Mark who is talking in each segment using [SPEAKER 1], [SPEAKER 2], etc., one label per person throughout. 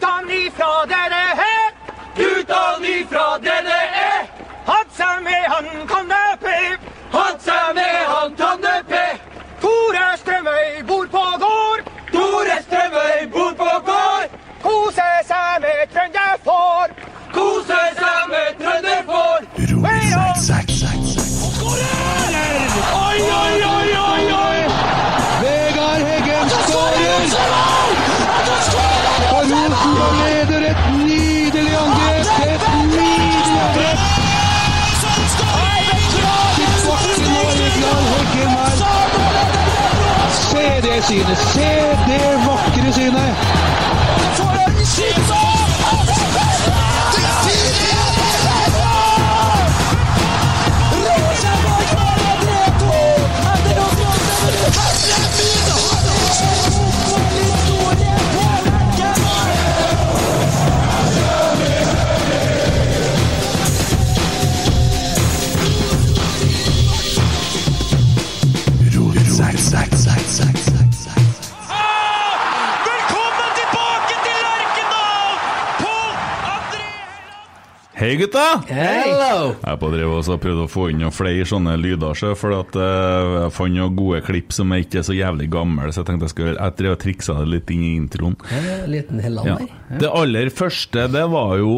[SPEAKER 1] ifra er dere her.
[SPEAKER 2] Utan ifra denne er
[SPEAKER 1] Hatt seg med han kanapé.
[SPEAKER 2] Hatt seg med han Tanne P
[SPEAKER 1] Tore Strømøy bor på gård.
[SPEAKER 2] Tore Strømøy bor på gård
[SPEAKER 1] Kose seg med trønderfår.
[SPEAKER 2] Kose seg med trønderfår
[SPEAKER 3] Vegard Heggen skårer! Og Rosenborg leder et nydelig angrep! Et nydelig angrep! Tilbake nå, Vegard Heggen her. Se det synet! Se det vakre synet!
[SPEAKER 4] Velkommen tilbake til Lerkendal! Pål André
[SPEAKER 5] Hei, gutta!
[SPEAKER 6] Hello!
[SPEAKER 5] Jeg på drev også og prøvde å få inn noen flere sånne lyder, sjø, for at eh, jeg fant noen gode klipp som er ikke så jævlig gamle, så jeg tenkte jeg skulle Jeg drev og triksa det litt inn i introen.
[SPEAKER 6] Liten
[SPEAKER 5] Ja.
[SPEAKER 6] Helander.
[SPEAKER 5] Det aller første det var jo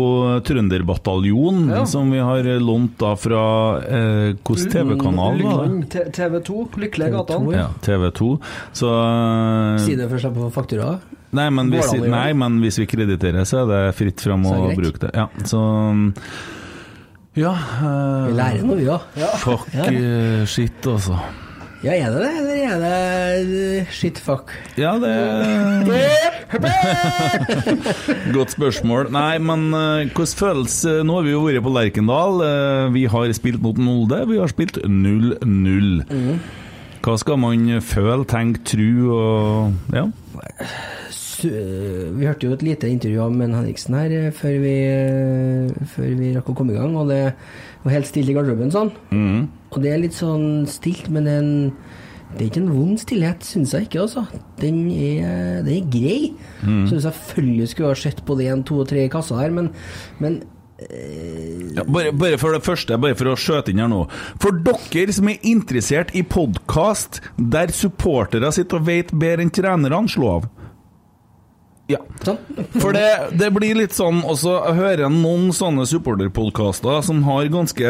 [SPEAKER 5] Trønderbataljon, som vi har lånt da fra eh,
[SPEAKER 6] Mm,
[SPEAKER 5] Hvilken TV-kanal var det?
[SPEAKER 3] TV 2, lykkelige gatene.
[SPEAKER 5] Ja, TV 2. Så eh,
[SPEAKER 6] Si det for å slippe å få faktura.
[SPEAKER 5] Nei men, hvis,
[SPEAKER 6] Går det an å gjøre
[SPEAKER 5] nei,
[SPEAKER 6] det?
[SPEAKER 5] men hvis vi krediterer, så er det fritt fram å
[SPEAKER 6] Så er det greit.
[SPEAKER 5] bruke det. Ja, så mm, Ja. eh,
[SPEAKER 6] Vi lærer noe, vi òg.
[SPEAKER 5] Fuck
[SPEAKER 6] Ja.
[SPEAKER 5] eh, shit, altså.
[SPEAKER 6] Ja, er det det, eller er det eh, shit fuck?
[SPEAKER 5] Ja, det Godt spørsmål. Nei, men eh, hvordan føles eh, Nå har vi jo vært på Lerkendal. eh, vi har spilt mot Molde. Vi har spilt 0-0. Hva skal man føle, tenke, tro og Ja.
[SPEAKER 6] Su- eh, Vi hørte jo et lite intervju av Menn Henriksen her eh, før vi, eh, før vi rakk å komme i gang, og det var helt stille i garderoben sånn. Og det er litt sånn stilt, men det er, en, det er ikke en vond stillhet, syns jeg ikke, altså. Den er, den er grei. Så jeg selvfølgelig skulle ha sett både én, to og tre i kassa her, men, men
[SPEAKER 5] Ja, bare, bare for det første, bare for å skjøte inn her nå. For dere som er interessert i podkast der supportere sitter og vet bedre enn trenerne, slå av. Ja.
[SPEAKER 6] sånn.
[SPEAKER 5] For det, det blir litt sånn også, Jeg hører noen sånne supporterpodkaster som har ganske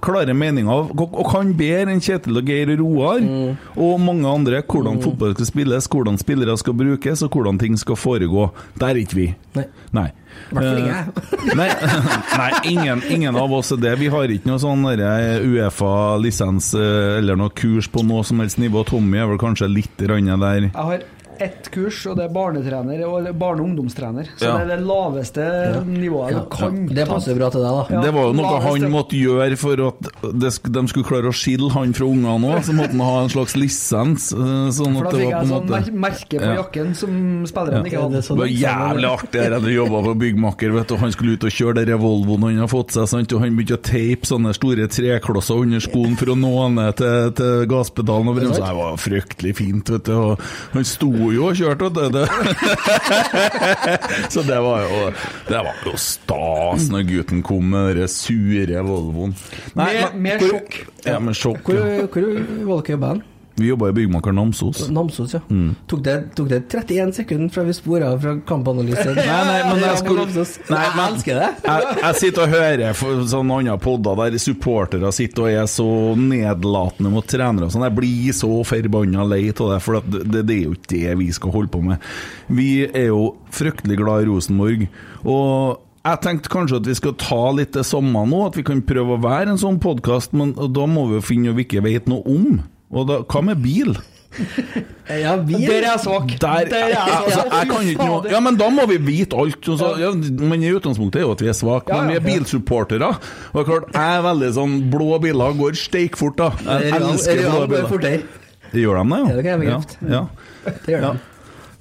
[SPEAKER 5] klare meninger og, og kan bedre enn Kjetil og Geir og Roar
[SPEAKER 6] Mm.
[SPEAKER 5] og mange andre hvordan fotball skal spilles, hvordan spillere skal brukes og hvordan ting skal foregå. Der er ikke vi.
[SPEAKER 6] Nei.
[SPEAKER 5] Nei.
[SPEAKER 6] Hvertfall ikke
[SPEAKER 5] Eh, nei, nei ingen, ingen av oss er det. Vi har ikke noe sånn derre Uefa-lisens eh, eller noe kurs på noe som helst nivå. Tommy er vel kanskje litt rann der.
[SPEAKER 3] Jeg har ett kurs, og det er barnetrener og barne- og ungdomstrener. Så
[SPEAKER 5] Ja.
[SPEAKER 3] det er det laveste nivået
[SPEAKER 6] Ja,
[SPEAKER 3] du kan
[SPEAKER 6] det
[SPEAKER 7] sånn
[SPEAKER 6] passer jo bra til deg, da.
[SPEAKER 3] Ja.
[SPEAKER 5] Det var jo noe
[SPEAKER 3] vanligst,
[SPEAKER 5] han
[SPEAKER 3] ja.
[SPEAKER 5] måtte gjøre for at det, sk- de skulle klare å skille han fra ungene òg. Så måtte han ha en slags lisens. eh, Sånn
[SPEAKER 3] For da
[SPEAKER 5] at det
[SPEAKER 3] fikk jeg
[SPEAKER 5] var på en
[SPEAKER 3] sånn
[SPEAKER 5] måte
[SPEAKER 3] mer merke på
[SPEAKER 5] Ja.
[SPEAKER 3] jakken som spillerne ikke hadde.
[SPEAKER 7] sånn
[SPEAKER 5] det var jævlig artig der jeg jobba for byggmaker. Vet du. Han skulle ut og kjøre den Revolvoen han har fått seg, sant? og han begynte å teipe sånne store treklosser under skoen for å nå ned til, til gasspedalen. Og bremsa. Det var fryktelig fint, vet du. Og han sto jo og kjørte, vet du. Det- Så det var jo Det var jo stas når gutten kom med den sure Volvoen.
[SPEAKER 3] Med-
[SPEAKER 5] men-
[SPEAKER 3] med
[SPEAKER 5] hvor-
[SPEAKER 3] sjokk.
[SPEAKER 5] Ja, med sjokk.
[SPEAKER 6] Hvor,
[SPEAKER 5] Ja.
[SPEAKER 6] hvor var dere i band?
[SPEAKER 5] Vi jobba i Byggmaker Namsos.
[SPEAKER 6] Namsos, ja.
[SPEAKER 5] Mm.
[SPEAKER 6] Tok, det, tok det 31 sekunder fra vi spora av fra kampanalysen?
[SPEAKER 5] Nei, nei, men jeg skulle- Nei,
[SPEAKER 6] Jeg
[SPEAKER 5] men-
[SPEAKER 6] elsker det!
[SPEAKER 5] jeg, jeg sitter og hører for sånne andre podder der supportere sitter og er så nedlatende mot trenere og sånn. Jeg blir så forbanna lei av det, for at det, det er jo ikke det vi skal holde på med. Vi er jo fryktelig glad i Rosenborg. og jeg tenkte kanskje at vi skal ta litt det samme nå, at vi kan prøve å være en sånn podkast, men da må vi jo finne noe vi ikke vet noe om. Og da, hva med bil?
[SPEAKER 6] Ja, vi
[SPEAKER 3] Der er jeg svak.
[SPEAKER 5] Der,
[SPEAKER 3] Der er jeg
[SPEAKER 5] altså,
[SPEAKER 3] svak.
[SPEAKER 5] jeg kan ikke noe Ja, men da må vi vite alt. og så- ja, men i utgangspunktet er jo at vi er svake,
[SPEAKER 3] Ja,
[SPEAKER 5] men vi
[SPEAKER 3] ja.
[SPEAKER 5] er bilsupportere. Og det er klart, jeg er veldig sånn Blå biler går steikfort, da. Jeg
[SPEAKER 6] Real-
[SPEAKER 5] elsker
[SPEAKER 6] Real
[SPEAKER 5] blå
[SPEAKER 6] går
[SPEAKER 5] biler.
[SPEAKER 6] fortere.
[SPEAKER 5] Gjør de det,
[SPEAKER 6] Ja, det kan jeg
[SPEAKER 5] ja?
[SPEAKER 6] bekrefte.
[SPEAKER 5] ja.
[SPEAKER 6] Det gjør
[SPEAKER 5] Ja.
[SPEAKER 6] det.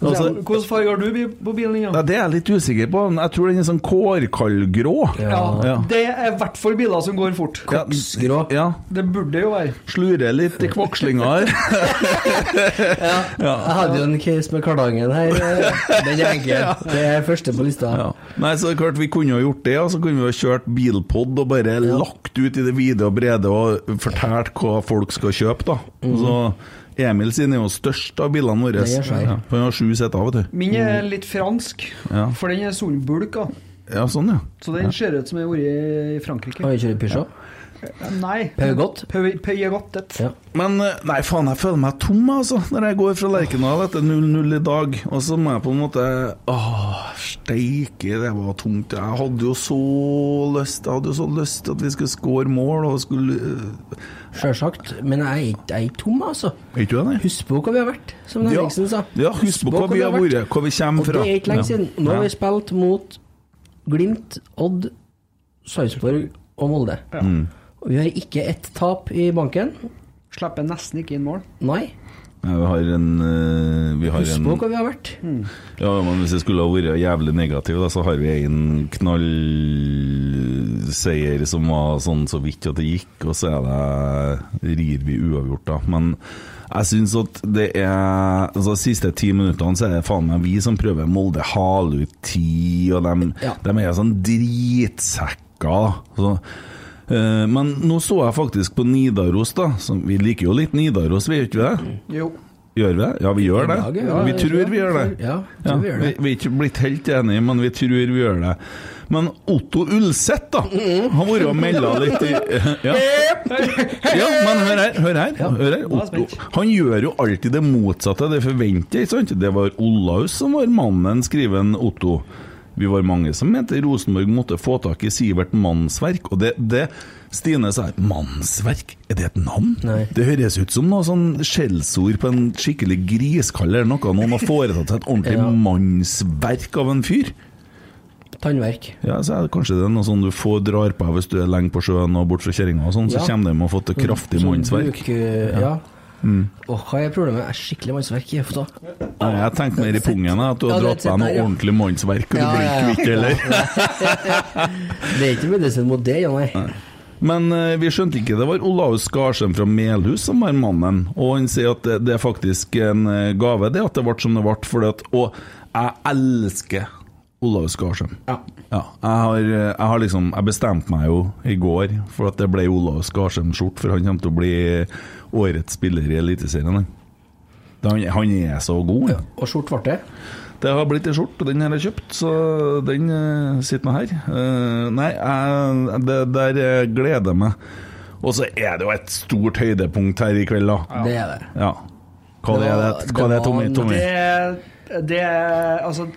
[SPEAKER 5] Altså,
[SPEAKER 7] Hvilken farge har du bi- på bilen din?
[SPEAKER 5] Nei,
[SPEAKER 7] da?
[SPEAKER 5] det er jeg litt usikker på. Jeg tror den er sånn kårkaldgrå.
[SPEAKER 7] Ja,
[SPEAKER 5] Ja.
[SPEAKER 7] det er i hvert fall biler som går fort.
[SPEAKER 5] Ja,
[SPEAKER 6] Koksgrå.
[SPEAKER 5] ja.
[SPEAKER 7] Det burde jo være.
[SPEAKER 5] Slurer litt i kvakslinga her.
[SPEAKER 6] Jeg hadde jo en case med kardangen her. eh, Den er enkel. Det er første på lista.
[SPEAKER 5] Ja. Nei, så det er klart Vi kunne ha gjort det, og så kunne vi ha kjørt bilpod og bare lagt ut i det vide og brede og fortalt hva folk skal kjøpe. da. Så Emil sin er jo størst av bilene våre.
[SPEAKER 6] Mhm. Det gjør seg.
[SPEAKER 5] Ja, for han har sju seter, vet du.
[SPEAKER 7] Min er litt fransk,
[SPEAKER 5] Mm. Ja.
[SPEAKER 7] for den er solbulka.
[SPEAKER 5] Ja, sånn, ja.
[SPEAKER 7] Så den ser ut som den har vært i Frankrike.
[SPEAKER 6] Og jeg kjører Peugeot.
[SPEAKER 7] Nei.
[SPEAKER 6] Peugeot.
[SPEAKER 7] Peu- Peugeotet.
[SPEAKER 6] Ja.
[SPEAKER 5] Men eh, nei, faen, jeg føler meg tom altså, når jeg går fra Lerkendal etter 0-0 i dag. Og så må jeg på en måte Åh, steike, det var tungt. Jeg hadde jo så lyst Jeg hadde jo så lyst til at vi skulle score mål og skulle
[SPEAKER 6] Sjølsagt. Men jeg er ikke- jeg er ikke tom, altså.
[SPEAKER 5] Er ikke du enig?
[SPEAKER 6] Husk på hvor vi har vært, som
[SPEAKER 5] Ja.
[SPEAKER 6] Henriksen sa.
[SPEAKER 5] Ja, husk på hvor vi har vært, hvor vi kommer
[SPEAKER 6] Og
[SPEAKER 5] fra.
[SPEAKER 6] det er ikke lenge
[SPEAKER 5] Ja.
[SPEAKER 6] siden. Nå har
[SPEAKER 5] Ja.
[SPEAKER 6] vi spilt mot Glimt, Odd, Sarpsborg og Molde.
[SPEAKER 5] Mm.
[SPEAKER 6] Og vi har ikke ett tap i banken.
[SPEAKER 7] Slipper nesten ikke inn mål.
[SPEAKER 6] Nei.
[SPEAKER 5] Ja, vi har en eh, vi har
[SPEAKER 6] Husk
[SPEAKER 5] en,
[SPEAKER 6] på hvor vi har vært.
[SPEAKER 5] ja, men Hvis jeg skulle ha vært jævlig negativ, da, så har vi en knallseier som var sånn så vidt at det gikk, og så er det rir vi uavgjort, da. Men jeg syns at det er altså, De siste ti minuttene så er det faen meg vi som prøver Molde hale ut ti, og de,
[SPEAKER 6] Ja.
[SPEAKER 5] er sånn drittsekker. da. Så, eh, men nå så jeg faktisk på Nidaros, da. Som, vi liker jo litt Nidaros, vi gjør ikke vi det?
[SPEAKER 7] Jo.
[SPEAKER 5] Gjør vi det? Ja, vi gjør det.
[SPEAKER 6] dag, ja.
[SPEAKER 5] vi tror vi gjør det.
[SPEAKER 6] Ja, vi tror vi gjør det.
[SPEAKER 5] vi er ikke blitt helt enige, men vi tror vi gjør det. Men Otto Ulseth, da,
[SPEAKER 6] Mm.
[SPEAKER 5] har vært og melda litt i ja. ja, men hør her. Hør her, hør her. Otto, han gjør jo alltid det motsatte av det forventer, ikke sant? Det var Olaus som var mannen, skriver en Otto. Vi var mange som mente Rosenborg måtte få tak i Sivert Mannsverk, og det, det Stine sa her, Mannsverk, er det et navn?
[SPEAKER 6] Nei.
[SPEAKER 5] Det høres ut som noe sånn skjellsord på en skikkelig griskall eller noe. Noen har foretatt seg et ordentlig
[SPEAKER 6] Ja.
[SPEAKER 5] mannsverk av en fyr.
[SPEAKER 6] Tannverk.
[SPEAKER 5] Ja, så er det Kanskje det er noe sånn du får drar på hvis du er lenge på sjøen og bort fra kjerringa, og sånn, så
[SPEAKER 6] Ja.
[SPEAKER 5] kommer de og har fått et kraftig
[SPEAKER 6] Sånn
[SPEAKER 5] mannsverk. Mm.
[SPEAKER 6] bruk, eh, ja. Og hva er problemet? Jeg er skikkelig mannsverk i hofta.
[SPEAKER 5] Nei, jeg tenkte mer i pungen jeg, at du har
[SPEAKER 6] Ja, det er
[SPEAKER 5] dratt
[SPEAKER 6] et sett
[SPEAKER 5] deg noe
[SPEAKER 6] der, ja.
[SPEAKER 5] ordentlig mannsverk, og du
[SPEAKER 6] Ja,
[SPEAKER 5] blir ikke kvitt
[SPEAKER 6] ja, ja.
[SPEAKER 5] heller.
[SPEAKER 6] Det er ikke medisin mot det, ja, nei.
[SPEAKER 5] Men eh, vi skjønte ikke det var Olaus Garsen fra Melhus som var mannen. Og han sier at det, det er faktisk en eh, gave, det at det ble som det ble. Fordi at, og jeg elsker Olaus Garsen.
[SPEAKER 7] Ja.
[SPEAKER 5] jeg, har, eh, jeg har liksom Jeg bestemte meg jo i går for at det ble Olaus Garsen-skjort, for han kommer til å bli årets spiller i Eliteserien. han. Det- Han, han er så god. han.
[SPEAKER 6] Og skjort ble det.
[SPEAKER 5] Det har blitt en skjorte, og den har jeg kjøpt, så den eh, sitter nå her. Eh, nei, jeg, det der eh, gleder jeg meg. Og så er det jo et stort høydepunkt her i kveld, da.
[SPEAKER 6] Det er det.
[SPEAKER 5] Ja. Hva det er det,
[SPEAKER 6] Det var-
[SPEAKER 5] Hva det
[SPEAKER 6] det
[SPEAKER 5] er Tommy?
[SPEAKER 6] var-
[SPEAKER 5] Tommy?
[SPEAKER 7] Det, det Altså,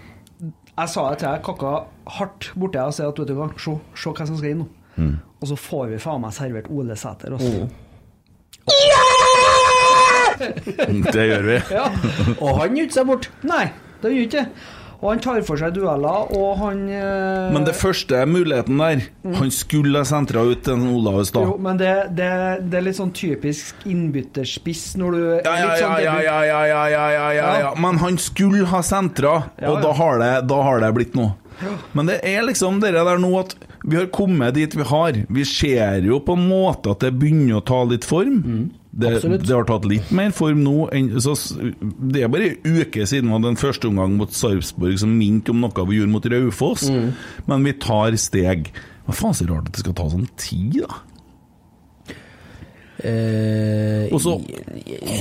[SPEAKER 7] jeg sa det til deg, kakka hardt borti deg og sa at vet du hva, se, se hva som skal inn nå.
[SPEAKER 5] Mm.
[SPEAKER 7] Og så får vi faen meg servert Ole Sæter, altså.
[SPEAKER 5] Det gjør vi. Mm.
[SPEAKER 6] Og han gjemte seg bort.
[SPEAKER 7] Nei, det gjør ikke det. Og han tar for seg dueller, og han eh,
[SPEAKER 5] Men det første muligheten der Han skulle ha sentra ut til en Olaus, da.
[SPEAKER 7] Jo, men det, det, det er litt sånn typisk innbytterspiss når du
[SPEAKER 5] Ja, ja,
[SPEAKER 7] litt
[SPEAKER 5] ja,
[SPEAKER 7] sånn
[SPEAKER 5] ja,
[SPEAKER 7] debut-
[SPEAKER 5] ja, ja, ja, ja, ja, ja, ja. Men han skulle ha sentra,
[SPEAKER 7] Ja,
[SPEAKER 5] og
[SPEAKER 7] ja.
[SPEAKER 5] da har, det, da har det blitt noe. Men det er liksom det der nå at vi har kommet dit vi har. Vi ser jo på en måte at det begynner å ta litt form.
[SPEAKER 7] Mm.
[SPEAKER 5] det,
[SPEAKER 6] absolutt.
[SPEAKER 5] det har tatt litt mer form nå. Enn, så, s- det er bare en uke siden vi hadde en første omgang mot Sarpsborg som minte om noe vi gjorde mot Raufoss,
[SPEAKER 7] Mm.
[SPEAKER 5] men vi tar steg. Hva faen så rart at det skal ta sånn tid, da?
[SPEAKER 6] Eh,
[SPEAKER 5] Og så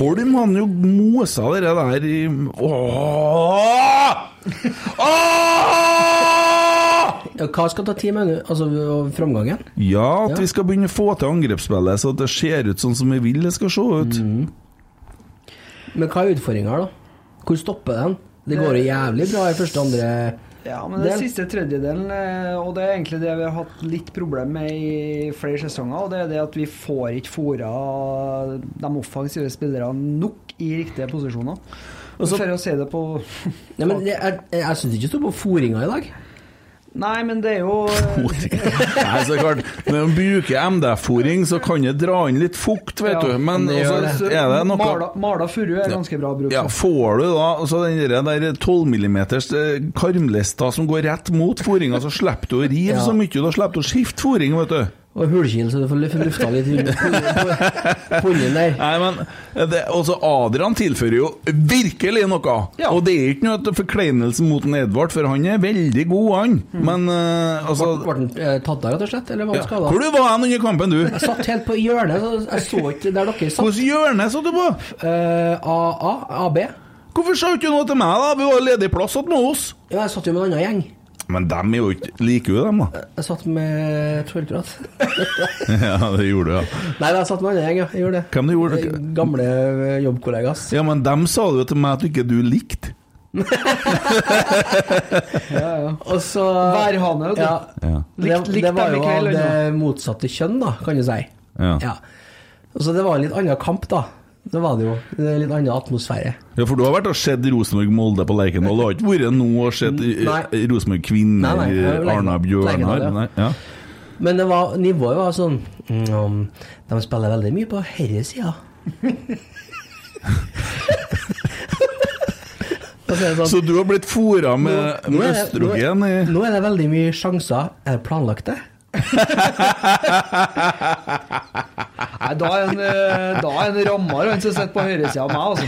[SPEAKER 5] Holm han jo mosa dere der i Åh! Åh!
[SPEAKER 6] ja, hva skal ta ti minutter? Altså og framgangen?
[SPEAKER 5] Ja, at
[SPEAKER 6] Ja.
[SPEAKER 5] vi skal begynne å få til angrepsspillet, så at det ser ut sånn som vi vil det skal se ut.
[SPEAKER 7] Mm.
[SPEAKER 6] Men hva er utfordringa her, da? Hvor stopper den? Det går jo jævlig bra i første og andre
[SPEAKER 7] Ja, men den
[SPEAKER 6] Del.
[SPEAKER 7] siste tredjedelen, eh, og det er egentlig det vi har hatt litt problem med i flere sesonger, og det er det at vi får ikke fora de offensive spillerne nok i riktige posisjoner.
[SPEAKER 6] Og så-
[SPEAKER 7] for å si det på
[SPEAKER 6] Nei, men det, Jeg, jeg syns ikke det står på fôringa i dag.
[SPEAKER 7] Nei, men det er jo
[SPEAKER 5] Nei, så klart, Når man bruker MDF-fòring, så kan det dra inn litt fukt, vet
[SPEAKER 7] Ja,
[SPEAKER 5] du. Men
[SPEAKER 7] det
[SPEAKER 6] altså,
[SPEAKER 7] gjør
[SPEAKER 5] også er det noe
[SPEAKER 7] Mala, mala furu er ganske bra bruk.
[SPEAKER 5] Ja, får du da altså den der- der 12 millimeters eh, karmlista som går rett mot fòringa, så slipper du å rive
[SPEAKER 6] Ja.
[SPEAKER 5] så mye. Da slipper du å skifte fòring, vet du.
[SPEAKER 6] Og hulkil, så du får luft- lufta litt inn på pungen der.
[SPEAKER 5] Nei, men det, også Adrian tilfører jo virkelig noe.
[SPEAKER 7] Ja.
[SPEAKER 5] Og det er ikke noe forkleinelse mot en Edvard, for han er veldig god, han. Men eh, altså
[SPEAKER 6] Ble den eh, tatt av, rett og slett? Eller var
[SPEAKER 5] ja.
[SPEAKER 6] han skada?
[SPEAKER 5] Hvor du var hen under kampen, du?
[SPEAKER 6] Jeg satt helt på hjørnet, så jeg så ikke der dere satt.
[SPEAKER 5] Hvilket hjørne satt du på?
[SPEAKER 6] Eh, AA? AB?
[SPEAKER 5] Hvorfor sa du ikke noe til meg, da? Vi var ledig plass igjen med oss.
[SPEAKER 6] Ja, jeg satt jo med en annen gjeng.
[SPEAKER 5] Men dem er jo ikke Liker jo dem, da.
[SPEAKER 6] Jeg satt med Trollprat.
[SPEAKER 5] Ja, det gjorde du, ja.
[SPEAKER 6] Nei, jeg satt med en annen gjeng, ja. Jeg gjorde det.
[SPEAKER 5] Hvem du gjorde
[SPEAKER 6] Eh, Gamle eh, jobbkollegas.
[SPEAKER 5] Ja, men dem sa du jo til meg at du ikke du likte.
[SPEAKER 6] Og så
[SPEAKER 7] Værhane, vet du.
[SPEAKER 6] Ja.
[SPEAKER 5] Ja.
[SPEAKER 6] Det,
[SPEAKER 7] Likt- likt
[SPEAKER 6] det var
[SPEAKER 7] dem
[SPEAKER 6] jo av
[SPEAKER 7] ikke heller,
[SPEAKER 6] det motsatte kjønn, da, kan du si.
[SPEAKER 5] Ja.
[SPEAKER 6] Ja. Og så det var en litt annen kamp, da. Det var det jo. Det er en litt annen atmosfære.
[SPEAKER 5] Ja, for du har vært og sett Rosenborg-Molde på Lerkendal. Du har ikke vært nå og sett eh,
[SPEAKER 6] Nei.
[SPEAKER 5] Rosenborg-Kvinner,
[SPEAKER 6] Nei, nei, jeg har jo Lerkendal-
[SPEAKER 5] Arna-Bjørnar
[SPEAKER 6] Lerkendal, ja.
[SPEAKER 5] Nei, ja.
[SPEAKER 6] Men det var, nivået var sånn mm, De spiller veldig mye på herresida. Og så er det sånn,
[SPEAKER 5] Så du har blitt fôra eh, med, med
[SPEAKER 6] nå, er det, nå,
[SPEAKER 5] østrogen i
[SPEAKER 6] er, nå er det veldig mye sjanser. Er det planlagt, det?
[SPEAKER 7] Nei, da er en, eh, da er en rammer han som sitter på høyresida av meg, altså.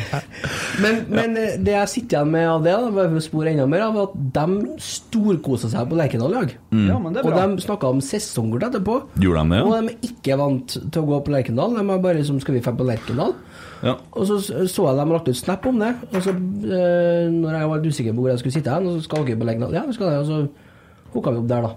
[SPEAKER 6] Men, men eh, det jeg sitter igjen med av det, da, bare for å spore enda mer, av, var at de storkosa seg på Lerkendal i dag.
[SPEAKER 5] Mm.
[SPEAKER 7] Ja, men det er
[SPEAKER 6] Og
[SPEAKER 7] bra.
[SPEAKER 6] de snakka om sesongkort etterpå.
[SPEAKER 5] Gjorde de det, ja?
[SPEAKER 6] Og de er ikke vant til å gå på Lerkendal. De er bare som skal vi dra på Lerkendal?
[SPEAKER 5] ja.
[SPEAKER 6] Og så så jeg dem lagt ut snap om det. Og så, eh, når jeg var litt usikker på hvor jeg skulle sitte hen, og så skal dere på Lerkendal. Ja, vi skal det. Og så hooka vi opp der, da.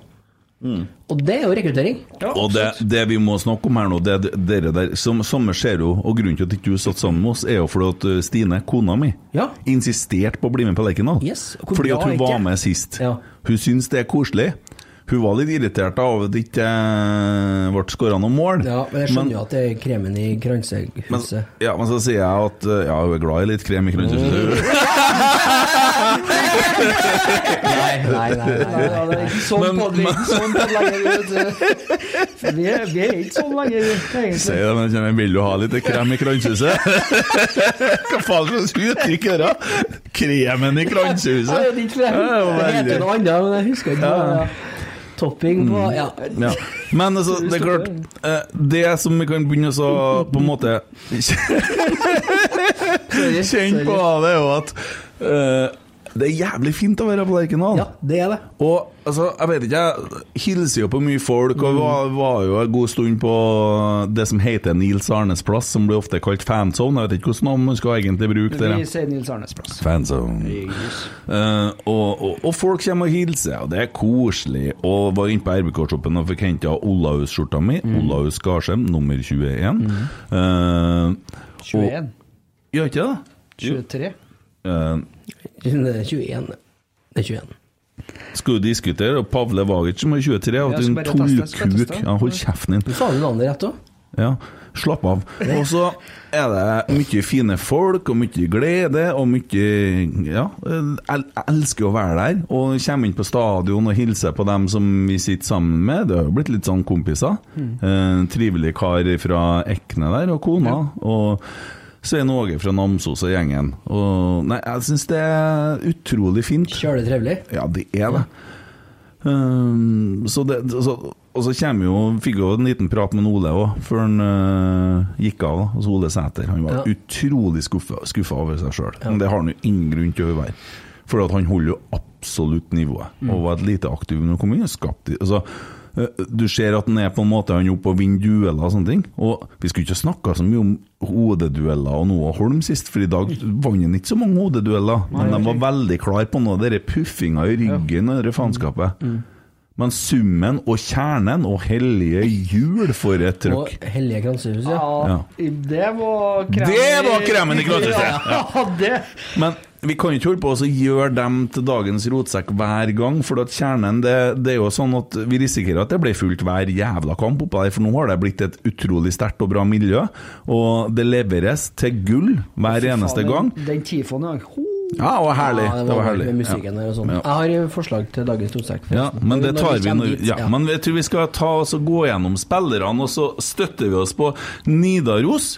[SPEAKER 5] Mm.
[SPEAKER 6] Og det er jo rekruttering.
[SPEAKER 5] Og det, det vi må snakke om her nå, det er dere der som Samme ser jo, og grunnen til at ikke du satt sammen med oss, er jo fordi at eh, Stine, kona mi,
[SPEAKER 6] Ja.
[SPEAKER 5] insisterte på å bli med på Lerkendal.
[SPEAKER 6] Yes, og hvor
[SPEAKER 5] Fordi at
[SPEAKER 6] bra
[SPEAKER 5] hun
[SPEAKER 6] er
[SPEAKER 5] var
[SPEAKER 6] ikke?
[SPEAKER 5] med sist.
[SPEAKER 6] Ja.
[SPEAKER 5] Hun syns det er koselig. Hun var litt irritert av at det ikke eh, ble skåra noe mål.
[SPEAKER 6] Ja, men jeg skjønner
[SPEAKER 5] Men-
[SPEAKER 6] jo at det er kremen i
[SPEAKER 5] men,
[SPEAKER 6] kransehuset.
[SPEAKER 5] ja, men så sier jeg at eh, ja, hun er glad i litt krem i
[SPEAKER 6] Mm.
[SPEAKER 5] krønnshuset.
[SPEAKER 6] Nei, nei, nei. nei,
[SPEAKER 7] Ja, det
[SPEAKER 6] nei,
[SPEAKER 7] er
[SPEAKER 6] nei.
[SPEAKER 7] ikke sånn
[SPEAKER 5] Men-
[SPEAKER 7] podd-
[SPEAKER 5] men-
[SPEAKER 7] sånn podd lenger, vet du. For Vi er, vi er ikke sånn lenger, egentlig.
[SPEAKER 5] Sier det, men jeg vil jo ha litt krem i krønnshuset. Hva faen slags uttrykk er det? Kremen i
[SPEAKER 6] Ja,
[SPEAKER 5] krønnshuset?
[SPEAKER 6] Jeg vet ikke, for
[SPEAKER 5] Ja, det var
[SPEAKER 6] jeg- det
[SPEAKER 5] veldig- Mm.
[SPEAKER 6] heter noe annet, men jeg husker ikke. hva det var. Topping på ja.
[SPEAKER 5] Ja. Men altså, det er klart eh, Det som vi kan begynne å så, på en måte kjenne på, det er jo at eh, det er jævlig fint å være på Lerkendal.
[SPEAKER 6] ja, det er det.
[SPEAKER 5] Og altså, jeg vet ikke, jeg hilser jo på mye folk,
[SPEAKER 7] Mm.
[SPEAKER 5] og var, var jo en god stund på det som heter Nils Arnes plass, som blir ofte kalt fanzone. Jeg vet ikke hvordan navn man skal egentlig bruke det.
[SPEAKER 7] Vi sier Nils Arnes plass.
[SPEAKER 5] Fanzone. Eh, og, og, og folk kommer og hilser, og det er koselig. Og var inne på RBK-shoppen og fikk henta Olaus-skjorta mi.
[SPEAKER 7] Mm.
[SPEAKER 5] Olaus Garsem, nummer 21. Eh,
[SPEAKER 7] 21?
[SPEAKER 5] gjør ikke det?
[SPEAKER 7] 23?
[SPEAKER 5] Eh,
[SPEAKER 6] Det er 21. Det er 21.
[SPEAKER 5] skal jo diskutere, og Pavle Vagic som er 23, og
[SPEAKER 7] Ja,
[SPEAKER 5] din
[SPEAKER 7] skal bare teste, skal
[SPEAKER 5] tullkuk
[SPEAKER 7] teste.
[SPEAKER 5] ja, Hold kjeften din.
[SPEAKER 6] Du sa jo navnet rett òg.
[SPEAKER 5] Ja, slapp av. Og så er det mye fine folk, og mye glede, og mye Ja, jeg jeg elsker å være der. Og kommer inn på stadion og hilser på dem som vi sitter sammen med. Det har jo blitt litt sånn kompiser. En trivelig kar fra Ekne der, og kona. Og Svein Åge fra Namsos og gjengen. Og Nei, jeg syns det er utrolig fint.
[SPEAKER 6] Kjølig trivelig.
[SPEAKER 5] Ja, det er det. Ehm, så det så, og så kommer jo Fikk jo en liten prat med Ole òg, før han eh, gikk av. da, Altså Ole Sæter. Han var
[SPEAKER 6] Ja.
[SPEAKER 5] utrolig skuffa over seg sjøl. Men det har han jo ingen grunn til å være. For at han holder jo absolutt nivået, og var et lite aktiv når han kom inn. og skapte- altså, eh, du ser at han er på en måte Han er oppe og vinner dueller og sånne ting. Og Vi skulle ikke snakka så mye om hodedueller og noe av Holm sist, for i dag vant han ikke så mange hodedueller. Men de var veldig klare på noe av denne puffinga i ryggen og dette faenskapet. Men summen og kjernen og hellige jul for et
[SPEAKER 6] Og
[SPEAKER 5] trøkk.
[SPEAKER 6] Hellige Kransehus, ja.
[SPEAKER 7] Ja, det var kremen
[SPEAKER 5] Det var kremen i kransehuset.
[SPEAKER 7] Ja, det
[SPEAKER 5] Men vi kan ikke holde på å så gjøre dem til dagens rotsekk hver gang, for at kjernen det, det er jo sånn at vi risikerer at det blir fullt hver jævla kamp oppå der, for nå har det blitt et utrolig sterkt og bra miljø, og det leveres til gull hver eneste
[SPEAKER 7] Faen,
[SPEAKER 5] gang.
[SPEAKER 7] Den, den tifonen i dag. Ho!
[SPEAKER 5] Ja, og herlig.
[SPEAKER 6] Ja, det var, herlig. Med musikken der og sånn.
[SPEAKER 5] Ja.
[SPEAKER 6] Jeg har eh, forslag til dagens tosekk.
[SPEAKER 5] Ja, men det tar vi
[SPEAKER 6] nå.
[SPEAKER 5] når ja, Men jeg tror vi skal ta oss og gå gjennom spillerne, og så støtter vi oss på Nidaros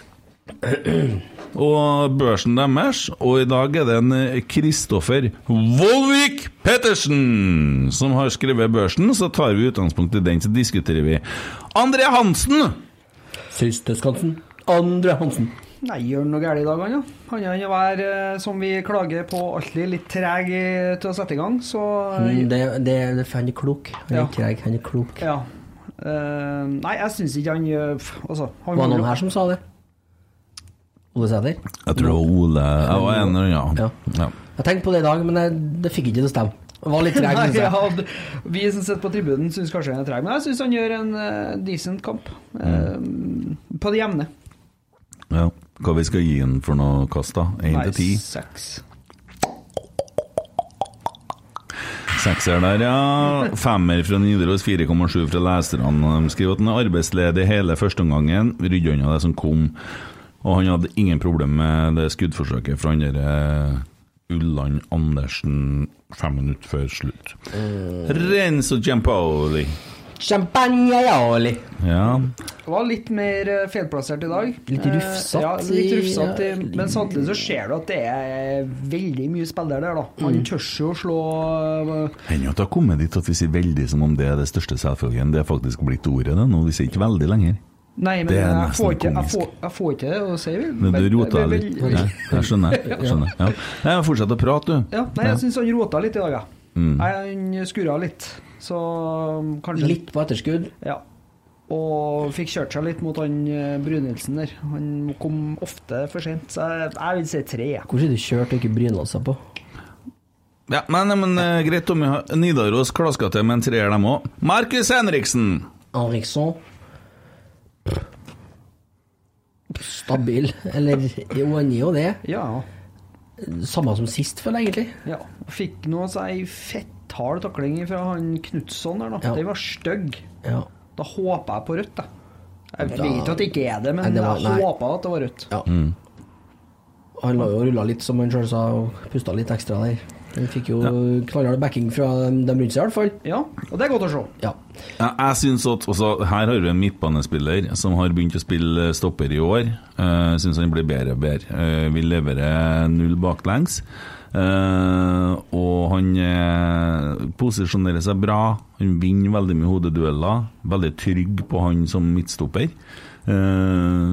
[SPEAKER 5] og børsen deres. Og i dag er det en eh, Kristoffer Volvik Pettersen som har skrevet børsen. Så tar vi utgangspunkt i den, så diskuterer vi. André Hansen!
[SPEAKER 6] Søsterskansen. Andre Hansen.
[SPEAKER 7] Nei, gjør han noe galt i dag, han, da? Han er å være, eh, som vi klager på alltid, litt treg i- til å sette i gang, så eh,
[SPEAKER 6] Mm, Det, det, det, for han er klok. Han er
[SPEAKER 7] Ja.
[SPEAKER 6] ikke treg, han er klok.
[SPEAKER 7] Ja. Eh, nei, jeg syns ikke han eh, pff, Altså, han
[SPEAKER 6] Var det
[SPEAKER 7] må-
[SPEAKER 6] noen her som sa det? Ole Sæther?
[SPEAKER 5] Jeg tror det var Ole Jeg var en eller
[SPEAKER 6] Ja.
[SPEAKER 5] annen. Ja.
[SPEAKER 6] Jeg tenkte på det i dag, men jeg, det fikk ikke til å stemme. Det var litt treg,
[SPEAKER 7] Nei,
[SPEAKER 6] synes jeg.
[SPEAKER 7] ja, d- vi som sitter på tribunen, syns kanskje han er treg, men jeg syns han gjør en eh, decent kamp.
[SPEAKER 6] Mm.
[SPEAKER 7] Eh, på det jevne.
[SPEAKER 5] Ja. Hva vi skal gi den for noe kast, da? Én
[SPEAKER 7] Nei,
[SPEAKER 5] til ti?
[SPEAKER 7] seks.
[SPEAKER 5] Sekser der, ja. Femmer fra Nidaros, 4,7 fra leserne. De skriver at han er arbeidsledig hele førsteomgangen. Rydder unna det som kom. Og han hadde ingen problem med det skuddforsøket fra han derre Ulland Andersen fem minutter før slutt. Renzo Giampaoli.
[SPEAKER 6] Champagne Jali.
[SPEAKER 5] Ja.
[SPEAKER 7] Det var litt mer eh, feilplassert i dag.
[SPEAKER 6] Litt
[SPEAKER 7] Eh,
[SPEAKER 6] rufsete
[SPEAKER 7] Ja, litt
[SPEAKER 6] i-
[SPEAKER 7] rufsete i, men samtidig så ser du at det er veldig mye spillere der, da.
[SPEAKER 6] Mm.
[SPEAKER 7] Han tør jo å slå eh,
[SPEAKER 5] Hender jo at det har kommet dit at vi sier veldig som om det er det største selvfølgen. Det er faktisk blitt ordet, det nå. Vi sier ikke veldig lenger.
[SPEAKER 7] Nei, men
[SPEAKER 5] Det er
[SPEAKER 7] jeg
[SPEAKER 5] nesten
[SPEAKER 7] får, ikke, jeg,
[SPEAKER 5] komisk.
[SPEAKER 7] får, jeg får ikke det å si, vel.
[SPEAKER 5] Men du rota
[SPEAKER 7] men-
[SPEAKER 5] litt.
[SPEAKER 7] men-
[SPEAKER 5] Nei, jeg skjønner. Jeg skjønner. Ja. Nei, men Fortsett å prate, du.
[SPEAKER 7] Ja, nei, jeg syns han rota litt i dag, jeg.
[SPEAKER 5] Mm.
[SPEAKER 7] Nei, han skurra litt, så um, kanskje
[SPEAKER 6] Litt på etterskudd.
[SPEAKER 7] Ja. Og fikk kjørt seg litt mot han eh, Brynildsen der. Han kom ofte for sent, så jeg, jeg vil si tre. jeg.
[SPEAKER 6] Hvordan er det kjørt og ikke bryna seg på?
[SPEAKER 5] Ja, men, men eh, greit om vi har Nidaros klaska til med en treer, dem òg. Markus Henriksen!
[SPEAKER 6] Henriksson Stabil. Eller jo, han er jo det.
[SPEAKER 7] Ja.
[SPEAKER 6] Samme som sist, føler jeg egentlig.
[SPEAKER 7] ja. Fikk nå ei fetthard takling fra han Knutson der, da.
[SPEAKER 6] Ja.
[SPEAKER 7] Den var stygg.
[SPEAKER 6] Ja.
[SPEAKER 7] Da håper jeg på rødt, jeg. Jeg
[SPEAKER 6] Da-
[SPEAKER 7] vet at det ikke er det, men
[SPEAKER 6] Nei, det var- nei.
[SPEAKER 7] jeg håpa at det var rødt.
[SPEAKER 6] ja.
[SPEAKER 5] Mm.
[SPEAKER 6] Han la jo rulla litt, som han sjøl sa, og pusta litt ekstra der. Han fikk jo knallhard backing fra dem rundt seg, i hvert fall.
[SPEAKER 7] Ja, og det er godt å se.
[SPEAKER 6] Ja.
[SPEAKER 5] Ja, jeg synes at også, Her har vi en midtbanespiller som har begynt å spille stopper i år. Eh, Jeg syns han blir bedre og bedre. Eh, vi leverer null baklengs. Eh, og han eh, posisjonerer seg bra. Han vinner veldig mye hodedueller. Veldig trygg på han som midtstopper. Eh,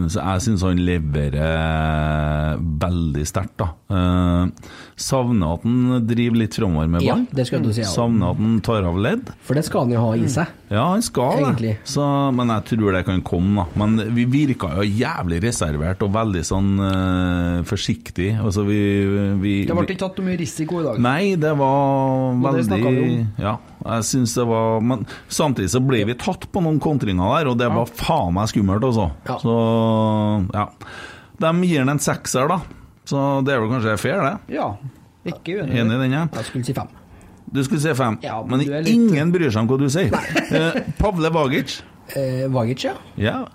[SPEAKER 5] så jeg syns han leverer veldig sterkt, da. Eh, savner at han driver litt framover med
[SPEAKER 6] ja,
[SPEAKER 5] ballen.
[SPEAKER 6] det skal du si. Ja.
[SPEAKER 5] Savner at han tar av ledd.
[SPEAKER 6] For det skal han jo ha
[SPEAKER 5] Mm.
[SPEAKER 6] i seg.
[SPEAKER 5] Ja, han skal det.
[SPEAKER 6] Egentlig.
[SPEAKER 5] Så, men jeg tror det kan komme, da. Men vi virka jo jævlig reservert og veldig sånn eh, forsiktig. Altså, vi, vi
[SPEAKER 7] Det ble
[SPEAKER 5] vi-
[SPEAKER 7] ikke tatt noe mye risiko i dag.
[SPEAKER 5] Nei, det var
[SPEAKER 7] Og
[SPEAKER 5] veldig
[SPEAKER 7] det snakket vi om.
[SPEAKER 5] Ja, jeg syns det var Men samtidig så ble vi tatt på noen kontringer der, og det var faen meg skummelt, altså.
[SPEAKER 6] Ja.
[SPEAKER 5] Så ja. De gir den en sekser, da. Så det er vel kanskje fair, det.
[SPEAKER 7] Ja, ikke uenig.
[SPEAKER 5] Enig i den, ja.
[SPEAKER 6] Jeg skulle si fem.
[SPEAKER 5] Du skulle si fem,
[SPEAKER 7] Ja,
[SPEAKER 5] men
[SPEAKER 7] men du er litt-
[SPEAKER 5] ingen bryr seg om hva du sier. Eh, Pavle Vagic.
[SPEAKER 6] Eh, Vagic, ja.
[SPEAKER 5] Ja.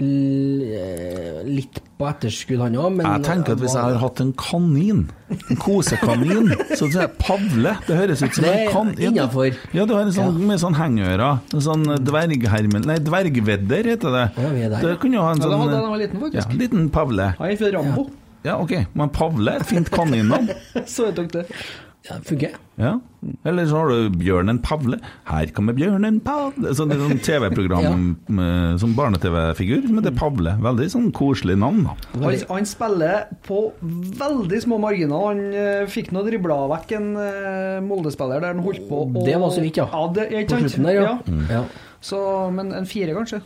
[SPEAKER 6] L eh, litt på etterskudd, han òg, men
[SPEAKER 5] Jeg tenker at hvis jeg har hatt en kanin, en kosekanin, så tror jeg Pavle Det høres ut som
[SPEAKER 6] Det
[SPEAKER 5] en
[SPEAKER 6] er
[SPEAKER 5] kanin.
[SPEAKER 6] innenfor.
[SPEAKER 5] Ja, du har en sånn,
[SPEAKER 6] Ja.
[SPEAKER 5] med sånn hengeører. En sånn dverghermen Nei, dvergvedder heter det.
[SPEAKER 6] Ja, vi er der,
[SPEAKER 5] det
[SPEAKER 6] ja.
[SPEAKER 5] kunne jo ha en
[SPEAKER 7] Ja, det
[SPEAKER 5] sånn
[SPEAKER 7] hadde jeg da jeg var liten,
[SPEAKER 5] ja,
[SPEAKER 7] faktisk.
[SPEAKER 5] liten Pavle.
[SPEAKER 7] Han er fra Rambo,
[SPEAKER 5] Ja, OK. Men Pavle er et fint kaninnavn.
[SPEAKER 7] så jeg tok det.
[SPEAKER 6] ja, Funker.
[SPEAKER 5] Ja. Eller så har du Bjørnen Pavle. Her kommer Bjørnen Pavle Sånn, det er sånn TV-program med- som barne-TV-figur som heter Pavle. Veldig sånn koselig navn, da.
[SPEAKER 7] Han, han spiller på veldig små marginer. Han eh, fikk nå dribla vekk en eh, Molde-spiller der han holdt på å
[SPEAKER 6] Det var så vidt, ja.
[SPEAKER 7] ja det, ja,
[SPEAKER 6] På
[SPEAKER 7] ikke sant?
[SPEAKER 6] slutten der, ja.
[SPEAKER 7] Ja.
[SPEAKER 5] Mm.
[SPEAKER 6] ja.
[SPEAKER 7] Så, men en fire, kanskje?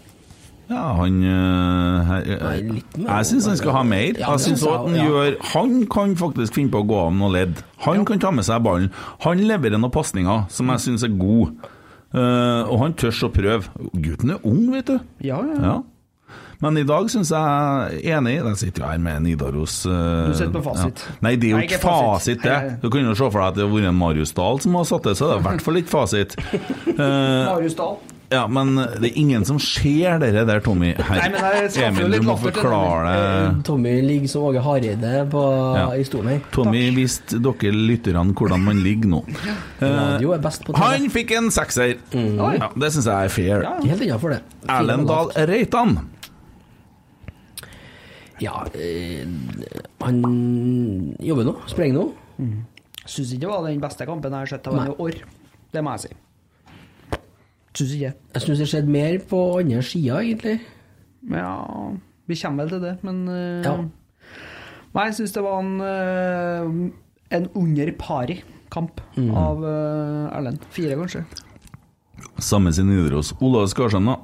[SPEAKER 5] Ja, han øh, her,
[SPEAKER 6] Nei,
[SPEAKER 5] øh,
[SPEAKER 6] litt mer.
[SPEAKER 5] Jeg syns han skal ha mer.
[SPEAKER 6] Ja,
[SPEAKER 5] jeg
[SPEAKER 6] det
[SPEAKER 5] synes
[SPEAKER 6] synes jeg
[SPEAKER 5] også at Han
[SPEAKER 6] også, ja.
[SPEAKER 5] gjør Han kan faktisk finne på å gå av noe ledd. Han kan ta med seg ballen. Han leverer noen pasninger som jeg syns er gode. Eh, og han tør å prøve. Gutten er ung, vet du.
[SPEAKER 7] Ja, ja.
[SPEAKER 5] Ja. Men i dag syns jeg enig. Jeg sitter jo her med Nidaros eh,
[SPEAKER 7] Du sitter på fasit.
[SPEAKER 5] Ja. Nei, det er jo
[SPEAKER 7] Nei,
[SPEAKER 5] ikke
[SPEAKER 7] ikke fasit.
[SPEAKER 5] fasit, det.
[SPEAKER 7] Nei, nei.
[SPEAKER 5] Du kunne jo se for deg at det hadde vært en Marius Dahl som hadde satt det, så det er i hvert fall ikke fasit. Eh,
[SPEAKER 7] Marius Dahl.
[SPEAKER 5] Ja, men det er ingen som ser dere der, Tommy. Her.
[SPEAKER 7] Nei, men jeg skaffer jo litt
[SPEAKER 5] du må
[SPEAKER 7] latter til Mm.
[SPEAKER 5] forklare det.
[SPEAKER 6] Tommy ligger som Åge Hareide på,
[SPEAKER 5] Ja.
[SPEAKER 6] i stolen her.
[SPEAKER 5] Tommy viste dere lytterne hvordan man ligger nå.
[SPEAKER 6] Radio er best på TV.
[SPEAKER 5] Eh, Han fikk en sekser.
[SPEAKER 7] Mm.
[SPEAKER 5] Ja, det syns jeg er fair.
[SPEAKER 6] Helt innafor det.
[SPEAKER 5] Erlend Dahl Reitan.
[SPEAKER 6] Ja, eh, han jobber nå. Sprenger nå.
[SPEAKER 7] Syns ikke det var den beste kampen jeg har sett av ham i år. Det må jeg si. Syns ikke.
[SPEAKER 6] Jeg syns det skjedde mer på andre sida, egentlig.
[SPEAKER 7] Ja Vi kommer vel til det, men eh,
[SPEAKER 6] Ja.
[SPEAKER 7] Nei, jeg syns det var en, eh, en under pari kamp
[SPEAKER 6] Mm.
[SPEAKER 7] av eh, Erlend. Fire, kanskje.
[SPEAKER 5] Samme sin Nidaros. Olav Skarsheim, da.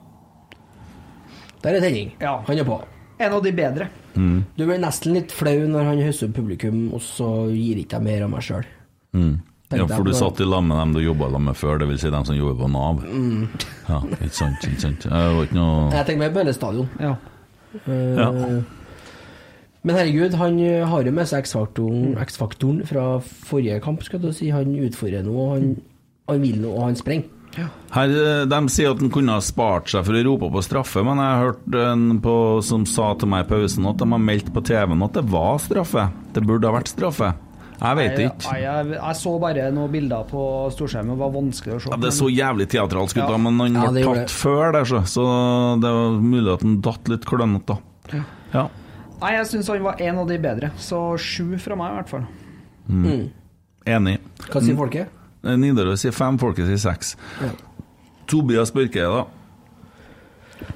[SPEAKER 6] Der er tenning.
[SPEAKER 7] Ja.
[SPEAKER 6] Han er på.
[SPEAKER 7] En av de bedre.
[SPEAKER 6] Du blir nesten litt flau når han hausser opp publikum, og så gir ikke jeg mer av meg sjøl.
[SPEAKER 5] Mm. Ja, for du satt i lag med dem du jobba i lag med før, dvs. Si dem som jobber på Nav.
[SPEAKER 7] Mm.
[SPEAKER 5] Ja, ikke sant, ikke sant. Det var ikke noe
[SPEAKER 6] Jeg tenker meg Bølle stadion.
[SPEAKER 7] Ja.
[SPEAKER 6] Eh,
[SPEAKER 5] Ja.
[SPEAKER 6] Men herregud, han eh, har jo med seg X-faktoren
[SPEAKER 7] Mm.
[SPEAKER 6] X-faktoren fra forrige kamp, skal du si. Han utfordrer nå, og han,
[SPEAKER 7] Mm.
[SPEAKER 6] han vil nå, og han sprenger.
[SPEAKER 5] Her, eh, De sier at han kunne ha spart seg for å rope på straffe, men jeg hørte en på, som sa til meg i pausen at de har meldt på TV-en at det var straffe. Det burde ha vært straffe. Jeg vet
[SPEAKER 7] Jeg,
[SPEAKER 5] ikke.
[SPEAKER 7] jeg, jeg så bare noen bilder på storskjermen, det var vanskelig å se.
[SPEAKER 5] Ja, det så jævlig teatralsk ut, da, men han
[SPEAKER 6] Ja,
[SPEAKER 5] ble
[SPEAKER 6] det gjorde det.
[SPEAKER 5] tatt før der, så, så det var mulig at han datt litt klønete, da. Ja.
[SPEAKER 7] Nei, jeg syns han var en av de bedre, så sju fra meg i hvert fall.
[SPEAKER 5] Enig.
[SPEAKER 6] Hva
[SPEAKER 7] Mm.
[SPEAKER 6] sier folket?
[SPEAKER 5] Eh, Nidaros sier fem, folket sier seks.
[SPEAKER 6] Ja.
[SPEAKER 5] Tobias Børke, da.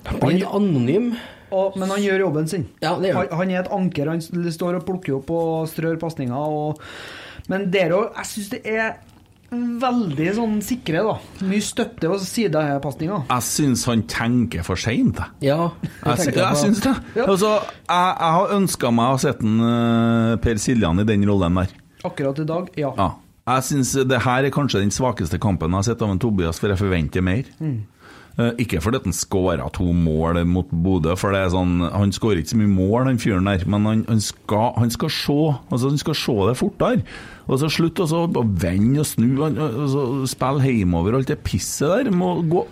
[SPEAKER 6] Han blir litt anonym.
[SPEAKER 7] Og, men han gjør jobben sin.
[SPEAKER 6] Ja, det gjør han.
[SPEAKER 7] han. Han er et anker, han s- står og plukker opp og strør pasninger. Og... Men der òg, jeg syns det er veldig sånn sikre, da. Mye støtte og sidepasninger.
[SPEAKER 5] Jeg syns han tenker for seint, jeg.
[SPEAKER 6] Ja.
[SPEAKER 5] Jeg, sy- jeg syns det.
[SPEAKER 7] Ja.
[SPEAKER 5] Altså, jeg, jeg har ønska meg å sette en, eh, Per Siljan i den rollen der.
[SPEAKER 7] Akkurat i dag, ja.
[SPEAKER 5] Ja. Jeg syns det her er kanskje den svakeste kampen jeg har sett av en Tobias, for jeg forventer mer.
[SPEAKER 7] Mm.
[SPEAKER 5] Eh, Ikke fordi at han skåra to mål mot Bodø, for det er sånn, han skårer ikke så mye mål, den fyren der, men han, han, skal, han skal se altså han skal se det fortere. Og så slutt å så bare vende og snu han- og så spille hjemover og alt det pisset der. Må gå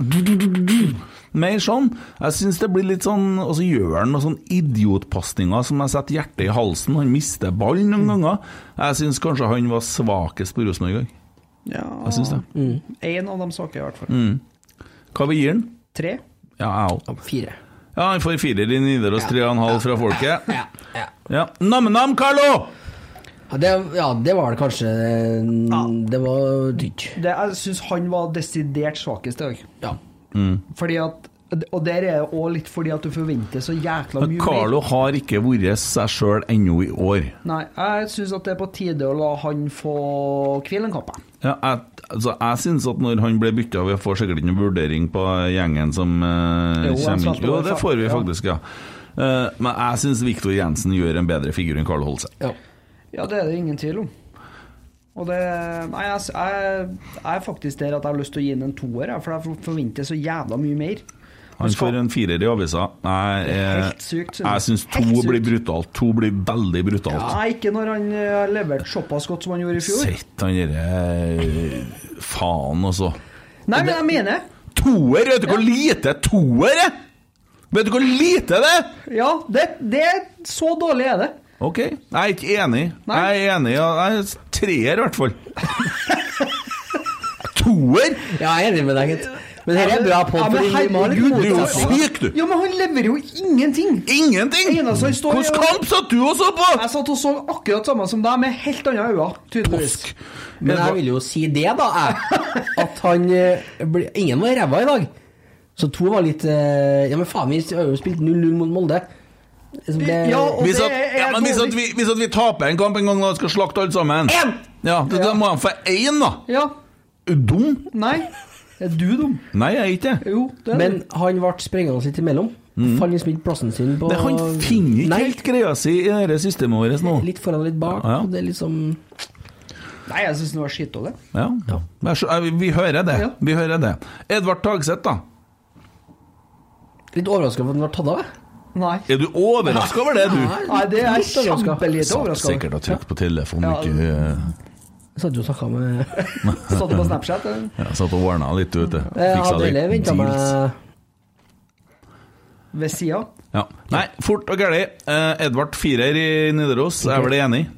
[SPEAKER 5] mer sånn. Jeg syns det blir litt sånn Og så gjør han noen sånne idiotpasninger som jeg setter hjertet i halsen. Han mister ballen noen ganger. Jeg syns kanskje han var svakest på Rosenborg i dag.
[SPEAKER 7] ja.
[SPEAKER 5] Jeg syns det. Mm.
[SPEAKER 7] En av de svake, i hvert fall.
[SPEAKER 5] Hva vi gir han?
[SPEAKER 7] Tre.
[SPEAKER 5] Ja, jeg òg.
[SPEAKER 6] Fire.
[SPEAKER 5] Ja, han får firer i Nidaros, tre og en halv fra folket.
[SPEAKER 6] Ja, ja.
[SPEAKER 5] Ja. Nam-nam, Carlo!
[SPEAKER 6] Ja, det, ja, det var det kanskje Det var dyrt.
[SPEAKER 7] Det, jeg syns han var desidert svakest i dag.
[SPEAKER 6] Ja.
[SPEAKER 7] Fordi at Og der er det òg litt fordi at du forventer så jækla
[SPEAKER 5] Men
[SPEAKER 7] mye mer.
[SPEAKER 5] Carlo har ikke vært seg sjøl ennå i år.
[SPEAKER 7] Nei, jeg syns at det er på tide å la han få hvile en kamp. jeg.
[SPEAKER 5] Ja, jeg, altså, jeg syns at når han ble bytta Vi får sikkert ikke noen vurdering på gjengen som eh,
[SPEAKER 7] Jo, han
[SPEAKER 5] kommer
[SPEAKER 7] satt
[SPEAKER 5] inn. Jo,
[SPEAKER 7] over
[SPEAKER 5] det
[SPEAKER 7] fa-
[SPEAKER 5] får vi
[SPEAKER 7] ja.
[SPEAKER 5] faktisk, ja. Eh, men jeg syns Viktor Jensen gjør en bedre figur enn Karl Holse.
[SPEAKER 6] ja.
[SPEAKER 7] Ja, det er det ingen tvil om. Og det Nei, jeg, jeg, jeg er faktisk der at jeg har lyst til å gi ham en toer, jeg, for jeg forventer så jævla mye mer.
[SPEAKER 5] Han
[SPEAKER 7] skal-
[SPEAKER 5] får en firer i avisa. Jeg, eh,
[SPEAKER 7] Helt sykt, synes jeg.
[SPEAKER 5] jeg syns to
[SPEAKER 7] Helt sykt.
[SPEAKER 5] blir brutalt. To blir veldig brutalt.
[SPEAKER 7] Nei, ikke når han eh, har levert såpass godt som han gjorde i fjor.
[SPEAKER 5] Sett han derre Faen, altså.
[SPEAKER 7] Nei, men jeg mener det.
[SPEAKER 5] Toer! Vet du hvor lite toer er?! Vet du hvor lite det er?!
[SPEAKER 7] Ja, det, det er så dårlig er det.
[SPEAKER 5] Ok, jeg er ikke enig.
[SPEAKER 7] Nei.
[SPEAKER 5] Jeg er enig. ja. Jeg er treer, i hvert fall. Toer?
[SPEAKER 6] ja, jeg er enig med deg, gitt. Men dette er bra på
[SPEAKER 7] Ja, men
[SPEAKER 6] fordi vi må ha litt
[SPEAKER 5] Du
[SPEAKER 7] herregud,
[SPEAKER 5] er jo
[SPEAKER 6] motsetninger.
[SPEAKER 5] syk, du!
[SPEAKER 7] Ja, men han leverer jo ingenting!
[SPEAKER 5] Ingenting!
[SPEAKER 7] Eneste han står i-
[SPEAKER 5] Hvilken kamp satt du og så på?!
[SPEAKER 7] Jeg satt og så akkurat samme som deg, med helt andre øyne, tydeligvis.
[SPEAKER 6] Men jeg vil jo si det, da. Jeg. At han eh, ble, Ingen var ræva i dag. Så to var litt eh, Ja, men faen, vi har jo spilt 0-0 mot Molde. Så ble,
[SPEAKER 7] Ja, og
[SPEAKER 5] Hvis
[SPEAKER 7] det
[SPEAKER 5] at,
[SPEAKER 7] er
[SPEAKER 5] ja, men hvis at,
[SPEAKER 7] dårlig.
[SPEAKER 5] vi, hvis at vi taper en kamp en gang og skal slakte alle sammen
[SPEAKER 6] En!
[SPEAKER 5] Ja, det, Da må han få én, da!
[SPEAKER 7] Ja.
[SPEAKER 5] Er du dum?
[SPEAKER 7] Nei. Er du dum?
[SPEAKER 5] Nei, jeg er ikke det.
[SPEAKER 7] Jo, det er
[SPEAKER 6] men han ble sprengende litt imellom. Fant liksom ikke plassen sin på
[SPEAKER 5] Det- Mm. Han finner ikke
[SPEAKER 6] Nei,
[SPEAKER 5] helt greia si i det systemet vårt nå.
[SPEAKER 6] Litt foran og litt bak.
[SPEAKER 5] Ja.
[SPEAKER 6] Og det er liksom
[SPEAKER 7] Nei, jeg syns den var skitdårlig.
[SPEAKER 5] Ja. Vær så- Vi vi hører det.
[SPEAKER 7] Ja.
[SPEAKER 5] Vi hører det. Edvard Tagseth, da.
[SPEAKER 6] Litt overraska over at han ble tatt av. jeg.
[SPEAKER 7] Nei.
[SPEAKER 5] Er du overraska over det, du?
[SPEAKER 7] Nei, det er
[SPEAKER 6] Litt overrasket.
[SPEAKER 7] kjempelite
[SPEAKER 5] Satt
[SPEAKER 7] overraskende.
[SPEAKER 5] sikkert og trykket på telefonen.
[SPEAKER 7] Ja.
[SPEAKER 5] Ikke, eh,
[SPEAKER 6] Satt jo og snakka med
[SPEAKER 7] Satt du på Snapchat? eh, eller?
[SPEAKER 5] Jeg satt og ordna litt, vet du.
[SPEAKER 6] Jeg
[SPEAKER 5] Fiksa
[SPEAKER 6] hadde
[SPEAKER 5] litt
[SPEAKER 6] heller venta meg
[SPEAKER 5] deals.
[SPEAKER 7] Ved sida?
[SPEAKER 5] Ja. Nei, fort og gæli. Eh, Edvard Firer i Nidaros, jeg er vel enig?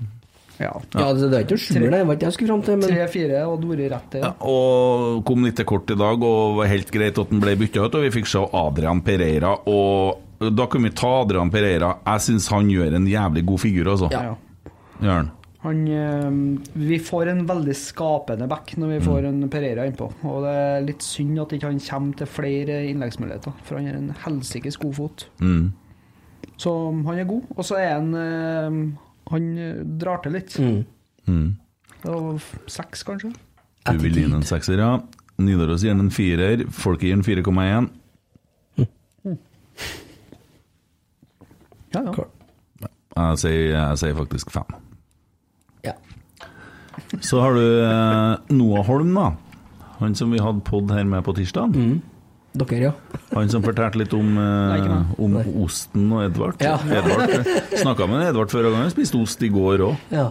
[SPEAKER 7] Ja.
[SPEAKER 6] Ja, det, det er ikke sjuer, det var ikke det jeg skulle fram til, men
[SPEAKER 7] Tre-fire og Dore rett til.
[SPEAKER 5] Ja, og kom litt til kort i dag, og var helt greit at han ble bytta ut. Og vi fikk se Adrian Pereira, og da kunne vi ta Adrian Pereira. Jeg syns han gjør en jævlig god figur, altså.
[SPEAKER 7] Ja.
[SPEAKER 5] Gjør han.
[SPEAKER 7] Han, eh, vi får en veldig skapende back når vi får en Pereira innpå. Og det er litt synd at ikke han kommer til flere innleggsmuligheter, for han er en helsikes god fot.
[SPEAKER 5] Mm.
[SPEAKER 7] Så han er god, og så er han eh, Han eh, drar til litt.
[SPEAKER 5] Mm.
[SPEAKER 7] Det var seks, kanskje?
[SPEAKER 5] Du vil gi den en sekser, ja. Nidaros gir den en firer. Folket gir den 4,1.
[SPEAKER 7] Ja, ja.
[SPEAKER 5] Jeg sier, jeg sier faktisk fem.
[SPEAKER 6] ja.
[SPEAKER 5] Så har du eh, Noah Holm, da. Han som vi hadde pod her med på tirsdag.
[SPEAKER 6] Mm. Dere, ja.
[SPEAKER 5] Han som fortalte litt om, eh,
[SPEAKER 7] ikke meg.
[SPEAKER 5] om osten og Edvard.
[SPEAKER 6] Ja.
[SPEAKER 5] Edvard Snakka med Edvard før og han spiste ost i går òg.
[SPEAKER 6] Ja.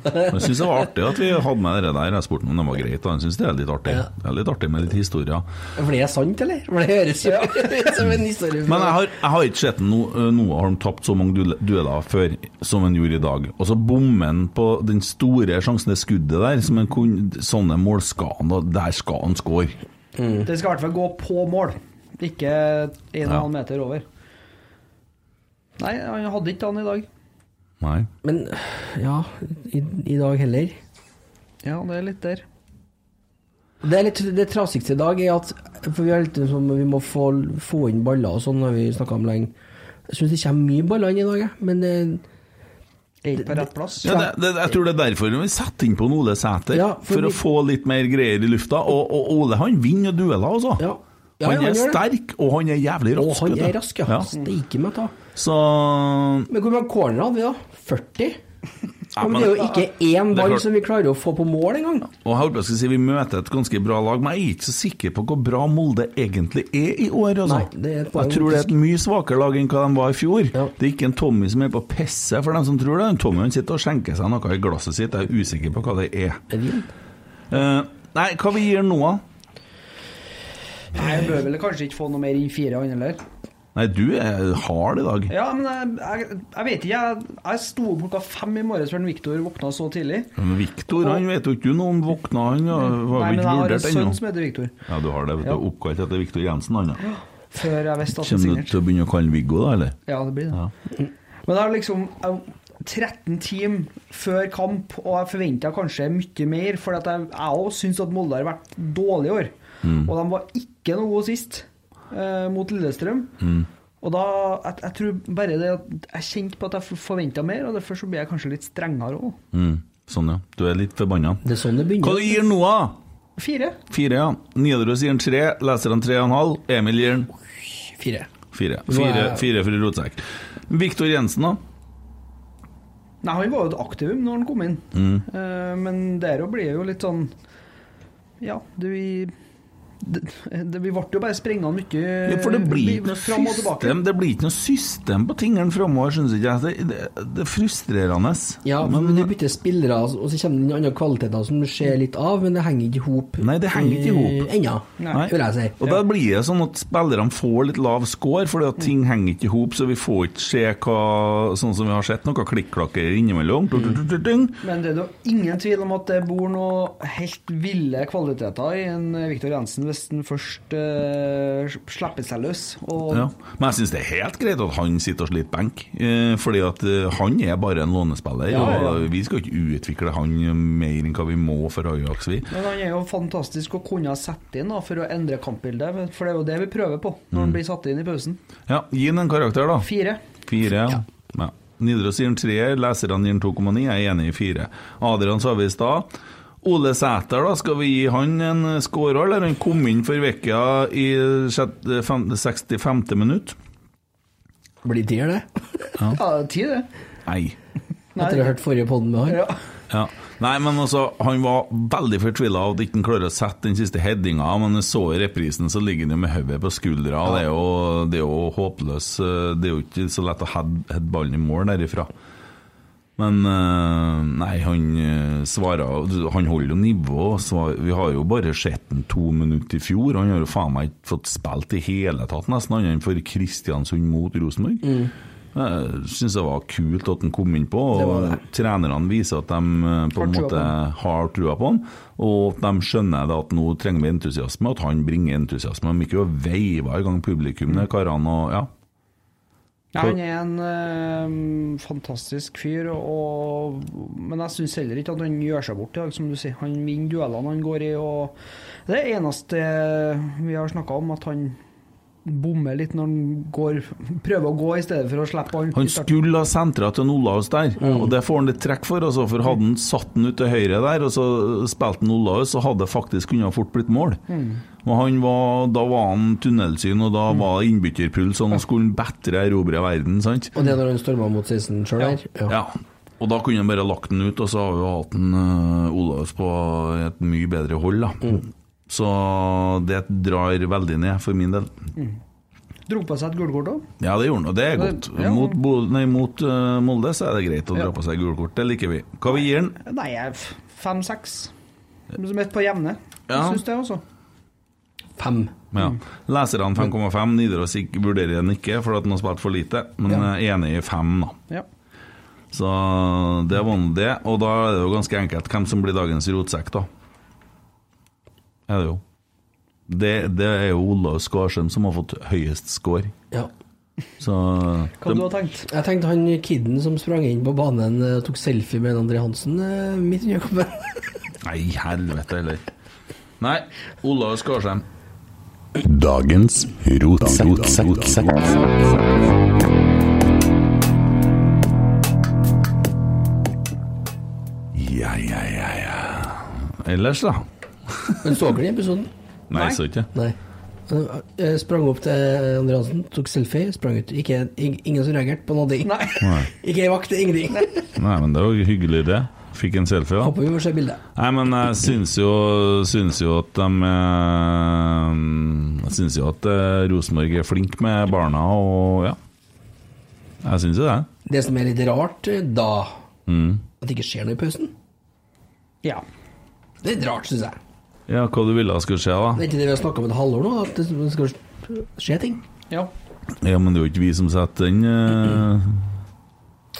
[SPEAKER 5] Jeg syns det var artig at vi hadde med det der. Jeg spurte om det var greit, og han syns det er litt artig.
[SPEAKER 6] Ja.
[SPEAKER 5] Det er litt artig med litt historier.
[SPEAKER 6] For det er sant, eller? For det høres jo ut som en historie.
[SPEAKER 5] Men jeg har, jeg har ikke sett no, eh, Noah Holm tapt så mange duell- dueller før som han gjorde i dag. Og så bommer han på den store sjansen, det skuddet der. Som han kunne, sånne mål skal han, og der skal han score.
[SPEAKER 7] Det skal i hvert fall gå på mål, ikke 1,5
[SPEAKER 5] Ja.
[SPEAKER 7] meter over. Nei, han hadde ikke han i dag.
[SPEAKER 5] Nei.
[SPEAKER 6] Men ja, i, i dag heller.
[SPEAKER 7] Ja, det er litt der.
[SPEAKER 6] Det, er litt, det trasigste i dag er at For vi, er litt, sånn, vi må få, få inn baller og sånn, har vi snakka om lenge. Jeg syns det kommer mye baller inn i dag, jeg. Men eh,
[SPEAKER 7] Er ikke på rett plass.
[SPEAKER 5] Ja, det, det, jeg tror det er derfor vi setter inn på en Ole Sæter,
[SPEAKER 6] Ja,
[SPEAKER 5] for,
[SPEAKER 6] for
[SPEAKER 5] å
[SPEAKER 6] vi-
[SPEAKER 5] få litt mer greier i lufta. Og, og Ole han vinner jo dueller, altså.
[SPEAKER 6] ja. ja
[SPEAKER 5] han
[SPEAKER 6] ja,
[SPEAKER 5] er
[SPEAKER 6] gjør det.
[SPEAKER 5] sterk, og han er jævlig
[SPEAKER 6] Og
[SPEAKER 5] rask.
[SPEAKER 6] han
[SPEAKER 5] vet du.
[SPEAKER 6] er rask, ja. Steike meg ta.
[SPEAKER 5] Så
[SPEAKER 6] Men hvor mange cornerer hadde vi da? 40? Ja, men
[SPEAKER 5] men-
[SPEAKER 6] det er jo ikke én
[SPEAKER 5] Det er
[SPEAKER 6] ball
[SPEAKER 5] klart.
[SPEAKER 6] som vi klarer å få på mål engang.
[SPEAKER 5] Og jeg holdt på å si Vi møter et ganske bra lag, men jeg er ikke så sikker på hvor bra Molde egentlig er i år. Altså.
[SPEAKER 6] Nei, det er et poeng,
[SPEAKER 5] jeg tror det er et mye svakere lag enn hva de var i fjor.
[SPEAKER 6] Ja.
[SPEAKER 5] Det er ikke en Tommy som er på pisse, for dem som tror det. En Tommy han sitter og skjenker seg noe i glasset sitt. Jeg er usikker på hva det er.
[SPEAKER 6] Det er vi.
[SPEAKER 5] Eh, nei, hva vi gir Noah?
[SPEAKER 7] Nei, Jeg bør vel kanskje ikke få noe mer inn fire, han heller.
[SPEAKER 5] Nei, du er hard i dag.
[SPEAKER 7] Ja, men jeg, jeg, jeg vet ikke. Jeg, jeg sto opp klokka fem i morges før Viktor våkna så tidlig.
[SPEAKER 5] Men Viktor han vet jo ikke noe om våkna, han ja, var
[SPEAKER 7] Nei,
[SPEAKER 5] jo
[SPEAKER 7] men
[SPEAKER 5] ikke
[SPEAKER 7] jeg har en
[SPEAKER 5] vurdert
[SPEAKER 7] sønn som
[SPEAKER 5] ennå.
[SPEAKER 7] heter Viktor.
[SPEAKER 5] Ja, du har det, vet du.
[SPEAKER 7] Ja.
[SPEAKER 5] Oppkalt etter Viktor Jensen, han ja.
[SPEAKER 7] Før jeg visste at han
[SPEAKER 5] Kommer du
[SPEAKER 7] signerte.
[SPEAKER 5] til å begynne å kalle han Viggo, da, eller?
[SPEAKER 7] Ja, det blir det.
[SPEAKER 5] Ja.
[SPEAKER 7] Men det er liksom jeg, 13 timer før kamp, og jeg forventa kanskje mye mer, for at jeg òg syns at Molde har vært dårlig i år. Og de var ikke noe gode sist eh, mot Lillestrøm. Og da, jeg, jeg tror bare det at jeg kjente på at jeg forventa mer, og derfor så blir jeg kanskje litt strengere òg.
[SPEAKER 5] Mm. Sånn, ja. Du er litt forbanna.
[SPEAKER 6] Det er sånn det
[SPEAKER 5] Hva
[SPEAKER 6] begynner.
[SPEAKER 5] du gir Noah?
[SPEAKER 7] Fire.
[SPEAKER 5] Fire, ja. Nidaros gir han tre, leserne tre og en halv. Emil gir han
[SPEAKER 6] Fire.
[SPEAKER 5] fire.
[SPEAKER 6] Nå er
[SPEAKER 5] Fire,
[SPEAKER 6] jeg-
[SPEAKER 5] fire for rotsekk. Viktor Jensen, da?
[SPEAKER 7] Nei, han var jo et aktivum når han kom inn.
[SPEAKER 5] Mm.
[SPEAKER 7] Eh, men der òg blir jo litt sånn Ja, du i det, det, vi ble jo bare sprengende mye
[SPEAKER 5] Ja, for
[SPEAKER 6] Eh,
[SPEAKER 5] det blir ikke
[SPEAKER 7] vi-
[SPEAKER 5] noe
[SPEAKER 7] fram og tilbake.
[SPEAKER 5] system, det blir ikke noe system på tingene framover, syns ikke jeg. Det, det, det er frustrerende.
[SPEAKER 6] Ja, men du bytter spillere, altså, og så kommer det inn andre kvaliteter som du ser litt av, men det henger ikke i hop.
[SPEAKER 5] Nei, det henger ikke i hop.
[SPEAKER 6] eh, Ennå,
[SPEAKER 5] Nei.
[SPEAKER 6] vil jeg si.
[SPEAKER 5] Og da blir det sånn at spillerne får litt lav score, fordi at ting henger ikke i hop, så vi får ikke se hva Sånn som vi har sett noe klikk-klakker innimellom. Tung, tung, tung, tung.
[SPEAKER 7] Men det er da ingen tvil om at det bor noe helt ville kvaliteter i en Viktor Jensen hvis han først eh, slipper seg løs. Og
[SPEAKER 5] Ja. Men jeg syns det er helt greit at han sitter og sliter benk, eh, fordi at eh, han er bare en lånespiller.
[SPEAKER 7] Ja, ja, ja.
[SPEAKER 5] Og vi skal ikke utvikle han mer enn hva vi må for Ajax, vi.
[SPEAKER 7] Men han er jo fantastisk å kunne sette inn da, for å endre kampbildet, for det er jo det vi prøver på når
[SPEAKER 5] Mm.
[SPEAKER 7] han blir satt inn i pausen.
[SPEAKER 5] Ja, gi han en karakter, da.
[SPEAKER 7] Fire.
[SPEAKER 5] Fire. Ja. Nidaros gir han treer, leserne gir han 2,9. Jeg er enig i fire. Adrian sa vi i stad. Ole Sæter, da, skal vi gi han en score, eller? Han kom inn for vekka i sjette- fem- 65. minutt.
[SPEAKER 6] Blir tier, det.
[SPEAKER 7] Ja, ti, det.
[SPEAKER 5] Nei.
[SPEAKER 6] Etter å ha hørt forrige podden med han.
[SPEAKER 7] Ja.
[SPEAKER 5] Ja. Nei, men altså, han var veldig fortvila av at ikke han klarer å sette den siste headinga, men jeg så i reprisen så ligger han jo med hodet på skuldra. og Det, er jo, det er jo håpløs. eh, Det er jo ikke så lett å head- heade ballen i mål derifra. Men eh, nei, han eh, svarer Han holder jo nivå. svar- Vi har jo bare sett ham to minutter i fjor. Han har jo faen meg ikke fått spilt i hele tatt, nesten, annet enn for Kristiansund mot Rosenborg.
[SPEAKER 7] Mm.
[SPEAKER 5] Jeg syns det var kult at han kom inn på, og
[SPEAKER 6] Det var det.
[SPEAKER 5] trenerne viser at de eh, på en
[SPEAKER 7] Har trua på
[SPEAKER 5] måte
[SPEAKER 7] han.
[SPEAKER 5] har trua på han. Og at de skjønner det at nå trenger vi entusiasme, at han bringer entusiasme. De gikk jo og veiva i gang
[SPEAKER 7] Mm.
[SPEAKER 5] publikum, de karene. Og ja,
[SPEAKER 7] Ja, han er en eh, fantastisk fyr, og, men jeg syns heller ikke at han gjør seg bort i dag, som du sier. Han vinner duellene han går i, og det er det eneste vi har snakka om, at han bommer litt når han går, prøver å gå i stedet for å slippe han.
[SPEAKER 5] Han skulle ha sentra til en Olaus der, og det får han litt trekk for. Altså, for Hadde han satt den ut til høyre der, og så spilte han Olaus, så hadde det faktisk kunnet fort blitt mål. Og han var, Da var han tunnelsyn, og da var det innbytterpuls, og nå skulle han bedre erobre verden. sant?
[SPEAKER 6] Og det er når han storma mot 16 sjøl her?
[SPEAKER 5] Ja. Og da kunne han bare lagt den ut, og så har vi jo hatt en eh, Olaus på et mye bedre hold, da. Så det drar veldig ned, for min del.
[SPEAKER 7] Dro på seg et gullkort òg.
[SPEAKER 5] Ja, det gjorde han, og det er
[SPEAKER 7] Det-
[SPEAKER 5] godt.
[SPEAKER 7] ja.
[SPEAKER 5] Mot, Bo- nei, mot eh, Molde så er det greit å dra
[SPEAKER 7] Ja.
[SPEAKER 5] på seg gult kort, det liker vi. Hva vi gir han?
[SPEAKER 7] Nei, jeg er f- fem-seks. Som et på jevne. Jeg
[SPEAKER 5] Ja.
[SPEAKER 7] syns det, altså.
[SPEAKER 6] Fem.
[SPEAKER 5] Ja.
[SPEAKER 7] Mm.
[SPEAKER 5] Leserne 5,5, Nidaros ikk- vurderer den ikke fordi at den har spilt for lite, men
[SPEAKER 6] Ja.
[SPEAKER 5] er enig i 5, da.
[SPEAKER 7] Ja.
[SPEAKER 5] Så det var nå det. Og da er det jo ganske enkelt hvem som blir dagens rotsekk, da. Er det jo. Det, det er jo Olav Skarsheim som har fått høyest score.
[SPEAKER 6] Ja.
[SPEAKER 5] Så
[SPEAKER 7] Hva du har tenkt?
[SPEAKER 6] Jeg tenkte han kiden som sprang inn på banen eh, og tok selfie med André Hansen eh, midt under kampen.
[SPEAKER 5] Nei, helvete heller. Nei, Olav Skarsheim. Dagens rotsekk. Ja, ja, ja, ja. Ellers, da?
[SPEAKER 6] Men så dere den episoden?
[SPEAKER 5] Nei, så ikke.
[SPEAKER 6] Nei. Eh, eh, Sprang opp til André Hansen, tok selfie, sprang ut. Ikke, ing- ingen som reagerte på noe.
[SPEAKER 7] Nei.
[SPEAKER 6] Ikke ei vakt, ingenting.
[SPEAKER 5] Nei, men det var jo hyggelig, det. Fikk en selfie, da.
[SPEAKER 6] Håper vi får se bildet.
[SPEAKER 5] Nei, men jeg syns jo, syns jo at de eh, Jeg syns jo at eh, Rosenborg er flink med barna, og ja. Jeg syns jo det.
[SPEAKER 6] Det som er litt rart eh, da,
[SPEAKER 5] Mm.
[SPEAKER 6] at det ikke skjer noe i pausen,
[SPEAKER 7] Ja.
[SPEAKER 6] det er litt rart, syns jeg.
[SPEAKER 5] Ja, hva du ville skulle skje,
[SPEAKER 6] Det
[SPEAKER 5] da?
[SPEAKER 6] er ikke det vi har snakka om et halvår nå, at det skal skje ting.
[SPEAKER 7] ja.
[SPEAKER 5] Ja, men det er jo ikke vi som setter den. eh,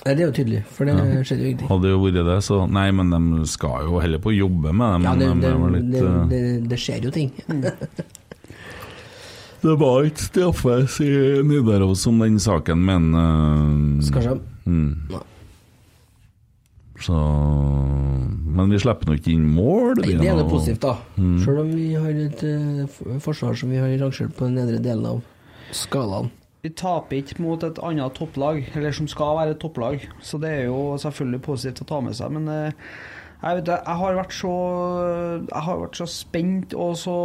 [SPEAKER 6] Nei, det er jo tydelig, for det skjedde jo ingenting.
[SPEAKER 5] Hadde jo vært det, så Nei, men de skal jo heller på å jobbe med det,
[SPEAKER 6] Ja,
[SPEAKER 5] men
[SPEAKER 6] det,
[SPEAKER 5] de
[SPEAKER 6] det,
[SPEAKER 5] er vel
[SPEAKER 6] det,
[SPEAKER 5] litt
[SPEAKER 6] det, det skjer jo ting.
[SPEAKER 7] Mm.
[SPEAKER 5] eh, Det var ikke straffes i Nidaros om den saken, men eh,
[SPEAKER 6] Kanskje
[SPEAKER 5] mm. Så Men vi slipper nå ikke inn mål.
[SPEAKER 6] Nei, det er
[SPEAKER 5] noe-
[SPEAKER 6] det positivt, da.
[SPEAKER 5] Mm.
[SPEAKER 6] Selv om vi har et eh, f- forsvar som vi har rangert på den nedre delen av skalaen.
[SPEAKER 7] Vi taper ikke mot et annet topplag, eller som skal være et topplag, så det er jo selvfølgelig positivt å ta med seg. Men eh, jeg vet det, jeg har vært så Jeg har vært så spent og så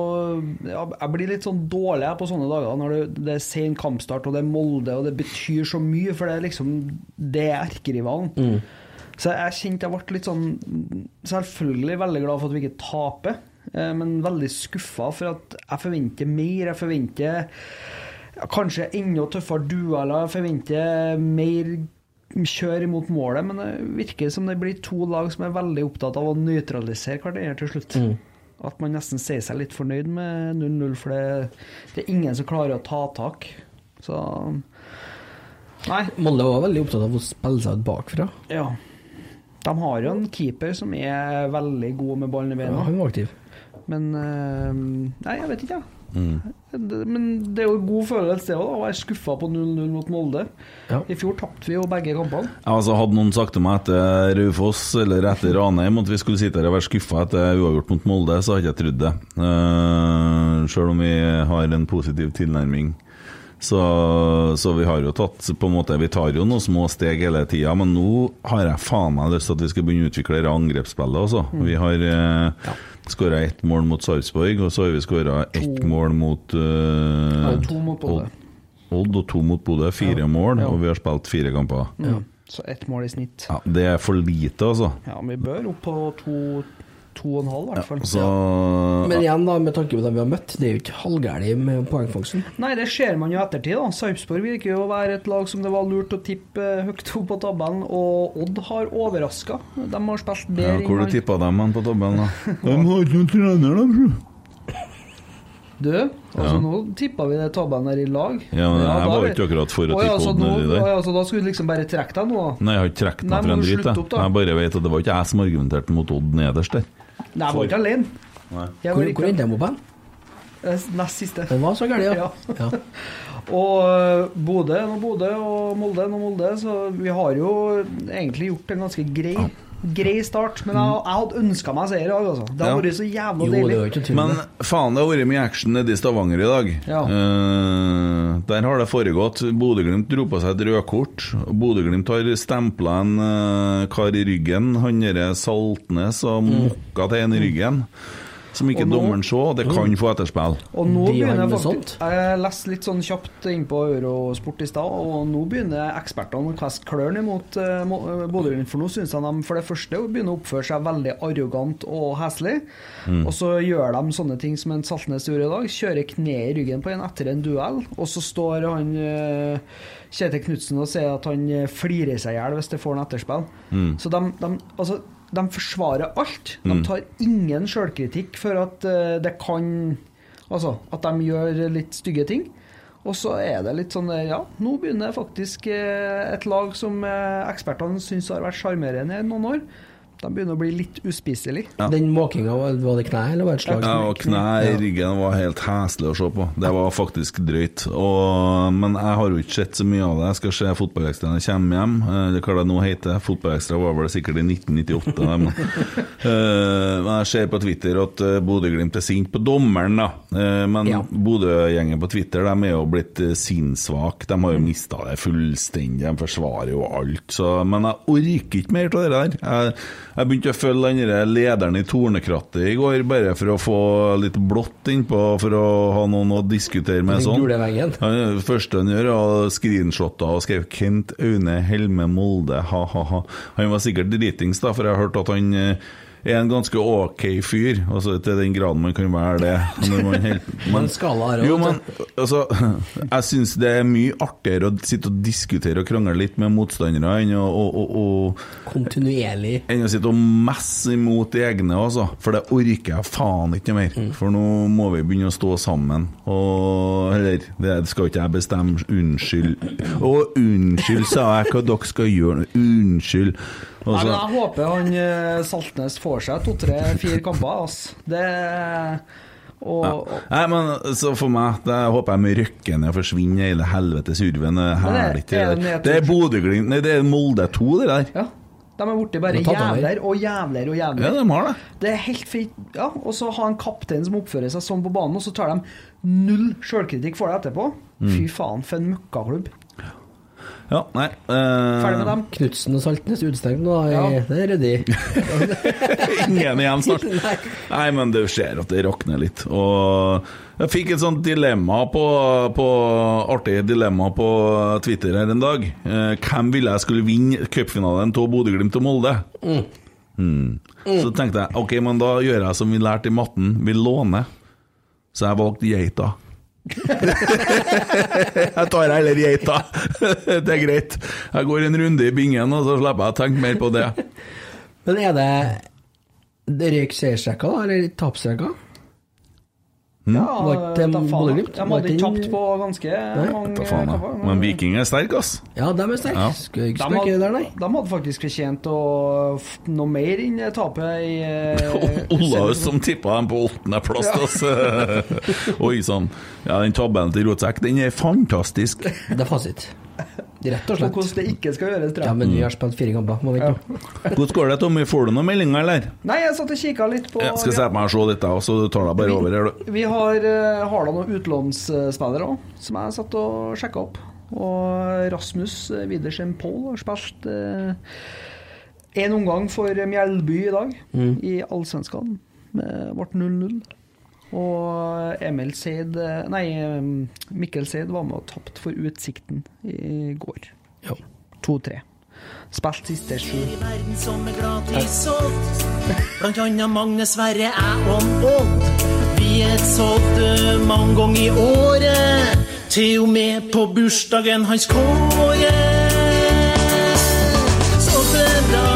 [SPEAKER 7] ja, Jeg blir litt sånn dårlig jeg, på sånne dager når det, det er sen kampstart og det er Molde og det betyr så mye, for det er liksom Det er erkerivalen. Så jeg kjente jeg ble litt sånn Selvfølgelig veldig glad for at vi ikke taper, eh, men veldig skuffa for at jeg forventer mer. Jeg forventer ja, kanskje enda tøffere dueller. Jeg forventer mer kjør imot målet, men det virker som det blir to lag som er veldig opptatt av å nøytralisere hverandre til slutt. At man nesten sier seg litt fornøyd med 0-0, for det, det er ingen som klarer å ta tak. Så Nei.
[SPEAKER 6] Molde var veldig opptatt av å spille seg ut bakfra.
[SPEAKER 7] Ja. De har jo en keeper som er veldig god med ballen i
[SPEAKER 6] Ja,
[SPEAKER 7] beina,
[SPEAKER 6] han var aktiv.
[SPEAKER 7] men eh, Nei, jeg vet ikke, jeg.
[SPEAKER 5] Mm.
[SPEAKER 7] Det- Men det er jo en god følelse det òg, å være skuffa på 0-0 mot Molde.
[SPEAKER 6] Ja.
[SPEAKER 7] I fjor tapte vi jo begge kampene.
[SPEAKER 5] Altså, hadde noen sagt til meg etter Raufoss eller etter Ranheim at vi skulle sitte her og være skuffa etter uavgjort mot Molde, så hadde jeg ikke trodd det. Uh, Sjøl om vi har en positiv tilnærming. Så, så vi har jo tatt på en måte, Vi tar jo noen små steg hele tida, men nå har jeg faen meg lyst til at vi skal begynne å utvikle det angrepsspillet. Også.
[SPEAKER 7] Mm.
[SPEAKER 5] Vi har uh, skåra ett mål mot Sarpsborg, og så har vi skåra ett mål mot eh,
[SPEAKER 7] Ja, to mot Bodø.
[SPEAKER 5] Odd og to mot Bodø. Fire mål, og vi har spilt fire kamper.
[SPEAKER 7] Mm. Så ett mål i snitt.
[SPEAKER 5] Ja, det er for lite, altså.
[SPEAKER 7] Ja, men vi bør opp på to to og en halv, i hvert fall.
[SPEAKER 5] Så
[SPEAKER 6] Men igjen, da, med tanke på dem vi har møtt, det er jo ikke halvgærlig med poengfangsten.
[SPEAKER 7] Nei, det ser man jo i ettertid. da. Sarpsborg virker jo å være et lag som det var lurt å tippe eh, høyt opp på tabellen, og Odd har overraska. De har spilt
[SPEAKER 5] ja,
[SPEAKER 7] bedre
[SPEAKER 5] Hvor du
[SPEAKER 7] enn
[SPEAKER 5] tippa dem hen på tabellen, da? De har ikke noen trener, da, bror.
[SPEAKER 7] Du, altså nå tippa vi det tabellen her i lag.
[SPEAKER 5] Ja, men jeg
[SPEAKER 7] da
[SPEAKER 5] var
[SPEAKER 7] vet-
[SPEAKER 5] ikke akkurat for å
[SPEAKER 7] Å,
[SPEAKER 5] tippe
[SPEAKER 7] ja,
[SPEAKER 5] Odd
[SPEAKER 7] så altså, nå-
[SPEAKER 5] nedi der.
[SPEAKER 7] å, Ja, så da skulle du liksom bare trekke deg nå, da?
[SPEAKER 5] Nei, jeg har ikke trukket
[SPEAKER 7] Nei,
[SPEAKER 5] meg for
[SPEAKER 7] men
[SPEAKER 5] en
[SPEAKER 7] du
[SPEAKER 5] drit.
[SPEAKER 7] slutter
[SPEAKER 5] Jeg.
[SPEAKER 7] opp, da.
[SPEAKER 5] jeg bare vet at det var ikke jeg som argumenterte mot Odd nederst der.
[SPEAKER 7] Nei, jeg var ikke alene.
[SPEAKER 5] Nei.
[SPEAKER 7] Jeg
[SPEAKER 6] Hvor,
[SPEAKER 7] var
[SPEAKER 6] hvor
[SPEAKER 7] ikke
[SPEAKER 6] endte de opp hen?
[SPEAKER 7] eh, nest siste.
[SPEAKER 6] Det var så gærent, ja. ja.
[SPEAKER 7] Og eh, Bodø er nå Bodø, og Molde er nå Molde, så vi har jo egentlig gjort en ganske grei Grei start, men jeg, jeg hadde ønska meg seier i dag, altså. Det
[SPEAKER 5] Ja.
[SPEAKER 7] hadde vært så jævla
[SPEAKER 6] Jo, det
[SPEAKER 7] deilig.
[SPEAKER 6] var ikke tull.
[SPEAKER 5] Men faen, det har vært mye action nede i Stavanger i dag.
[SPEAKER 7] Ja.
[SPEAKER 5] Eh, der har det foregått. Bodø-Glimt dro på seg et rødkort. Bodø-Glimt har stempla en eh, kar i ryggen. Han derre Saltnes og mokka til en i ryggen. Som ikke
[SPEAKER 7] Mm. Og nå- Mm.
[SPEAKER 5] dommeren så. Det kan få etterspill.
[SPEAKER 7] Og nå
[SPEAKER 6] De
[SPEAKER 7] begynner jeg
[SPEAKER 6] handler
[SPEAKER 7] faktisk Jeg leste litt sånn kjapt innpå Eurosport i stad, og nå begynner ekspertene å kaste klørne mot eh, Mo- eh, Bodø-Glimt. For nå syns jeg de for det første begynner å oppføre seg veldig arrogant og heslig. Og så gjør de sånne ting som en Saltnes gjorde i dag. Kjører kneet i ryggen på en etter en duell, og så står han eh, Kjetil Knutsen og sier at han eh, flirer seg i hjel hvis det får en etterspill. Så de, de Altså, de forsvarer alt. De tar ingen sjølkritikk for at eh, det kan Altså at de gjør litt stygge ting. Og så er det litt sånn der, ja, nå begynner faktisk eh, et lag som eh, ekspertene syns har vært sjarmerende i noen år, de begynner å bli litt uspiselig.
[SPEAKER 6] Den måkinga, var var det kne eller var det et slag?
[SPEAKER 5] Ja, og kne i ryggen var helt heslig å se på. Det var faktisk drøyt. Og, men jeg har jo ikke sett så mye av det. Jeg skal se Fotballekstra når jeg kommer hjem. Eh, Det er hva det nå heter. Fotballekstra var vel sikkert i 1998. det, Men Eh, men jeg ser på Twitter at eh, Bodø-Glimt er sint på dommeren, da. Eh, Men
[SPEAKER 6] Ja.
[SPEAKER 5] Bodø-gjengen på Twitter de er jo blitt eh, sinnssvak. De
[SPEAKER 6] Mm.
[SPEAKER 5] har jo mista det fullstendig. De forsvarer jo alt. Så, men jeg orker ikke mer av det der. Jeg, jeg begynte å følge den der lederen i Tornekrattet i går, bare for å få litt blått innpå, for å ha noen å diskutere med.
[SPEAKER 6] Den
[SPEAKER 5] sånn.
[SPEAKER 6] gule veggen.
[SPEAKER 5] Ja, det første han gjør, er screenshotta og skrev 'Kent Aune Helme Molde', ha-ha-ha. Han var sikkert dritings, da, for jeg har hørt at han eh, er en ganske ok fyr. Altså Til den graden man kan være det. Når man helt,
[SPEAKER 6] Men skala er det,
[SPEAKER 5] jo,
[SPEAKER 6] vet
[SPEAKER 5] men altså, jeg syns det er mye artigere å sitte og diskutere og krangle litt med motstandere enn å, å, å, å
[SPEAKER 6] Kontinuerlig.
[SPEAKER 5] enn å sitte og messe imot de egne, altså. For det orker jeg faen ikke mer.
[SPEAKER 7] Mm.
[SPEAKER 5] For nå må vi begynne å stå sammen. Og Eller, det skal ikke jeg bestemme. Unnskyld. Å, unnskyld, sa jeg hva dere skal gjøre nå. Unnskyld. Og
[SPEAKER 7] Nei, men
[SPEAKER 5] så-
[SPEAKER 7] jeg håper han eh, Saltnes får seg to-tre-fire kamper, altså. Det og, og
[SPEAKER 5] Nei, men så for meg Det håper jeg med røkken ned og forsvinner hele helvetes urven. Det er herlig,
[SPEAKER 7] det er-
[SPEAKER 5] det der. Det er Bodø-Glimt Nei, det er Molde 2, det der.
[SPEAKER 7] ja. De er borti bare
[SPEAKER 6] De har tatt over.
[SPEAKER 7] jævler og jævler og jævler.
[SPEAKER 5] Ja, de har det.
[SPEAKER 7] Det er helt fint. Ja, og så ha en kaptein som oppfører seg sånn på banen, og så tar de null sjølkritikk for det etterpå. Fy faen, for en møkkaklubb.
[SPEAKER 5] Ja, nei eh,
[SPEAKER 7] Ferdig med dem.
[SPEAKER 6] Knutsen og Saltnes utestengt nå, i-
[SPEAKER 7] Ja.
[SPEAKER 6] det er ryddig.
[SPEAKER 5] Ingen igjen snart.
[SPEAKER 6] Nei.
[SPEAKER 5] Nei, men det skjer at det rakner litt. Og jeg fikk et sånt dilemma på, på artig dilemma på Twitter her en dag. Eh, hvem ville jeg skulle vinne cupfinalen av Bodø-Glimt og Molde? Hmm. Så tenkte jeg ok, men da gjør jeg som vi lærte i matten, vi låner. Så jeg valgte geita. jeg tar heller geita. det er greit. Jeg går en runde i bingen, og så slipper jeg å tenke mer på det.
[SPEAKER 6] Men er det det røyk seiersrekka, da, eller tapsrekka?
[SPEAKER 7] Ja,
[SPEAKER 6] Var ikke
[SPEAKER 7] da faen,
[SPEAKER 6] Bodø-Glimt?
[SPEAKER 7] De
[SPEAKER 6] Var
[SPEAKER 7] hadde
[SPEAKER 6] ikke
[SPEAKER 7] ikke
[SPEAKER 6] den-
[SPEAKER 7] tapt på ganske mange
[SPEAKER 5] Ta faen, jeg.
[SPEAKER 7] kamper.
[SPEAKER 5] Men Viking er sterk, ass.
[SPEAKER 6] Ja, dem er sterke.
[SPEAKER 5] Ja.
[SPEAKER 6] Skulle ikke
[SPEAKER 7] de
[SPEAKER 6] spekke det der,
[SPEAKER 7] hadde,
[SPEAKER 6] nei.
[SPEAKER 7] de hadde faktisk fortjent å f- noe mer enn tapet i eh,
[SPEAKER 5] Olaus som tippa dem på åttendeplass. altså. Oi sann. Ja, den tabellen til Rotsekk, den er fantastisk.
[SPEAKER 6] Det er fasit. Rett og
[SPEAKER 7] Og hvordan
[SPEAKER 6] slett.
[SPEAKER 7] det ikke skal gjøres, tror
[SPEAKER 6] Ja,
[SPEAKER 7] jeg.
[SPEAKER 6] men
[SPEAKER 5] Mm.
[SPEAKER 6] vi har spilt fire kamper, må vente nå.
[SPEAKER 5] Hvordan går det, Tommy? Får du noen meldinger, eller?
[SPEAKER 7] Nei, jeg satt og kikka litt på
[SPEAKER 5] Jeg skal sette meg og se litt, jeg også. Du tar deg bare over her, du.
[SPEAKER 7] Vi har, eh, har da noen utlånsspillere òg, som jeg satt og sjekka opp. Og Rasmus eh, Widersen Pohl har spilt én omgang for Mjelby i dag,
[SPEAKER 5] Mm.
[SPEAKER 7] i Allsvenskan. Eh, Ble 0-0. Og Emil Seid eh, Nei, eh, Mikkel Seid var med og tapte for Utsikten i går.
[SPEAKER 6] Ja.
[SPEAKER 7] 2-3. Spilt siste sju.
[SPEAKER 4] verden som er gratis og
[SPEAKER 8] Blant annet Magne Sverre, jeg og Odd. Vi er sådd eh, mange ganger i året. Til og med på bursdagen hans Kåre. Så det er bra,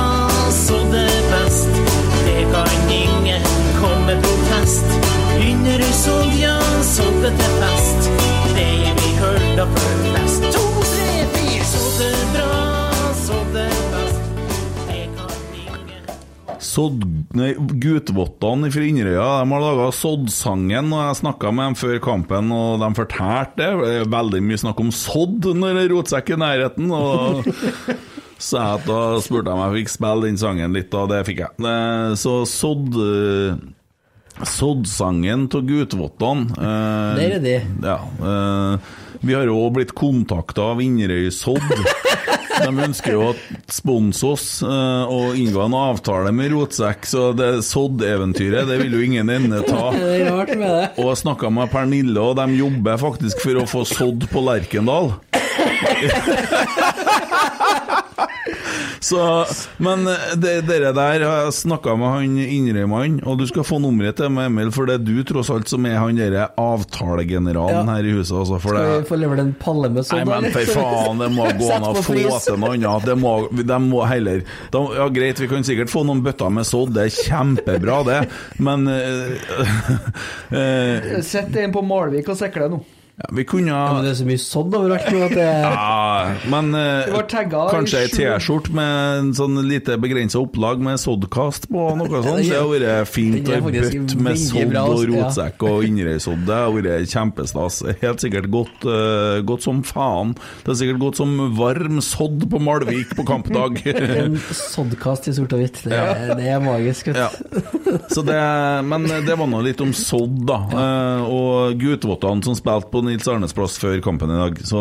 [SPEAKER 8] så det er best. Det kan ingen komme protest. Under ei solja, sådde til fest. Det vi hørte før flest. To, tre, fire. Så det er bra, så det er best. Det kan ingen
[SPEAKER 5] Sodd... Nei, Gutvottene fra Inderøya de har laga Soddsangen, og jeg snakka med dem før kampen, og de fortalte det. det. er Veldig mye snakk om sodd når det er rotsekk i nærheten. og... Så jeg, da spurte jeg om jeg fikk spille den sangen litt, og det fikk jeg. Eh, Så sodd... eh, Soddsangen av Gutvottene eh,
[SPEAKER 6] Der er de.
[SPEAKER 5] Ja. eh, Vi har jo blitt kontakta av Inderøy Sodd. De ønsker jo å sponse oss eh, og inngå en avtale med Rotsekk, så det Sodd-eventyret det vil jo ingen ende ta.
[SPEAKER 6] Det er rart med det.
[SPEAKER 5] Og jeg snakka med Pernille, og de jobber faktisk for å få sådd på Lerkendal. Så, men det, dere der har jeg snakka med han Inderøy-mannen, og du skal få nummeret til meg, Emil, for det er du tross alt som er han derre avtalegeneralen
[SPEAKER 6] Ja.
[SPEAKER 5] her i huset, altså. For
[SPEAKER 6] Skal
[SPEAKER 5] det,
[SPEAKER 6] vi få levert en palle med sånn?
[SPEAKER 5] Nei, men for faen, det må gå an å få til noe annet. Det må, de må heller de, Ja, greit, vi kan sikkert få noen bøtter med sodd, det er kjempebra, det, men eh, eh,
[SPEAKER 7] Sett en på Malvik og sikle nå.
[SPEAKER 5] ja, Vi kunne
[SPEAKER 6] Ja, men
[SPEAKER 5] ha
[SPEAKER 6] det er så mye sådd overalt nå at det
[SPEAKER 5] ja, men eh,
[SPEAKER 7] Det var tagget i
[SPEAKER 5] kanskje ei
[SPEAKER 7] sju-
[SPEAKER 5] T-skjorte med en sånn lite begrensa opplag med soddkast på, noe sånt. Det hadde vært fint.
[SPEAKER 6] Den er
[SPEAKER 5] Og ei
[SPEAKER 6] faktisk
[SPEAKER 5] bøtt med
[SPEAKER 6] veldig
[SPEAKER 5] sodd
[SPEAKER 6] bra,
[SPEAKER 5] og
[SPEAKER 6] altså, ja.
[SPEAKER 5] rotsekk og innrøysodd. Det hadde vært kjempestas. Helt sikkert godt, eh, godt som faen. Det er sikkert godt som varm sodd på Malvik på kampdag.
[SPEAKER 6] En soddkast i sort og hvitt, det, er- det er magisk.
[SPEAKER 5] Ja.
[SPEAKER 6] Vet. du.
[SPEAKER 5] Så det, men det var nå litt om sodd, da. Eh, og Gutvottene som spilte på Nils Arnes plass før kampen i dag. Så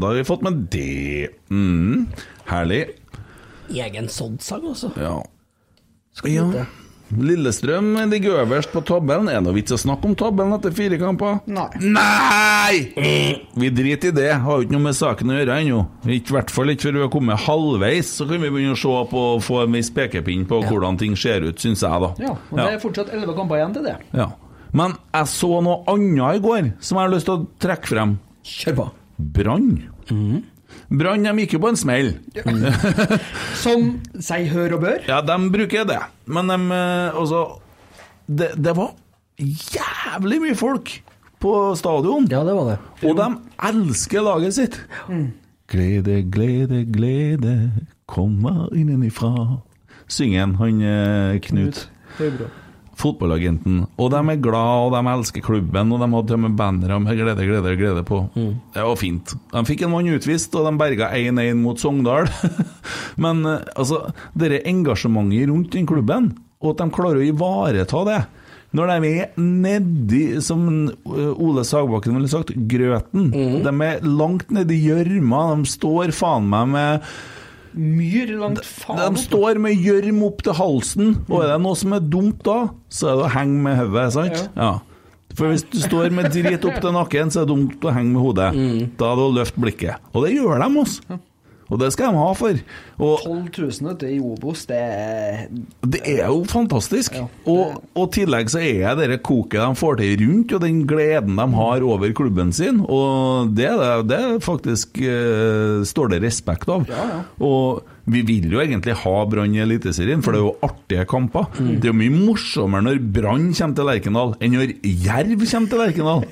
[SPEAKER 5] da har vi fått med det. Mm. Herlig.
[SPEAKER 6] Egen sådd-sang, altså.
[SPEAKER 5] Ja. ja. Lillestrøm ligger øverst på tabellen. Er det noe vits å snakke om tabellen etter fire kamper?
[SPEAKER 7] Nei.
[SPEAKER 5] Nei! Vi driter i det. Har jo ikke noe med saken å gjøre ennå. I hvert fall ikke før vi har kommet halvveis, så kan vi begynne å se på og få en viss pekepinn på hvordan ting ser ut, syns jeg, da.
[SPEAKER 7] Ja, og Det er fortsatt elleve kamper igjen til det.
[SPEAKER 5] Ja. Men jeg så noe annet i går som jeg har lyst til å trekke frem.
[SPEAKER 6] Kjør på.
[SPEAKER 5] Brann. Brann de gikk jo på en smell.
[SPEAKER 7] Som seg Sånn, hør og bør.
[SPEAKER 5] Ja, de bruker det. Men de eh, Altså, det, det var jævlig mye folk på stadion.
[SPEAKER 6] Ja, det var det.
[SPEAKER 5] Og de elsker laget sitt. Glede, glede, glede, kommer innenifra. Synger han, han eh, Knut. Fotballagenten. Og de er glad, og de elsker klubben, og de hadde til og med bannere med glede, glede, glede på. Det var fint. De fikk en mann utvist, og de berga 1-1 mot Sogndal. Men eh, altså, dette engasjementet rundt den klubben, og at de klarer å ivareta det når de er nedi, som eh, Ole Sagbakken ville sagt, grøten. De er langt nedi gjørma. De står faen meg med
[SPEAKER 7] Myr langt faen
[SPEAKER 5] de står med gjørm opp til halsen, og er det noe som er dumt da, så er det å henge med hodet, sant? Ja. For hvis du står med drit opp til nakken, så er det dumt å henge med hodet. Da er det å løfte blikket. Og det gjør de, altså. Og det skal de ha for. Og
[SPEAKER 7] 12 000 vet du, i Obos, det er
[SPEAKER 5] det er jo fantastisk. Og og i tillegg så er det det koket de får til rundt, og den gleden de har over klubben sin. Og det, er det det er faktisk eh, står det respekt av. Og vi vil jo egentlig ha Brann i Eliteserien, for det er jo artige kamper. Det er jo mye morsommere når Brann kommer til Lerkendal, enn når Jerv kommer til Lerkendal.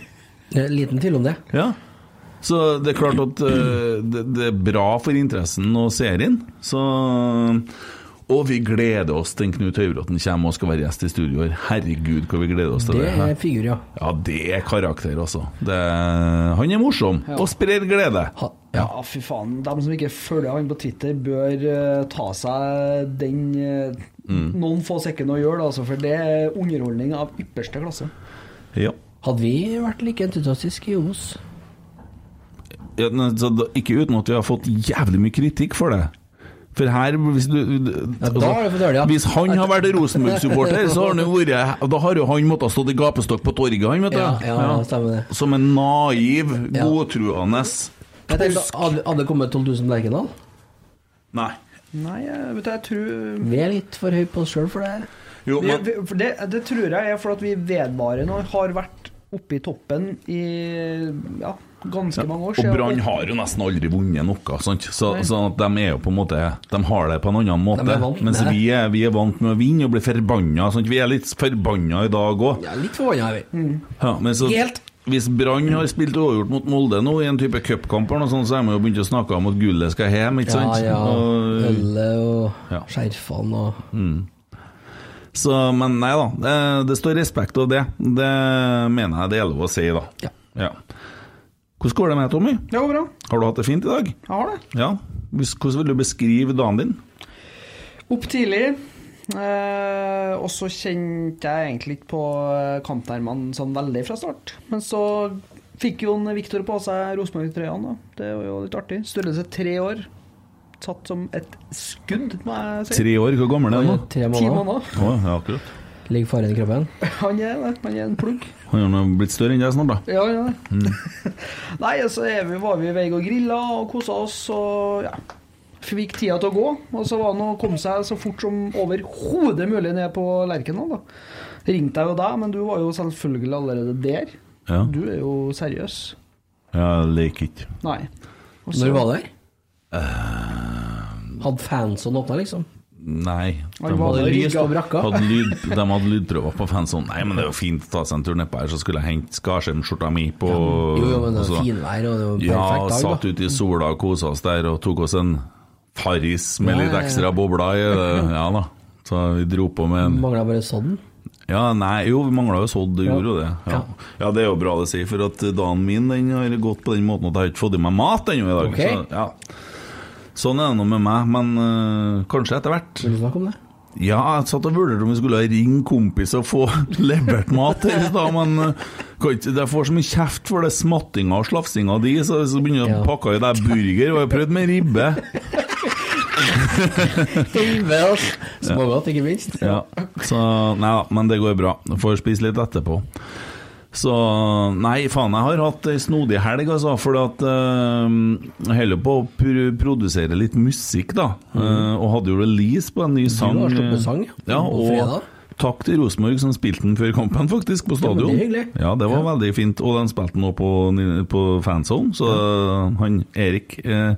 [SPEAKER 6] Det er Liten tvil om det.
[SPEAKER 5] Ja. Så det er klart at eh, det, det er bra for interessen og serien. Så, og vi gleder oss til Knut Høybråten kommer og skal være gjest i studio her. Herregud, hva vi gleder oss til
[SPEAKER 6] Det
[SPEAKER 5] det.
[SPEAKER 6] er figur, ja.
[SPEAKER 5] Ja, det er karakter, altså. Det, han er morsom og sprer glede.
[SPEAKER 6] Ha,
[SPEAKER 7] Ja, fy faen. De som ikke følger han på Twitter, bør eh, ta seg den eh, noen få sekunder å gjøre det, altså, for det er underholdning av ypperste klasse.
[SPEAKER 5] Ja.
[SPEAKER 6] Hadde vi vært like entusiastiske i Obos?
[SPEAKER 5] Ja, nei, så da- ikke uten at vi har fått jævlig mye kritikk for det. For her hvis, du, altså,
[SPEAKER 6] da har du fått dårlig, ja.
[SPEAKER 5] hvis han har vært Rosenborg-supporter, så har han jo vært Da har jo han måttet ha stått i gapestokk på torget, han, vet du.
[SPEAKER 6] Ja, ja, ja, stemmer det.
[SPEAKER 5] Som en naiv,
[SPEAKER 6] Ja.
[SPEAKER 5] godtruende
[SPEAKER 6] Jeg tenkte, hadde hadde det kommet 12 000 på Lerkendal?
[SPEAKER 5] Nei.
[SPEAKER 7] Nei, jeg, vet du, jeg tror
[SPEAKER 6] Vi er litt for høye på oss sjøl for det.
[SPEAKER 5] Jo,
[SPEAKER 7] Vi,
[SPEAKER 5] men-
[SPEAKER 7] vi, for det, det tror jeg er for at vi vedvarende har vært oppe i toppen i ja, ganske mange år
[SPEAKER 5] Og Brann har jo nesten aldri vunnet noe, sant? Så, sånn at de er jo på en måte De har det på en annen måte.
[SPEAKER 6] De er vant med
[SPEAKER 5] mens
[SPEAKER 6] det.
[SPEAKER 5] vi er, vi er vant med å vinne og bli forbanna. sant? Vi er litt forbanna i dag òg.
[SPEAKER 6] Ja, litt forbanna er vi.
[SPEAKER 5] Ja, men så,
[SPEAKER 6] Helt.
[SPEAKER 5] Hvis Brann har spilt uavgjort mot Molde nå, i en type cupkamp, eller noe sånt, så har man jo begynt å snakke om at gullet skal hjem, ikke
[SPEAKER 6] Ja,
[SPEAKER 5] sant?
[SPEAKER 6] ja.
[SPEAKER 5] Og,
[SPEAKER 6] Ølet
[SPEAKER 5] Ja.
[SPEAKER 6] og skjerfene og
[SPEAKER 5] så, men nei da, det, det står respekt av det. Det mener jeg det er lov å si, da.
[SPEAKER 6] Ja.
[SPEAKER 5] Hvordan går det med deg, Tommy?
[SPEAKER 7] Det går bra.
[SPEAKER 5] Har du hatt det fint i dag?
[SPEAKER 7] Jeg har det.
[SPEAKER 5] Ja. Hvis- Hvordan vil du beskrive dagen din?
[SPEAKER 7] Opp tidlig. Eh, og så kjente jeg egentlig ikke på eh, kamptermene sånn veldig fra start. Men så fikk Jon Viktor på seg Rosenborg-trøyene. da. Det var jo litt artig. Størrelse tre år. Satt som et skudd, må jeg si.
[SPEAKER 5] Tre år, hvor gammel er du nå?
[SPEAKER 6] Tre
[SPEAKER 7] Ti
[SPEAKER 6] måneder.
[SPEAKER 7] måneder.
[SPEAKER 5] Å, ja, akkurat.
[SPEAKER 6] Ligger faren i kroppen?
[SPEAKER 7] Han er det. Han er en plugg.
[SPEAKER 5] Han har nå blitt større enn deg snart, da.
[SPEAKER 7] Ja, ja.
[SPEAKER 6] Mm.
[SPEAKER 7] Nei, så er vi, var vi i vei og grilla og kosa oss og ja. Fikk tida til å gå, og så var det å komme seg så fort som overhodet mulig ned på Lerkendal. da. Ringte jeg jo deg, men du var jo selvfølgelig allerede der.
[SPEAKER 5] Ja,
[SPEAKER 7] Du er jo seriøs.
[SPEAKER 5] jeg liker ikke.
[SPEAKER 7] Nei. Og så-
[SPEAKER 6] Når var det?
[SPEAKER 5] Eh,
[SPEAKER 6] Hadde fansen åpna, liksom?
[SPEAKER 5] Nei. De
[SPEAKER 7] var
[SPEAKER 5] hadde,
[SPEAKER 7] det
[SPEAKER 5] lyd,
[SPEAKER 6] rygga og brakka?
[SPEAKER 5] hadde, lyd, de hadde lydprøver på fansonen. Nei, men det er jo fint å ta seg en tur nedpå her, så skulle jeg hente Skarsheim-skjorta mi på
[SPEAKER 6] Jo, jo, men det
[SPEAKER 5] og så-
[SPEAKER 6] var finvær, og det var en
[SPEAKER 5] altså. Ja,
[SPEAKER 6] perfekt dag,
[SPEAKER 5] satt
[SPEAKER 6] da.
[SPEAKER 5] ute i sola og kosa oss der og tok oss en Farris med
[SPEAKER 6] Ja,
[SPEAKER 5] litt
[SPEAKER 6] ja, ja.
[SPEAKER 5] ekstra bobler i. det. Ja da. Så vi dro på med en
[SPEAKER 6] Mangla bare sodden.
[SPEAKER 5] Ja, nei, jo, vi mangla jo sådd, det
[SPEAKER 6] Ja.
[SPEAKER 5] gjorde jo det. Ja. ja, det er jo bra det sier, for at dagen min den har gått på den måten at jeg har ikke fått i meg mat ennå i dag.
[SPEAKER 6] Ok.
[SPEAKER 5] Så, ja. Sånn er det nå med meg, men øh, kanskje etter hvert.
[SPEAKER 6] Vil du snakke om det?
[SPEAKER 5] Ja, jeg satt og vurderte om vi skulle ringe kompiser og få levert mat her i stad, men øh, kan ikke- jeg får så mye kjeft for det smattinga og slafsinga di, så så begynner jeg å
[SPEAKER 6] Ja.
[SPEAKER 5] pakke i deg burger, og jeg har prøvd med ribbe.
[SPEAKER 6] Smågodt, ikke minst.
[SPEAKER 5] Ja, så, nei da, men det går bra. Får spise litt etterpå. Så Nei, faen, jeg har hatt ei snodig helg, altså. For at eh, jeg holder på å pr produsere litt musikk, da. eh, og hadde jo release på en ny sang.
[SPEAKER 6] Mm. har
[SPEAKER 5] eh,
[SPEAKER 6] sluppet sang
[SPEAKER 5] ja,
[SPEAKER 6] på fredag.
[SPEAKER 5] og takk til Rosenborg som spilte den før kampen, faktisk, på
[SPEAKER 6] men det er
[SPEAKER 5] stadion.
[SPEAKER 6] hyggelig.
[SPEAKER 5] Ja, det var veldig fint. Og de spilte den òg på, på fanzone, så han Erik eh,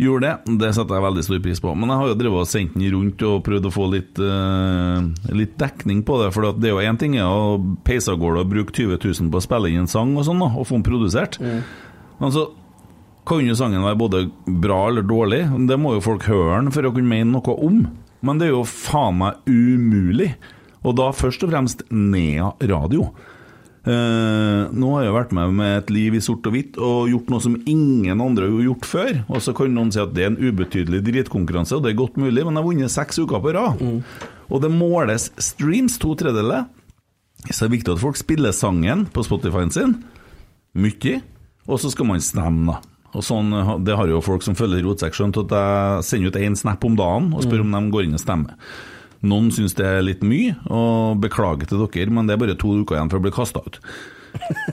[SPEAKER 5] gjorde det. Det setter jeg veldig stor pris på. Men jeg har jo drevet og sendt den rundt og prøvd å få litt, eh, litt dekning på det. For at det er jo én ting er å peise av gårde og bruke 20 000 på å spille inn en sang og sånn, da, og få den produsert.
[SPEAKER 6] Mm.
[SPEAKER 5] Men så kan jo sangen være både bra eller dårlig. Det må jo folk høre den for å kunne mene noe om. Men det er jo faen meg umulig. Og da først og fremst Nea Radio. Eh, nå har jeg vært med med et liv i sort og hvitt og gjort noe som ingen andre har gjort før. Og så kan noen si at det er en ubetydelig dritkonkurranse, og det er godt mulig, men jeg har vunnet seks uker på rad. Og det måles streams, to tredjedeler. Så det er viktig at folk spiller sangen på Spotify-en sin mye, og så skal man stemme, da. Og sånn, Det har jo folk som følger Rotsekk skjønt, at jeg sender ut én snap om dagen og spør om
[SPEAKER 6] Mm.
[SPEAKER 5] de går inn og stemmer. Noen syns det er litt mye, og beklager til dere, men det er bare to uker igjen for å bli kasta ut.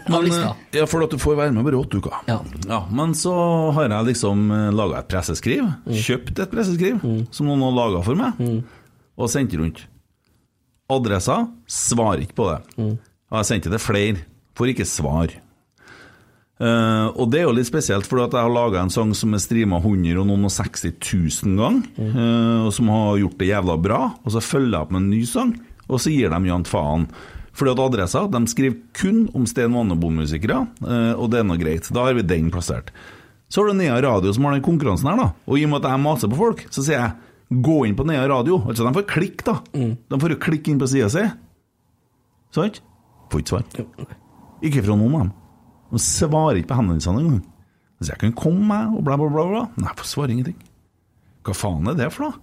[SPEAKER 5] Men,
[SPEAKER 6] lista.
[SPEAKER 5] eh, ja, for at du får være med bare åtte uker.
[SPEAKER 6] Ja.
[SPEAKER 5] Men så har jeg liksom laga et presseskriv, kjøpt et presseskriv, som noen har laga for meg, og sendt rundt. Adresser svarer ikke på det. Og jeg sendte det til flere, får ikke svar. Eh, og det er jo litt spesielt, for at jeg har laga en sang som er streama 100 og noen og 60 000 ganger, eh, og som har gjort det jævla bra, og så følger jeg opp med en ny sang, og så gir de jevnt faen. Fordi at adresser, de skriver kun om Sten Vannebo-musikere, eh, og det er nå greit. Da har vi den plassert. Så har du Nea Radio som har den konkurransen her, da. Og i og med at jeg maser på folk, så sier jeg gå inn på Nea Radio. Altså, de får klikk, da. De får jo klikk inn på sida si. Sant? Får ikke svar. Ikke fra noen av dem. De svarer ikke på henvendelsene engang. Så jeg kan komme meg, og bla, bla, bla. bla. Nei, jeg får svar ingenting. Hva faen er det for noe?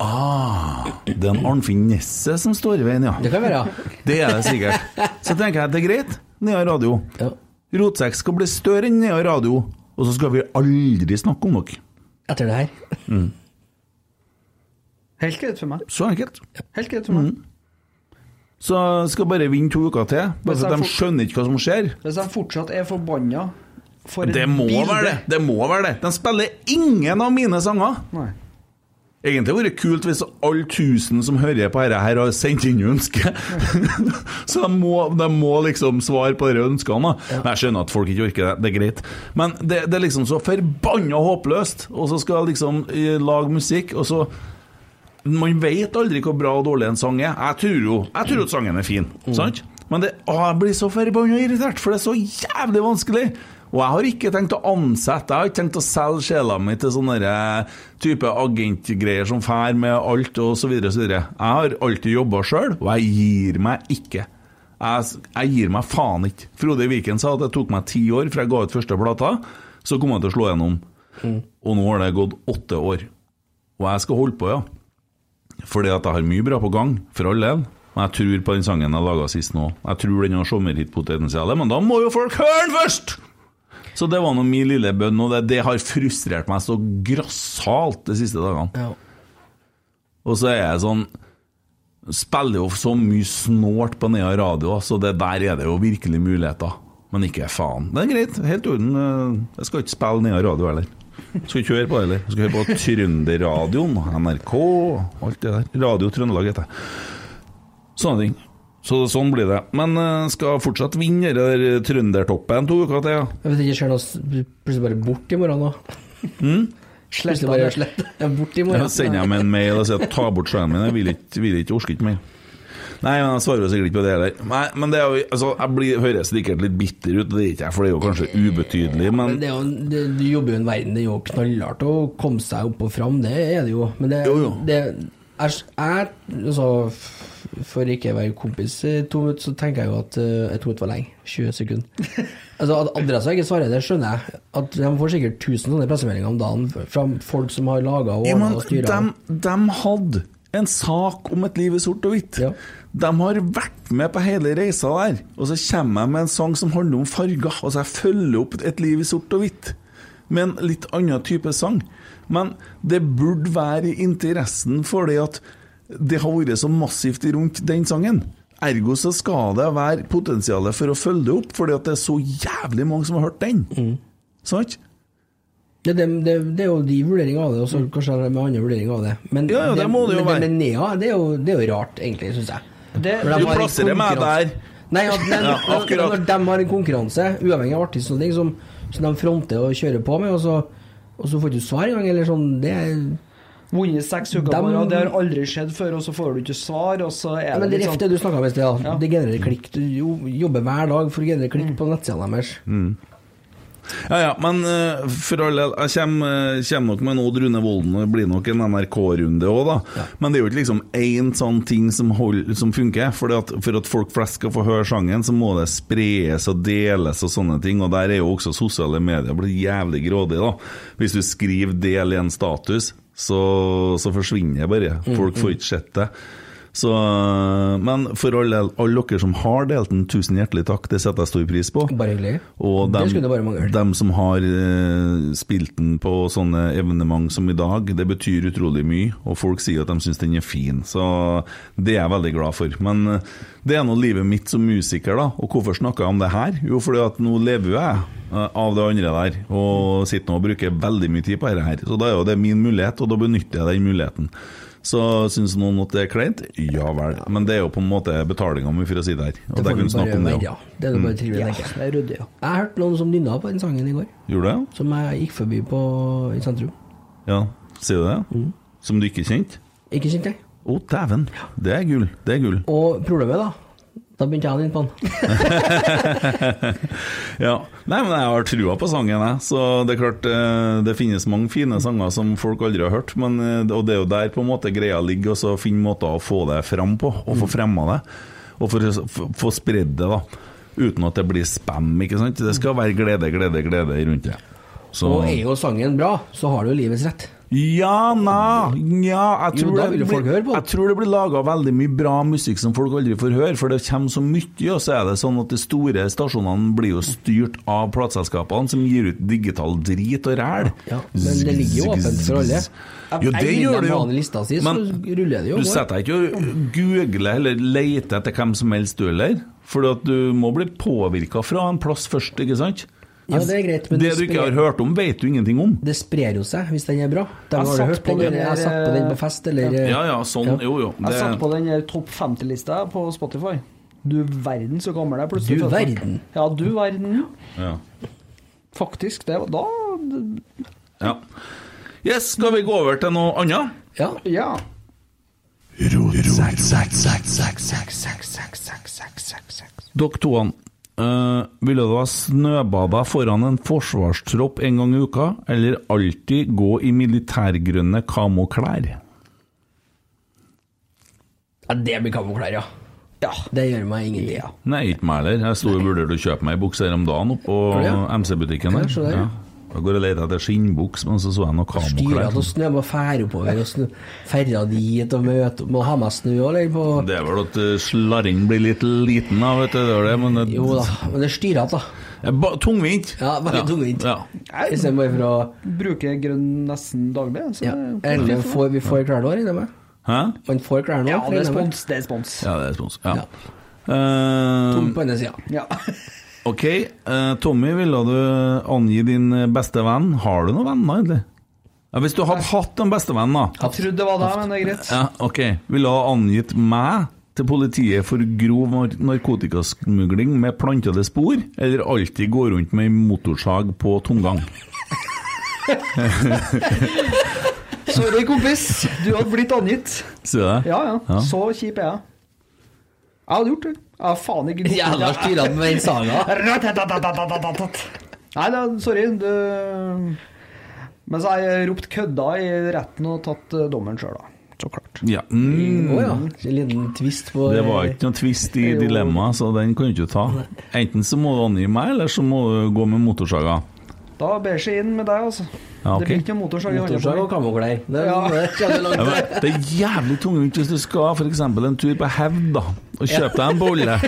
[SPEAKER 5] Ah, det er en Arnfinn Nesse som står i veien, ja.
[SPEAKER 6] Det kan være,
[SPEAKER 5] Det er det sikkert. Så tenker jeg at det er greit. Nea Radio.
[SPEAKER 6] ja.
[SPEAKER 5] Rotsekk skal bli større enn Nea Radio, og så skal vi aldri snakke om dere.
[SPEAKER 6] Etter det her.
[SPEAKER 7] Helt greit for meg.
[SPEAKER 5] Så enkelt.
[SPEAKER 7] Helt greit for meg.
[SPEAKER 6] Mm.
[SPEAKER 5] Så skal bare vinne to uker til. Bare
[SPEAKER 7] Hvis
[SPEAKER 5] for at
[SPEAKER 7] jeg
[SPEAKER 5] de skjønner ikke hva som skjer.
[SPEAKER 7] Hvis jeg fortsatt er forbanna for et
[SPEAKER 5] Det må
[SPEAKER 7] bilde-
[SPEAKER 5] være det! Det må være det. De spiller ingen av mine sanger.
[SPEAKER 7] Nei.
[SPEAKER 5] Egentlig hadde det vært kult hvis alle tusen som hører på dette, her har sendt inn ønske. så de må, de må liksom svare på disse ønskene. da. Men jeg skjønner at folk ikke orker det, det er greit. Men det, det er liksom så forbanna håpløst! Og så skal jeg liksom eh, lage musikk, og så man vet aldri hvor bra og dårlig en sang er. Jeg tror jo jeg tror at sangen er fin, sant? Men det, å, jeg blir så forbanna irritert, for det er så jævlig vanskelig. Og jeg har ikke tenkt å ansette, jeg har ikke tenkt å selge sjela mi til sånne der eh, type agentgreier som fær med alt og så videre og så videre. Jeg har alltid jobba sjøl, og jeg gir meg ikke. Jeg, jeg gir meg faen ikke. Frode Viken sa at det tok meg ti år fra jeg ga ut første plata, så kom jeg til å slå gjennom. Og nå har det gått åtte år. Og jeg skal holde på, ja. Fordi at jeg har mye bra på gang, for all del. Men jeg tror på den sangen jeg laga sist nå. Jeg tror den har sommerhitpotensialet, men da må jo folk høre den først! Så det var nå min lille bønn, og det, det har frustrert meg så grassat de siste dagene.
[SPEAKER 6] Ja.
[SPEAKER 5] Og så er jeg sånn Spiller jo så mye snålt på Nea radio, så det der er det jo virkelig muligheter. Men ikke faen. Det er greit, helt i orden. eh, Jeg skal ikke spille Nea radio heller. Jeg Skal ikke høre på det heller. Jeg Skal høre på Trønderradioen, NRK, alt det der. Radio Trøndelag heter jeg. Sånne ting. Så sånn blir det. Men eh, skal fortsatt vinne det der trøndertoppen to uker til, ja.
[SPEAKER 6] Jeg vet ikke, ser noe s- plutselig bare bort i morgen nå.
[SPEAKER 5] Mm?
[SPEAKER 6] Plutselig bare slett. Ja, bort i morgen.
[SPEAKER 5] Da sender jeg meg en mail og sier at ta bort skjermen min, jeg vil ikke, vil ikke orker ikke mer. Nei, men jeg svarer jo sikkert ikke på det heller. Nei, men det er jo, altså, jeg blir, høres sikkert litt bitter ut, og det er ikke jeg, for det er jo kanskje ubetydelig, men
[SPEAKER 6] Men det er jo, det, du jobber jo i en verden, det er jo knallhardt å komme seg opp og fram, det er det jo. Men det,
[SPEAKER 5] Jo, jo.
[SPEAKER 6] det er, er altså, f- For ikke å være kompis i to minutter, så tenker jeg jo at eh, Jeg tror det var lenge. 20 sekunder. altså, at adressa ikke svarer, det skjønner jeg. At De får sikkert 1000 sånne pressemeldinger om dagen fra folk som har laga og
[SPEAKER 5] Ja,
[SPEAKER 6] ordna
[SPEAKER 5] men
[SPEAKER 6] og styra.
[SPEAKER 5] de, de hadde en sak om et liv i sort og hvitt.
[SPEAKER 6] Ja.
[SPEAKER 5] De har vært med på hele reisa der, og så kommer jeg med en sang som handler om farger. Altså, jeg følger opp et liv i sort og hvitt med en litt annen type sang. Men det burde være i interessen for det at det har vært så massivt rundt den sangen. Ergo så skal det være potensialet for å følge det opp, fordi at det er så jævlig mange som har hørt den. Sant?
[SPEAKER 6] Det, det, det, det er jo de vurderingene av det, og så kanskje de har andre vurderinger av det.
[SPEAKER 5] Mm.
[SPEAKER 6] Men
[SPEAKER 5] Ja, ja, det må det jo
[SPEAKER 6] men,
[SPEAKER 5] være.
[SPEAKER 6] Men Nea, det er jo, det er jo rart, egentlig, syns jeg.
[SPEAKER 7] Det-
[SPEAKER 6] For de
[SPEAKER 5] Du
[SPEAKER 6] har en
[SPEAKER 5] plasserer meg
[SPEAKER 6] konkurranse-
[SPEAKER 5] der.
[SPEAKER 6] Nei, at de,
[SPEAKER 5] Ja, akkurat.
[SPEAKER 6] når de har en konkurranse, uavhengig av artist og sånne ting, som, som de fronter og kjører på med, og så, og så får du ikke svar engang, eller sånn Det er
[SPEAKER 7] Vunnet seks uker
[SPEAKER 6] Dem-
[SPEAKER 7] på rad, det har aldri skjedd før, og så får du ikke svar, og så er
[SPEAKER 6] ja, men det
[SPEAKER 7] det litt
[SPEAKER 6] ref
[SPEAKER 7] sånn
[SPEAKER 6] det du snakka om i sted, ja.
[SPEAKER 7] Ja.
[SPEAKER 6] det genererer klikk. Du jo, jobber hver dag for å generere klikk
[SPEAKER 5] Mm.
[SPEAKER 6] på nettsidene deres.
[SPEAKER 5] Ja, ja, men eh, for all del, jeg kommer, eh, kommer nok med en Odd Rune Volden, og det blir nok en NRK-runde òg, da. Men det er jo ikke liksom én sånn ting som, hold, som funker. For at, for at folk flest skal få høre sangen, så må det spres og deles og sånne ting. Og der er jo også sosiale medier blitt jævlig grådig, da. Hvis du skriver 'del' i en status, så, så forsvinner det bare. Folk får ikke sett det. Så, eh, men for all del, alle dere som har delt den, tusen hjertelig takk, det setter jeg stor pris på.
[SPEAKER 6] Bare hyggelig.
[SPEAKER 5] Og
[SPEAKER 6] Det
[SPEAKER 5] dem,
[SPEAKER 6] skulle det bare mangle.
[SPEAKER 5] dem som har eh, spilt den på sånne evenement som i dag, det betyr utrolig mye, og folk sier at de syns den er fin. Så det er jeg veldig glad for. Men eh, det er nå livet mitt som musiker, da. Og hvorfor snakker jeg om det her? Jo, fordi at nå lever jo jeg eh, av det andre der, og sitter nå og bruker veldig mye tid på dette her. Så da er jo det min mulighet, og da benytter jeg den muligheten. Så syns noen at det er kleint? Ja vel. Men det er jo på en måte betalinga mi for å si det her. Og det,
[SPEAKER 6] får
[SPEAKER 5] kan
[SPEAKER 6] du
[SPEAKER 5] vi snakke om
[SPEAKER 6] bare
[SPEAKER 5] det Mm.
[SPEAKER 6] være,
[SPEAKER 5] òg.
[SPEAKER 6] ja. Det er det bare trivelig å tenke.
[SPEAKER 7] Det er ryddig, ja.
[SPEAKER 6] Jeg hørte noen som nynna på den sangen i går,
[SPEAKER 5] Gjorde du det?
[SPEAKER 6] som jeg gikk forbi på i sentrum.
[SPEAKER 5] Ja, sier du det? Som du ikke kjente?
[SPEAKER 6] Ikke kjent jeg.
[SPEAKER 5] Å, dæven. Det er gull. Det er gull.
[SPEAKER 6] Og problemet, da Da begynte jeg inn på den.
[SPEAKER 5] Ja. Nei, men jeg har trua på sangen, jeg. Så det er klart, eh, det finnes mange fine sanger som folk aldri har hørt, men, eh, og det er jo der på en måte greia ligger, og så finne måter å få det fram på, og få fremma det. Og for å s- f- få spredd det, da. Uten at det blir spam, ikke sant. Det skal være glede, glede, glede rundt det. Så
[SPEAKER 6] Og er jo sangen bra, så har du jo livets rett.
[SPEAKER 5] Ja, na, ja jeg,
[SPEAKER 6] Jo,
[SPEAKER 5] tror
[SPEAKER 6] da
[SPEAKER 5] det
[SPEAKER 6] vil jo folk
[SPEAKER 5] blir-
[SPEAKER 6] høre på det.
[SPEAKER 5] jeg tror det blir laga veldig mye bra musikk som folk aldri får høre, for det kommer så mye, og så er det sånn at de store stasjonene blir jo styrt av plateselskapene som gir ut digital drit og ræl.
[SPEAKER 6] Ja, men det ligger jo åpent for alle.
[SPEAKER 5] Jo, det gjør det
[SPEAKER 6] Har den
[SPEAKER 5] jo.
[SPEAKER 6] lista si, så
[SPEAKER 5] Men-
[SPEAKER 6] ruller det jo.
[SPEAKER 5] Du setter deg ikke og googler eller leter etter hvem som helst, du heller. For at du må bli påvirka fra en plass først, ikke sant?
[SPEAKER 6] Ja, det er greit, men
[SPEAKER 5] det du ikke har hørt om, vet du ingenting om.
[SPEAKER 6] det sprer jo seg hvis den er bra. De har
[SPEAKER 7] Jeg satt
[SPEAKER 6] du hørt den,
[SPEAKER 7] på den
[SPEAKER 6] eller jeg
[SPEAKER 7] der,
[SPEAKER 6] satt på den på fest, eller eh,
[SPEAKER 5] Ja ja, sånn.
[SPEAKER 6] Ja.
[SPEAKER 5] Jo jo.
[SPEAKER 7] Jeg
[SPEAKER 5] Det,
[SPEAKER 7] satt på den der topp 50-lista på Spotify. Du verden så gammel jeg plutselig
[SPEAKER 6] Du
[SPEAKER 7] følte meg.
[SPEAKER 6] verden.
[SPEAKER 7] Ja, du verden.
[SPEAKER 5] ja.
[SPEAKER 7] Faktisk. Det var da
[SPEAKER 5] Ja. Yes, skal vi gå over til noe annet?
[SPEAKER 6] Ja.
[SPEAKER 7] Ja.
[SPEAKER 5] Dere to, eh, ville du ha snøbada foran en forsvarstropp en gang i uka, eller alltid gå i militærgrønne kamoklær?
[SPEAKER 6] ja det blir kamoklær, ja.
[SPEAKER 7] Ja.
[SPEAKER 6] Det gjør meg ingenting. Ja.
[SPEAKER 5] Nei, ikke meg heller. Jeg sto og vurderte å kjøpe meg ei bukse her om dagen oppå
[SPEAKER 6] Gjorde du det?
[SPEAKER 5] MC-butikken
[SPEAKER 6] Ja,
[SPEAKER 5] der.
[SPEAKER 6] så det, ja.
[SPEAKER 5] Ja. Da går jeg og leter etter skinnbuks, men så så jeg noe
[SPEAKER 6] Styra
[SPEAKER 5] kamoklær.
[SPEAKER 6] til snø, må fære oppover og snø. Ferda dit og møte Må ha med snø òg, eller? På
[SPEAKER 5] Det er vel at eh, slarren blir litt liten, da, vet du. Det er det, men det,
[SPEAKER 6] Jo da, men det er styrete, da.
[SPEAKER 5] Eh, ba- Tungvint.
[SPEAKER 6] Ja, veldig tungvint.
[SPEAKER 5] Ja.
[SPEAKER 6] Istedenfor fra
[SPEAKER 7] Bruker grønn nesten daglig. Så
[SPEAKER 6] ja. Eller får, vi får klær nå, regner jeg med?
[SPEAKER 5] Hæ?
[SPEAKER 6] Man får klær nå?
[SPEAKER 7] ja, det er
[SPEAKER 6] regner jeg med.
[SPEAKER 7] spons. Det er spons.
[SPEAKER 5] Ja, det er spons. Ja.
[SPEAKER 6] Ja.
[SPEAKER 5] Eh,
[SPEAKER 6] Tom på ene sida.
[SPEAKER 7] Ja.
[SPEAKER 5] Ok, eh, Tommy, ville du angi din eh, beste venn? Har du noen venner, egentlig? Ja, hvis du hadde hatt en bestevenn, da.
[SPEAKER 7] Jeg trodde det var deg, men det er greit.
[SPEAKER 5] Ja, ok. Ville du ha angitt meg til politiet for grov nar- narkotikasmugling med plantede spor, eller alltid gå rundt med en motorsag på tomgang?
[SPEAKER 7] Sorry, kompis. Du hadde blitt angitt.
[SPEAKER 5] Sier du det?
[SPEAKER 7] Ja, ja.
[SPEAKER 5] Ja.
[SPEAKER 7] Så kjip er jeg. Jeg hadde gjort det. Jeg har faen ikke gått
[SPEAKER 6] Jævla styrete med den saga.
[SPEAKER 7] Nei, da, sorry. Du Men så har jeg ropt 'kødda' i retten og tatt eh, dommen sjøl, da. Så klart.
[SPEAKER 5] Ja. Mm.
[SPEAKER 6] Å ja. En liten twist på
[SPEAKER 5] Det var ikke noen tvist i dilemmaet, så den kan du ikke ta. Enten så må du angi meg, eller så må du gå med motorsaga.
[SPEAKER 7] Da ber seg inn med deg, altså.
[SPEAKER 5] Ja, ok.
[SPEAKER 7] Det blir ikke noe motorsag i
[SPEAKER 6] Motorsag eh, og
[SPEAKER 7] hånda.
[SPEAKER 6] kamoklær. Det er-
[SPEAKER 7] Ja.
[SPEAKER 6] det er langt.
[SPEAKER 5] Ja, men det er jævlig tungvint hvis du skal for eksempel en tur på Hevd da, og kjøpe deg en bolle.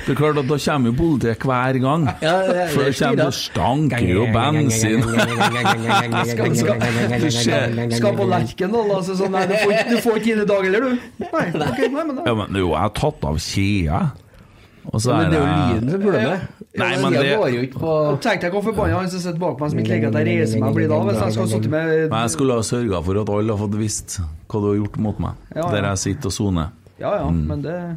[SPEAKER 5] Det er klart at Da kommer jo politiet hver gang.
[SPEAKER 6] Ja, det er-
[SPEAKER 5] For det kommer det stanker jo bensin.
[SPEAKER 7] Skal, skal, skal, skal på Lerkendal, altså. Sånn, nei, du får, ikke- du får ikke inn i dag heller, du. Nei, ok, nei, men
[SPEAKER 5] Ja,
[SPEAKER 7] da.
[SPEAKER 5] men jo, jeg har tatt av kjea. Og så
[SPEAKER 6] Men
[SPEAKER 5] er
[SPEAKER 6] det
[SPEAKER 5] det
[SPEAKER 6] er jo lyden som er problemet.
[SPEAKER 5] Nei, men
[SPEAKER 6] Lyden
[SPEAKER 5] det-
[SPEAKER 6] går jo ikke på
[SPEAKER 7] Tenk deg hvor forbanna han som sitter bak meg, som ikke legger at jeg reiser meg og blir da, hvis jeg skal sitte med
[SPEAKER 5] Men jeg skulle ha sørga for at alle har fått visst hva du har gjort mot meg,
[SPEAKER 7] Ja, ja.
[SPEAKER 5] der jeg sitter og soner.
[SPEAKER 7] Ja ja,
[SPEAKER 5] Mm.
[SPEAKER 7] men det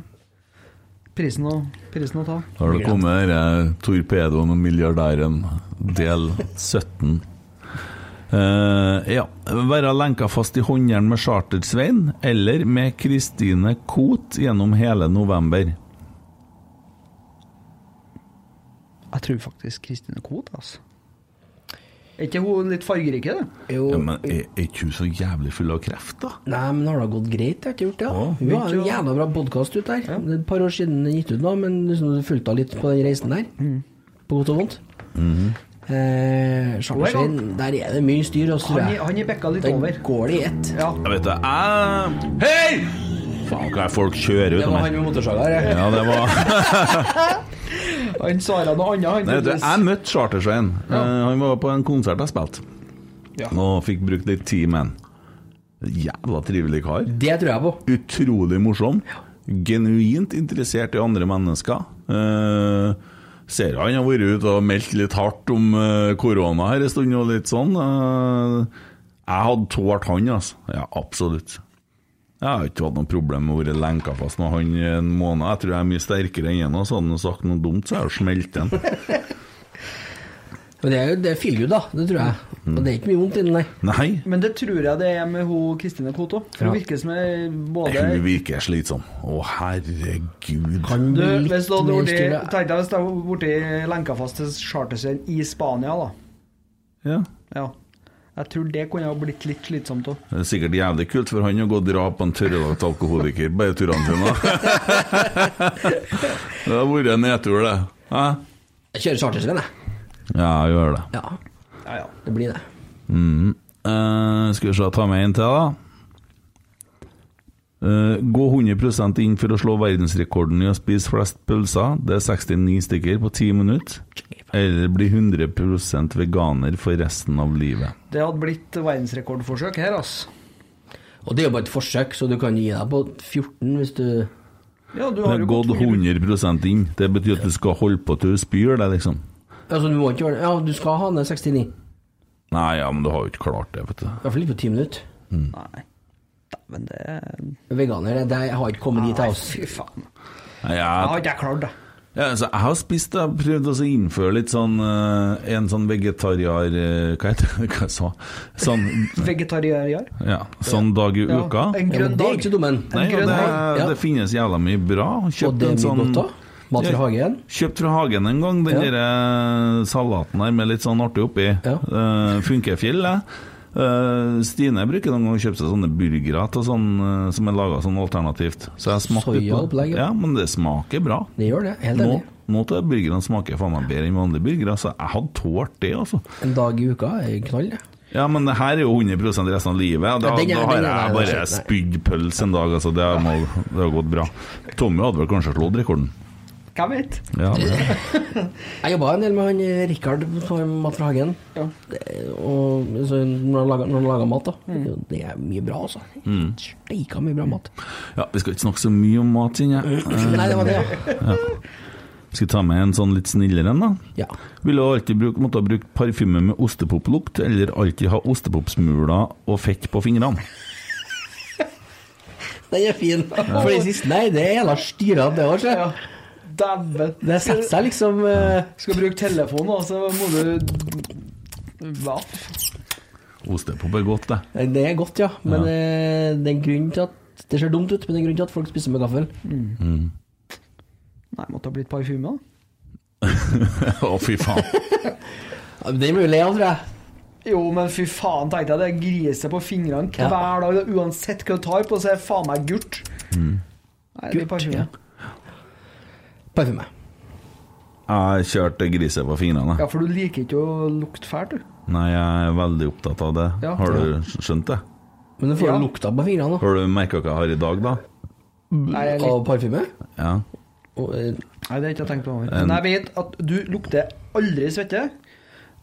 [SPEAKER 7] Prisen å, prisen å ta.
[SPEAKER 5] Har det kommet denne torpedoen og milliardæren, del 17? Eh, ja. Være lenka fast i håndjern med Charter-Svein eller med Kristine Koht gjennom hele november.
[SPEAKER 7] Jeg tror faktisk Kristine Koht, altså. Er ikke hun litt fargerik, er det?
[SPEAKER 6] Jo.
[SPEAKER 5] Ja, men er er ikke hun så jævlig full av kreft, da?
[SPEAKER 6] Nei, men har det gått greit? Det har ikke gjort det. Ja. Vi har en jævla bra podkast ut der. Det er et par år siden den gitt ut nå, men liksom du fulgte av litt på den reisen der.
[SPEAKER 7] Mm.
[SPEAKER 6] På godt og vondt.
[SPEAKER 5] Mhm.
[SPEAKER 6] eh, Sjangersen, der er det mye styr. Også, tror
[SPEAKER 7] Han,
[SPEAKER 6] jeg.
[SPEAKER 7] han er bekka litt
[SPEAKER 6] Den
[SPEAKER 7] over.
[SPEAKER 6] går det i ett.
[SPEAKER 7] Ja.
[SPEAKER 5] Jeg vet det. Jeg... Hei! Faen, hva er folk kjører
[SPEAKER 6] Det
[SPEAKER 5] ut av
[SPEAKER 6] var
[SPEAKER 5] meg?
[SPEAKER 6] han med motorsaga her. jeg.
[SPEAKER 5] Ja, det var...
[SPEAKER 7] Han svarer noe annet,
[SPEAKER 5] Nei,
[SPEAKER 7] han.
[SPEAKER 5] vet du,
[SPEAKER 7] tydeligvis.
[SPEAKER 5] jeg møtte Charter-Svein. Eh, han var på en konsert jeg spilte. Og fikk brukt litt tid med han. Jævla trivelig kar.
[SPEAKER 6] Det tror jeg på.
[SPEAKER 5] utrolig morsom. Genuint interessert i andre mennesker. Eh, ser han har vært ute og meldt litt hardt om eh, korona her en stund og litt sånn. Eh, jeg hadde tålt han, altså. Ja, absolutt. Jeg har ikke hatt noe problem med å være lenka fast med han i en måned. Jeg tror jeg er mye sterkere enn han, og så hadde han sagt noe dumt, så hadde jeg jo smelt han.
[SPEAKER 6] Men det er jo det er feelgood, da. Det tror jeg.
[SPEAKER 5] Mm.
[SPEAKER 6] Og det er ikke mye vondt inni der.
[SPEAKER 5] Nei,
[SPEAKER 7] Men det tror jeg det er med hun Kristine Koht òg. For
[SPEAKER 6] Ja.
[SPEAKER 7] hun virker som ei både
[SPEAKER 5] hun virker slitsom. Å, herregud.
[SPEAKER 6] Kan
[SPEAKER 7] du,
[SPEAKER 6] bli litt
[SPEAKER 7] hvis du hadde
[SPEAKER 6] mer
[SPEAKER 7] vært i-
[SPEAKER 6] styr, da.
[SPEAKER 7] Tenk deg hvis du hadde vært i lenka fast til charterscenen i Spania, da.
[SPEAKER 5] Ja.
[SPEAKER 7] Ja. Jeg tror det kunne ha blitt litt slitsomt òg.
[SPEAKER 5] Det er sikkert jævlig kult for han å gå og dra på en tørrlagt alkoholiker bare turene sine. det har vært en nedtur, det. Hæ?
[SPEAKER 6] Jeg kjører chartersvenn, jeg.
[SPEAKER 5] Ja, jeg gjør det.
[SPEAKER 6] Ja,
[SPEAKER 7] Ja, ja.
[SPEAKER 6] det blir det.
[SPEAKER 5] Eh, skal vi se, ta med en til, da. Eh, gå 100 inn for å slå verdensrekorden i å spise flest pølser. Det er 69 stykker på 10 minutter. Eller bli 100 veganer for resten av livet.
[SPEAKER 7] Det hadde blitt verdensrekordforsøk her, altså.
[SPEAKER 6] Og det er jo bare et forsøk, så du kan gi deg på 14 hvis du
[SPEAKER 7] Ja, du
[SPEAKER 5] Det
[SPEAKER 7] har
[SPEAKER 5] er
[SPEAKER 7] jo
[SPEAKER 5] gått
[SPEAKER 7] gått
[SPEAKER 5] 100 inn. Det betyr at du skal holde på til du spyr, det, liksom.
[SPEAKER 6] Altså, du må ikke gjøre det. Ja, du skal ha ned 69.
[SPEAKER 5] Nei, ja, men du har jo ikke klart det, vet du.
[SPEAKER 6] I hvert fall ikke på ti minutter.
[SPEAKER 7] Nei. Dæven, det
[SPEAKER 6] Veganer, det, det jeg har ikke kommet dit, jeg, altså.
[SPEAKER 7] Fy faen.
[SPEAKER 5] Nei,
[SPEAKER 7] Jeg
[SPEAKER 5] Jeg,
[SPEAKER 7] har ikke klart det.
[SPEAKER 5] ja, altså, jeg har spist Jeg har prøvd også å innføre litt sånn eh, En sånn vegetariar eh, Hva heter det? Hva jeg sa Sånn,
[SPEAKER 7] Vegetarianer.
[SPEAKER 5] ja, sånn dag i uka.
[SPEAKER 6] Ja,
[SPEAKER 7] En
[SPEAKER 6] men det
[SPEAKER 7] grønn
[SPEAKER 6] er
[SPEAKER 7] dag.
[SPEAKER 6] ikke så dummen.
[SPEAKER 5] Nei, og
[SPEAKER 7] grønn
[SPEAKER 5] det,
[SPEAKER 7] hage,
[SPEAKER 6] ja.
[SPEAKER 5] det finnes jævla mye bra. Kjøpt
[SPEAKER 6] Og det
[SPEAKER 5] en
[SPEAKER 6] er mye
[SPEAKER 5] sånn-
[SPEAKER 6] godt òg. Mat fra hagen.
[SPEAKER 5] Kjøpt fra hagen en gang, den
[SPEAKER 6] Ja.
[SPEAKER 5] der eh, salaten der med litt sånn artig oppi.
[SPEAKER 6] Ja.
[SPEAKER 5] Eh, Funkefjell, jeg. Eh, Stine bruker noen ganger å kjøpe seg sånne burgere til sånn, eh, som er laga sånn alternativt. Så jeg smakte litt på
[SPEAKER 6] Soyaopplegg, ja.
[SPEAKER 5] Ja, men det smaker bra.
[SPEAKER 6] Det gjør det. Helt
[SPEAKER 5] Nå,
[SPEAKER 6] enig.
[SPEAKER 5] nå til burgerne smaker faen meg bedre enn vanlige burgere, så jeg hadde tålt det, altså.
[SPEAKER 6] En dag i uka er knall, det.
[SPEAKER 5] Ja, men det her er jo 100 resten av livet. Da,
[SPEAKER 6] Ja, den er-
[SPEAKER 5] da har
[SPEAKER 6] den er-
[SPEAKER 5] jeg
[SPEAKER 6] den er-
[SPEAKER 5] bare
[SPEAKER 6] nei.
[SPEAKER 5] spydd pøls en dag, altså. Det, må, det har gått bra. Tommy hadde vel kanskje slått rekorden.
[SPEAKER 7] Hvem vet?
[SPEAKER 5] Ja, det.
[SPEAKER 6] Jeg jobba en del med han eh, Rikard på Mat fra hagen.
[SPEAKER 7] Ja.
[SPEAKER 6] Det- Og, så, når han lager- når han lager mat, da. Det er mye bra, altså.
[SPEAKER 7] Mm.
[SPEAKER 6] Steika mye bra mat.
[SPEAKER 5] Ja, vi skal ikke snakke så mye om mat, kjenner jeg.
[SPEAKER 7] Mm.
[SPEAKER 6] Nei, det var det, ja.
[SPEAKER 5] Skal ta med en sånn litt snillere en, da.
[SPEAKER 6] ja.
[SPEAKER 5] Ville du alltid bruke, måtte ha brukt parfyme med ostepoplukt, eller alltid ha ostepopsmuler og fett på fingrene?
[SPEAKER 6] Den er fin. For det siste Nei, det er altså. jævla styrete, det òg, ser
[SPEAKER 7] Ja.
[SPEAKER 6] jeg.
[SPEAKER 7] Dæven. sånn,
[SPEAKER 6] Det setter seg liksom eh,
[SPEAKER 7] Skal bruke telefonen, og så må du Hva?
[SPEAKER 5] Ostepop er godt, det.
[SPEAKER 6] eh, Det er godt, ja. Men eh, det er en grunn til at det ser dumt ut, men det er en grunn til at folk spiser med gaffel.
[SPEAKER 7] Nei, måtte ha blitt parfyme, da.
[SPEAKER 5] Å, fy faen.
[SPEAKER 6] Ja, men Den blir vi lei av, tror jeg.
[SPEAKER 7] Jo, men fy faen, tenkte jeg. Det griser på fingrene
[SPEAKER 6] Ja.
[SPEAKER 7] hver dag. Uansett hva du tar på, så er det faen meg gult. Nei, det blir parfyme. Ja.
[SPEAKER 6] Parfyme.
[SPEAKER 5] Jeg kjørte griset på fingrene. jeg.
[SPEAKER 7] for du liker ikke å lukte fælt, du.
[SPEAKER 5] Nei, jeg er veldig opptatt av det.
[SPEAKER 7] Ja.
[SPEAKER 5] Har du skjønt det?
[SPEAKER 6] Men du får jo
[SPEAKER 7] Ja.
[SPEAKER 6] lukta på fingrene da.
[SPEAKER 5] Har du merka hva jeg har i dag, da?
[SPEAKER 7] Nei, jeg
[SPEAKER 6] av
[SPEAKER 7] liker.
[SPEAKER 6] parfyme.
[SPEAKER 5] Ja.
[SPEAKER 6] Og, eh,
[SPEAKER 7] Nei det har jeg ikke tenkt på. Men jeg vet at du lukter aldri svette.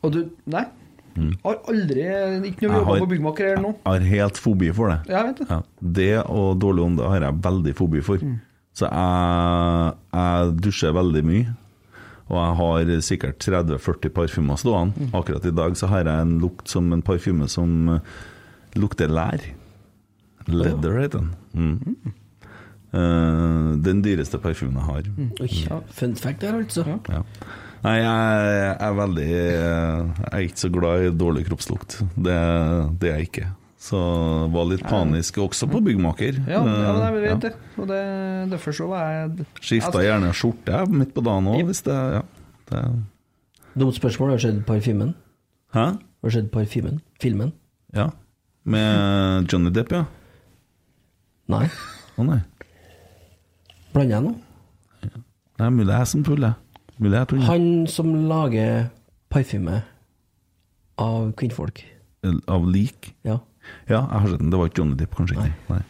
[SPEAKER 7] Og du Nei. Har aldri Ikke når vi
[SPEAKER 5] Jeg har-
[SPEAKER 7] jobber på byggmaker eller noe.
[SPEAKER 5] Jeg har helt fobi for det.
[SPEAKER 7] Ja, jeg vet det.
[SPEAKER 5] Ja, det og dårlig ånde har jeg veldig fobi for.
[SPEAKER 7] Mm.
[SPEAKER 5] Så jeg, jeg dusjer veldig mye. Og jeg har sikkert 30-40 parfymer stående.
[SPEAKER 7] Mm.
[SPEAKER 5] Akkurat i dag så har jeg en lukt som en parfyme som eh, lukter lær. Leather heter den. Mm. Eh, den dyreste parfymen jeg har.
[SPEAKER 7] Mm.
[SPEAKER 6] oi, ja. Fun fact der, altså.
[SPEAKER 5] Ja. Nei, jeg, jeg er veldig eh, Jeg er ikke så glad i dårlig kroppslukt. Det, det er jeg ikke. Så var litt panisk også på byggmaker.
[SPEAKER 7] Mm. Ja, ja men jeg
[SPEAKER 5] Eh,
[SPEAKER 7] vet
[SPEAKER 5] Ja.
[SPEAKER 7] det. Altså- Og det, derfor så var jeg
[SPEAKER 5] Skifta gjerne skjorte jeg, midt på dagen òg, hvis det Ja. Det.
[SPEAKER 6] Dumt spørsmål. Har du sett parfymen?
[SPEAKER 5] Hæ?
[SPEAKER 6] Har du sett parfymen? Filmen?
[SPEAKER 5] Ja. Med Johnny Depp, ja?
[SPEAKER 6] Nei.
[SPEAKER 5] Å nei.
[SPEAKER 6] Blander jeg nå?
[SPEAKER 5] Det er mulig jeg som tuller. Mulig jeg tuller.
[SPEAKER 6] Han som lager parfyme av kvinnfolk.
[SPEAKER 5] Av lik.
[SPEAKER 6] Ja.
[SPEAKER 5] Ja, jeg har sett den. Det var ikke Johnny Depp, kanskje ikke. Nei.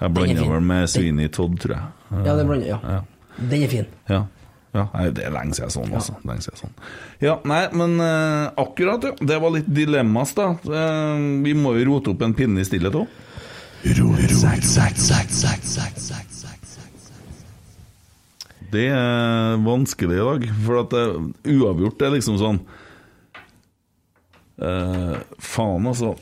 [SPEAKER 5] Jeg
[SPEAKER 6] Den er
[SPEAKER 5] blanda
[SPEAKER 6] fin.
[SPEAKER 5] vel med Sweeney Todd, tror jeg.
[SPEAKER 6] Ja, det blander jeg. Ja.
[SPEAKER 5] Ja.
[SPEAKER 6] Den er fin.
[SPEAKER 5] Ja. ja. Nei, det er lenge siden jeg sånn, altså. Lenge siden jeg sånn. Ja, nei, men eh, akkurat, ja. Det var litt dilemmas, da. Eh, vi må jo rote opp en pinne i stillhet òg. Det er vanskelig i dag, for at det, uavgjort er liksom sånn eh, Faen, altså.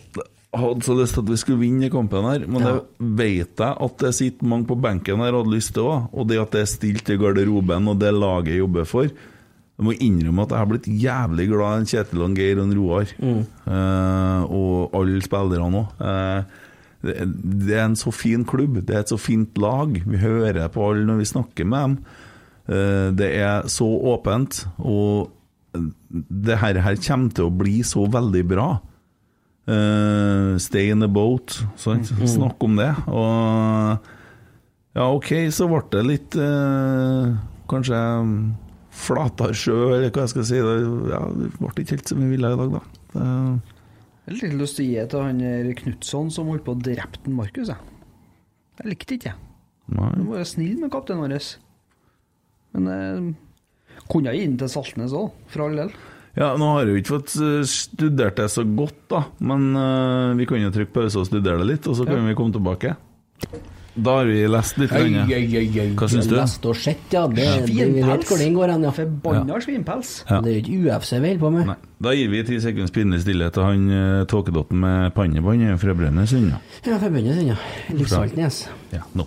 [SPEAKER 5] Jeg hadde så lyst til at vi skulle vinne i kampen her, men
[SPEAKER 6] Ja.
[SPEAKER 5] det vet jeg at det sitter mange på benken her og hadde lyst til òg. Og det at det er stilt i garderoben, og det laget jeg jobber for Jeg må innrømme at jeg har blitt jævlig glad i Kjetil og Geir og en Roar. Eh, og alle spillerne òg. det det er en så fin klubb, det er et så fint lag. Vi hører på alle når vi snakker med dem. Eh, Det er så åpent, og det her, her kommer til å bli så veldig bra. Eh, stay in the boat, sant? Snakk om det. Og ja, OK, så ble det litt eh, Kanskje mm, flatere sjø, eller hva jeg skal si. Det, ja, det ble ikke helt som vi ville i dag, da. Det,
[SPEAKER 7] Jeg har litt lyst til å gi til han Knutson som holdt på å drepe den Markus, jeg. Jeg likte ikke, jeg.
[SPEAKER 5] nei.
[SPEAKER 7] Han var jo snill med kapteinen vår. Men eh, kunne jeg gi den til Saltnes òg, for all del.
[SPEAKER 5] Ja, nå har jeg jo ikke fått eh, studert det så godt, da. Men eh, vi kan jo trykke pause og studere det litt, og så kan vi komme tilbake. Da har vi lest litt.
[SPEAKER 6] Oi,
[SPEAKER 5] grann.
[SPEAKER 6] oi, oi, oi.
[SPEAKER 5] Hva syns du?
[SPEAKER 6] Lest og sett, ja. Det, det, vi vet
[SPEAKER 7] Finpels.
[SPEAKER 6] hvor den går hen, ja.
[SPEAKER 7] Forbanna svinpels.
[SPEAKER 5] Ja.
[SPEAKER 6] Det er jo ikke UFC vi holder på med.
[SPEAKER 5] Nei. Da gir vi ti sekunds pinlig stillhet til han eh, tåkedotten med pannebånd eh, fra Brønnøysund. ja.
[SPEAKER 6] Ja, forbundet den, ja. Livsvaltnes.
[SPEAKER 5] Ja, nå.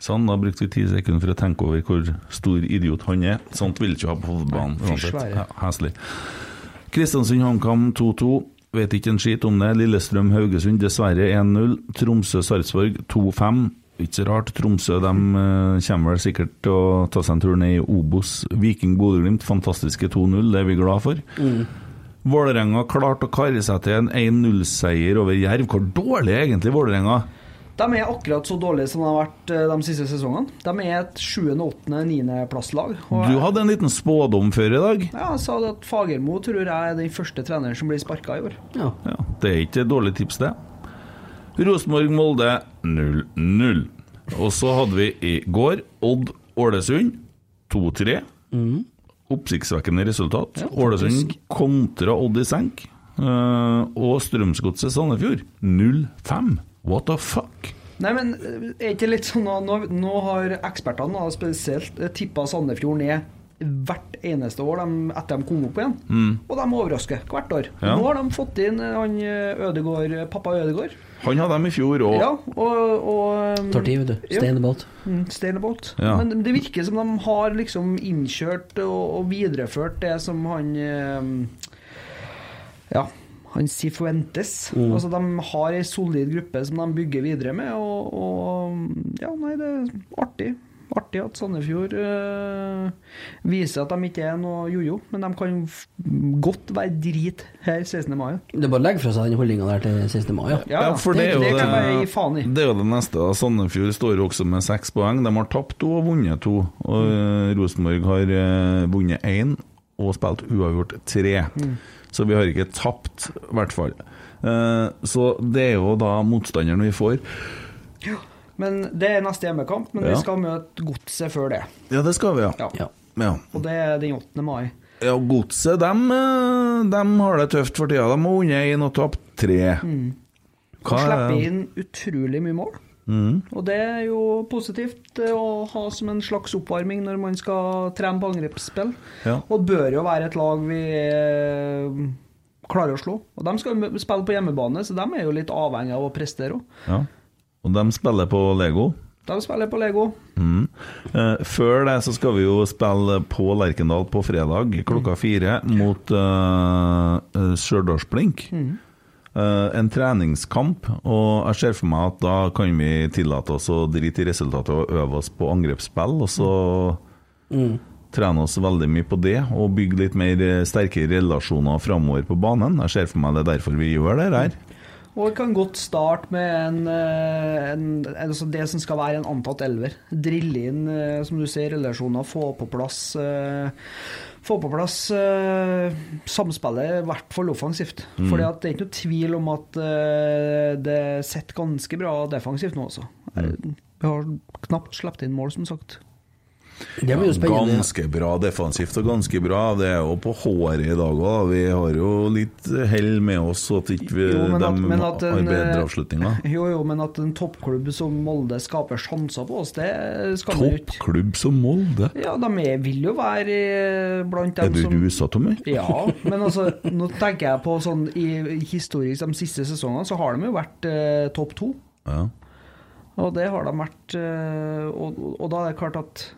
[SPEAKER 5] Sånn, da brukte vi ti sekunder for å tenke over hvor stor idiot han er. Sånt vil ikke ha på hovedbanen
[SPEAKER 7] Nei, fy
[SPEAKER 5] uansett.
[SPEAKER 7] svære.
[SPEAKER 5] Ja, heslig. Kristiansund-HamKam 2-2. Vet ikke en skit om det. Lillestrøm-Haugesund dessverre 1-0. Tromsø-Sarpsborg 2-5. Ikke så rart. Tromsø de, eh, kommer vel sikkert til å ta seg en tur ned i Obos. Viking-Bodø-Glimt, fantastiske 2-0. Det er vi glad for. Vålerenga klarte å karre seg til en 1-0-seier over Jerv. Hvor dårlig er egentlig Vålerenga?
[SPEAKER 7] De er akkurat så dårlige som de har vært eh, de siste sesongene. De er et 7., 8., 9. plasslag. Og
[SPEAKER 5] Du hadde en liten spådom før i dag.
[SPEAKER 7] ja, jeg sa det at Fagermo tror jeg er den første treneren som blir sparka i år.
[SPEAKER 6] Ja.
[SPEAKER 5] Ja, det er ikke et dårlig tips, det. Rosenborg-Molde 0-0. Og så hadde vi i går Odd-Ålesund 2-3. Oppsiktsvekkende resultat. Ålesund kontra Odd i senk. Eh, og Strømsgodset Sandefjord 0-5. What the fuck?
[SPEAKER 7] Nei, men eh, er ikke litt sånn at nå, nå har ekspertene da spesielt tippa Sandefjord ned hvert eneste år de, etter de kom opp igjen. Og de overrasker hvert år.
[SPEAKER 5] Ja.
[SPEAKER 7] Nå har de fått inn eh, han eh, Ødegård, eh, pappa Ødegård.
[SPEAKER 5] Han hadde dem i fjor òg.
[SPEAKER 7] Ja, og, og um,
[SPEAKER 6] Tar tid, vet du.
[SPEAKER 7] Ja.
[SPEAKER 6] Stay in the boat.
[SPEAKER 7] Mm, Stay in the boat.
[SPEAKER 5] Ja.
[SPEAKER 7] Men det virker som de har liksom innkjørt og, og videreført det som han eh, Ja, han Sifuentes.
[SPEAKER 5] Mm.
[SPEAKER 7] Altså, de har ei solid gruppe som de bygger videre med, og, og Ja, nei, det er artig. Artig at Sandefjord eh, viser at de ikke er noe jojo, men de kan f godt være drit her 16. mai.
[SPEAKER 6] Det er bare å legge fra seg den holdninga der til 16. mai, ja.
[SPEAKER 5] Ja, for det, er jo
[SPEAKER 7] det kan jeg bare
[SPEAKER 5] det,
[SPEAKER 7] gi faen i.
[SPEAKER 5] det er jo det neste. da. Sandefjord står jo også med seks poeng. De har tapt to og vunnet to. Og eh, Rosenborg har eh, vunnet én og spilt uavgjort tre.
[SPEAKER 7] Mm.
[SPEAKER 5] Så vi har ikke tapt, i hvert fall. Eh, så det er jo da motstanderen vi får.
[SPEAKER 7] Men Det er neste hjemmekamp, men
[SPEAKER 5] Ja.
[SPEAKER 7] vi skal møte Godset før det.
[SPEAKER 5] Ja, det skal vi, ja.
[SPEAKER 7] Ja.
[SPEAKER 6] ja.
[SPEAKER 5] Ja,
[SPEAKER 7] Og det er den 8. mai.
[SPEAKER 5] ja Godset, dem, eh, dem har det tøft for tida. De har vunnet én og tapt tre.
[SPEAKER 7] Mm. Og slipper
[SPEAKER 5] er- Mm,
[SPEAKER 7] inn utrolig mye mål. Og det er jo positivt eh, å ha som en slags oppvarming når man skal trene på angrepsspill.
[SPEAKER 5] Ja.
[SPEAKER 7] Og det bør jo være et lag vi eh, klarer å slå. Og de skal jo mø- spille på hjemmebane, så de er jo litt avhengig av å prestere òg.
[SPEAKER 5] ja. Og de spiller på Lego.
[SPEAKER 7] De spiller på Lego.
[SPEAKER 5] Mm. Eh, før det så skal vi jo spille på Lerkendal på fredag klokka fire mot eh, eh, Stjørdalsblink. Eh, en treningskamp, og jeg ser for meg at da kan vi tillate oss å drite i resultatet og øve oss på angrepsspill, og så trene oss veldig mye på det og bygge litt mer eh, sterke relasjoner framover på banen. Jeg ser for meg det er derfor vi gjør det her.
[SPEAKER 7] Og vi kan godt starte med en, eh, en, altså det som skal være en antatt elver. Drille inn, eh, som du sier, relasjoner, få på plass eh, Få på plass eh, samspillet, i hvert fall offensivt.
[SPEAKER 5] Mm.
[SPEAKER 7] Fordi at det er ikke noe tvil om at eh, det sitter ganske bra defensivt nå også.
[SPEAKER 5] Mm.
[SPEAKER 7] Vi har knapt sluppet inn mål, som sagt.
[SPEAKER 6] Det blir jo spennende.
[SPEAKER 5] Ganske bra defensivt og ganske bra. Det er jo på håret i dag òg. Vi har jo litt hell med oss, så at ikke vi,
[SPEAKER 7] Jo, men at-
[SPEAKER 5] de
[SPEAKER 7] men at en,
[SPEAKER 5] har
[SPEAKER 7] eh,
[SPEAKER 5] bedre avslutninger.
[SPEAKER 7] Jo, jo, men at en toppklubb som Molde skaper sjanser på oss, det skal man jo ikke
[SPEAKER 5] Toppklubb som Molde!
[SPEAKER 7] Ja, de er, vil jo være eh, blant
[SPEAKER 5] Er
[SPEAKER 7] dem
[SPEAKER 5] du
[SPEAKER 7] som
[SPEAKER 5] rusa, Tommy?
[SPEAKER 7] Ja, men altså, nå tenker jeg på sånn i i historisk de siste sesongene, så har de jo vært eh, topp to.
[SPEAKER 5] Ja.
[SPEAKER 7] Og det har de vært. Eh, og, og da er det klart at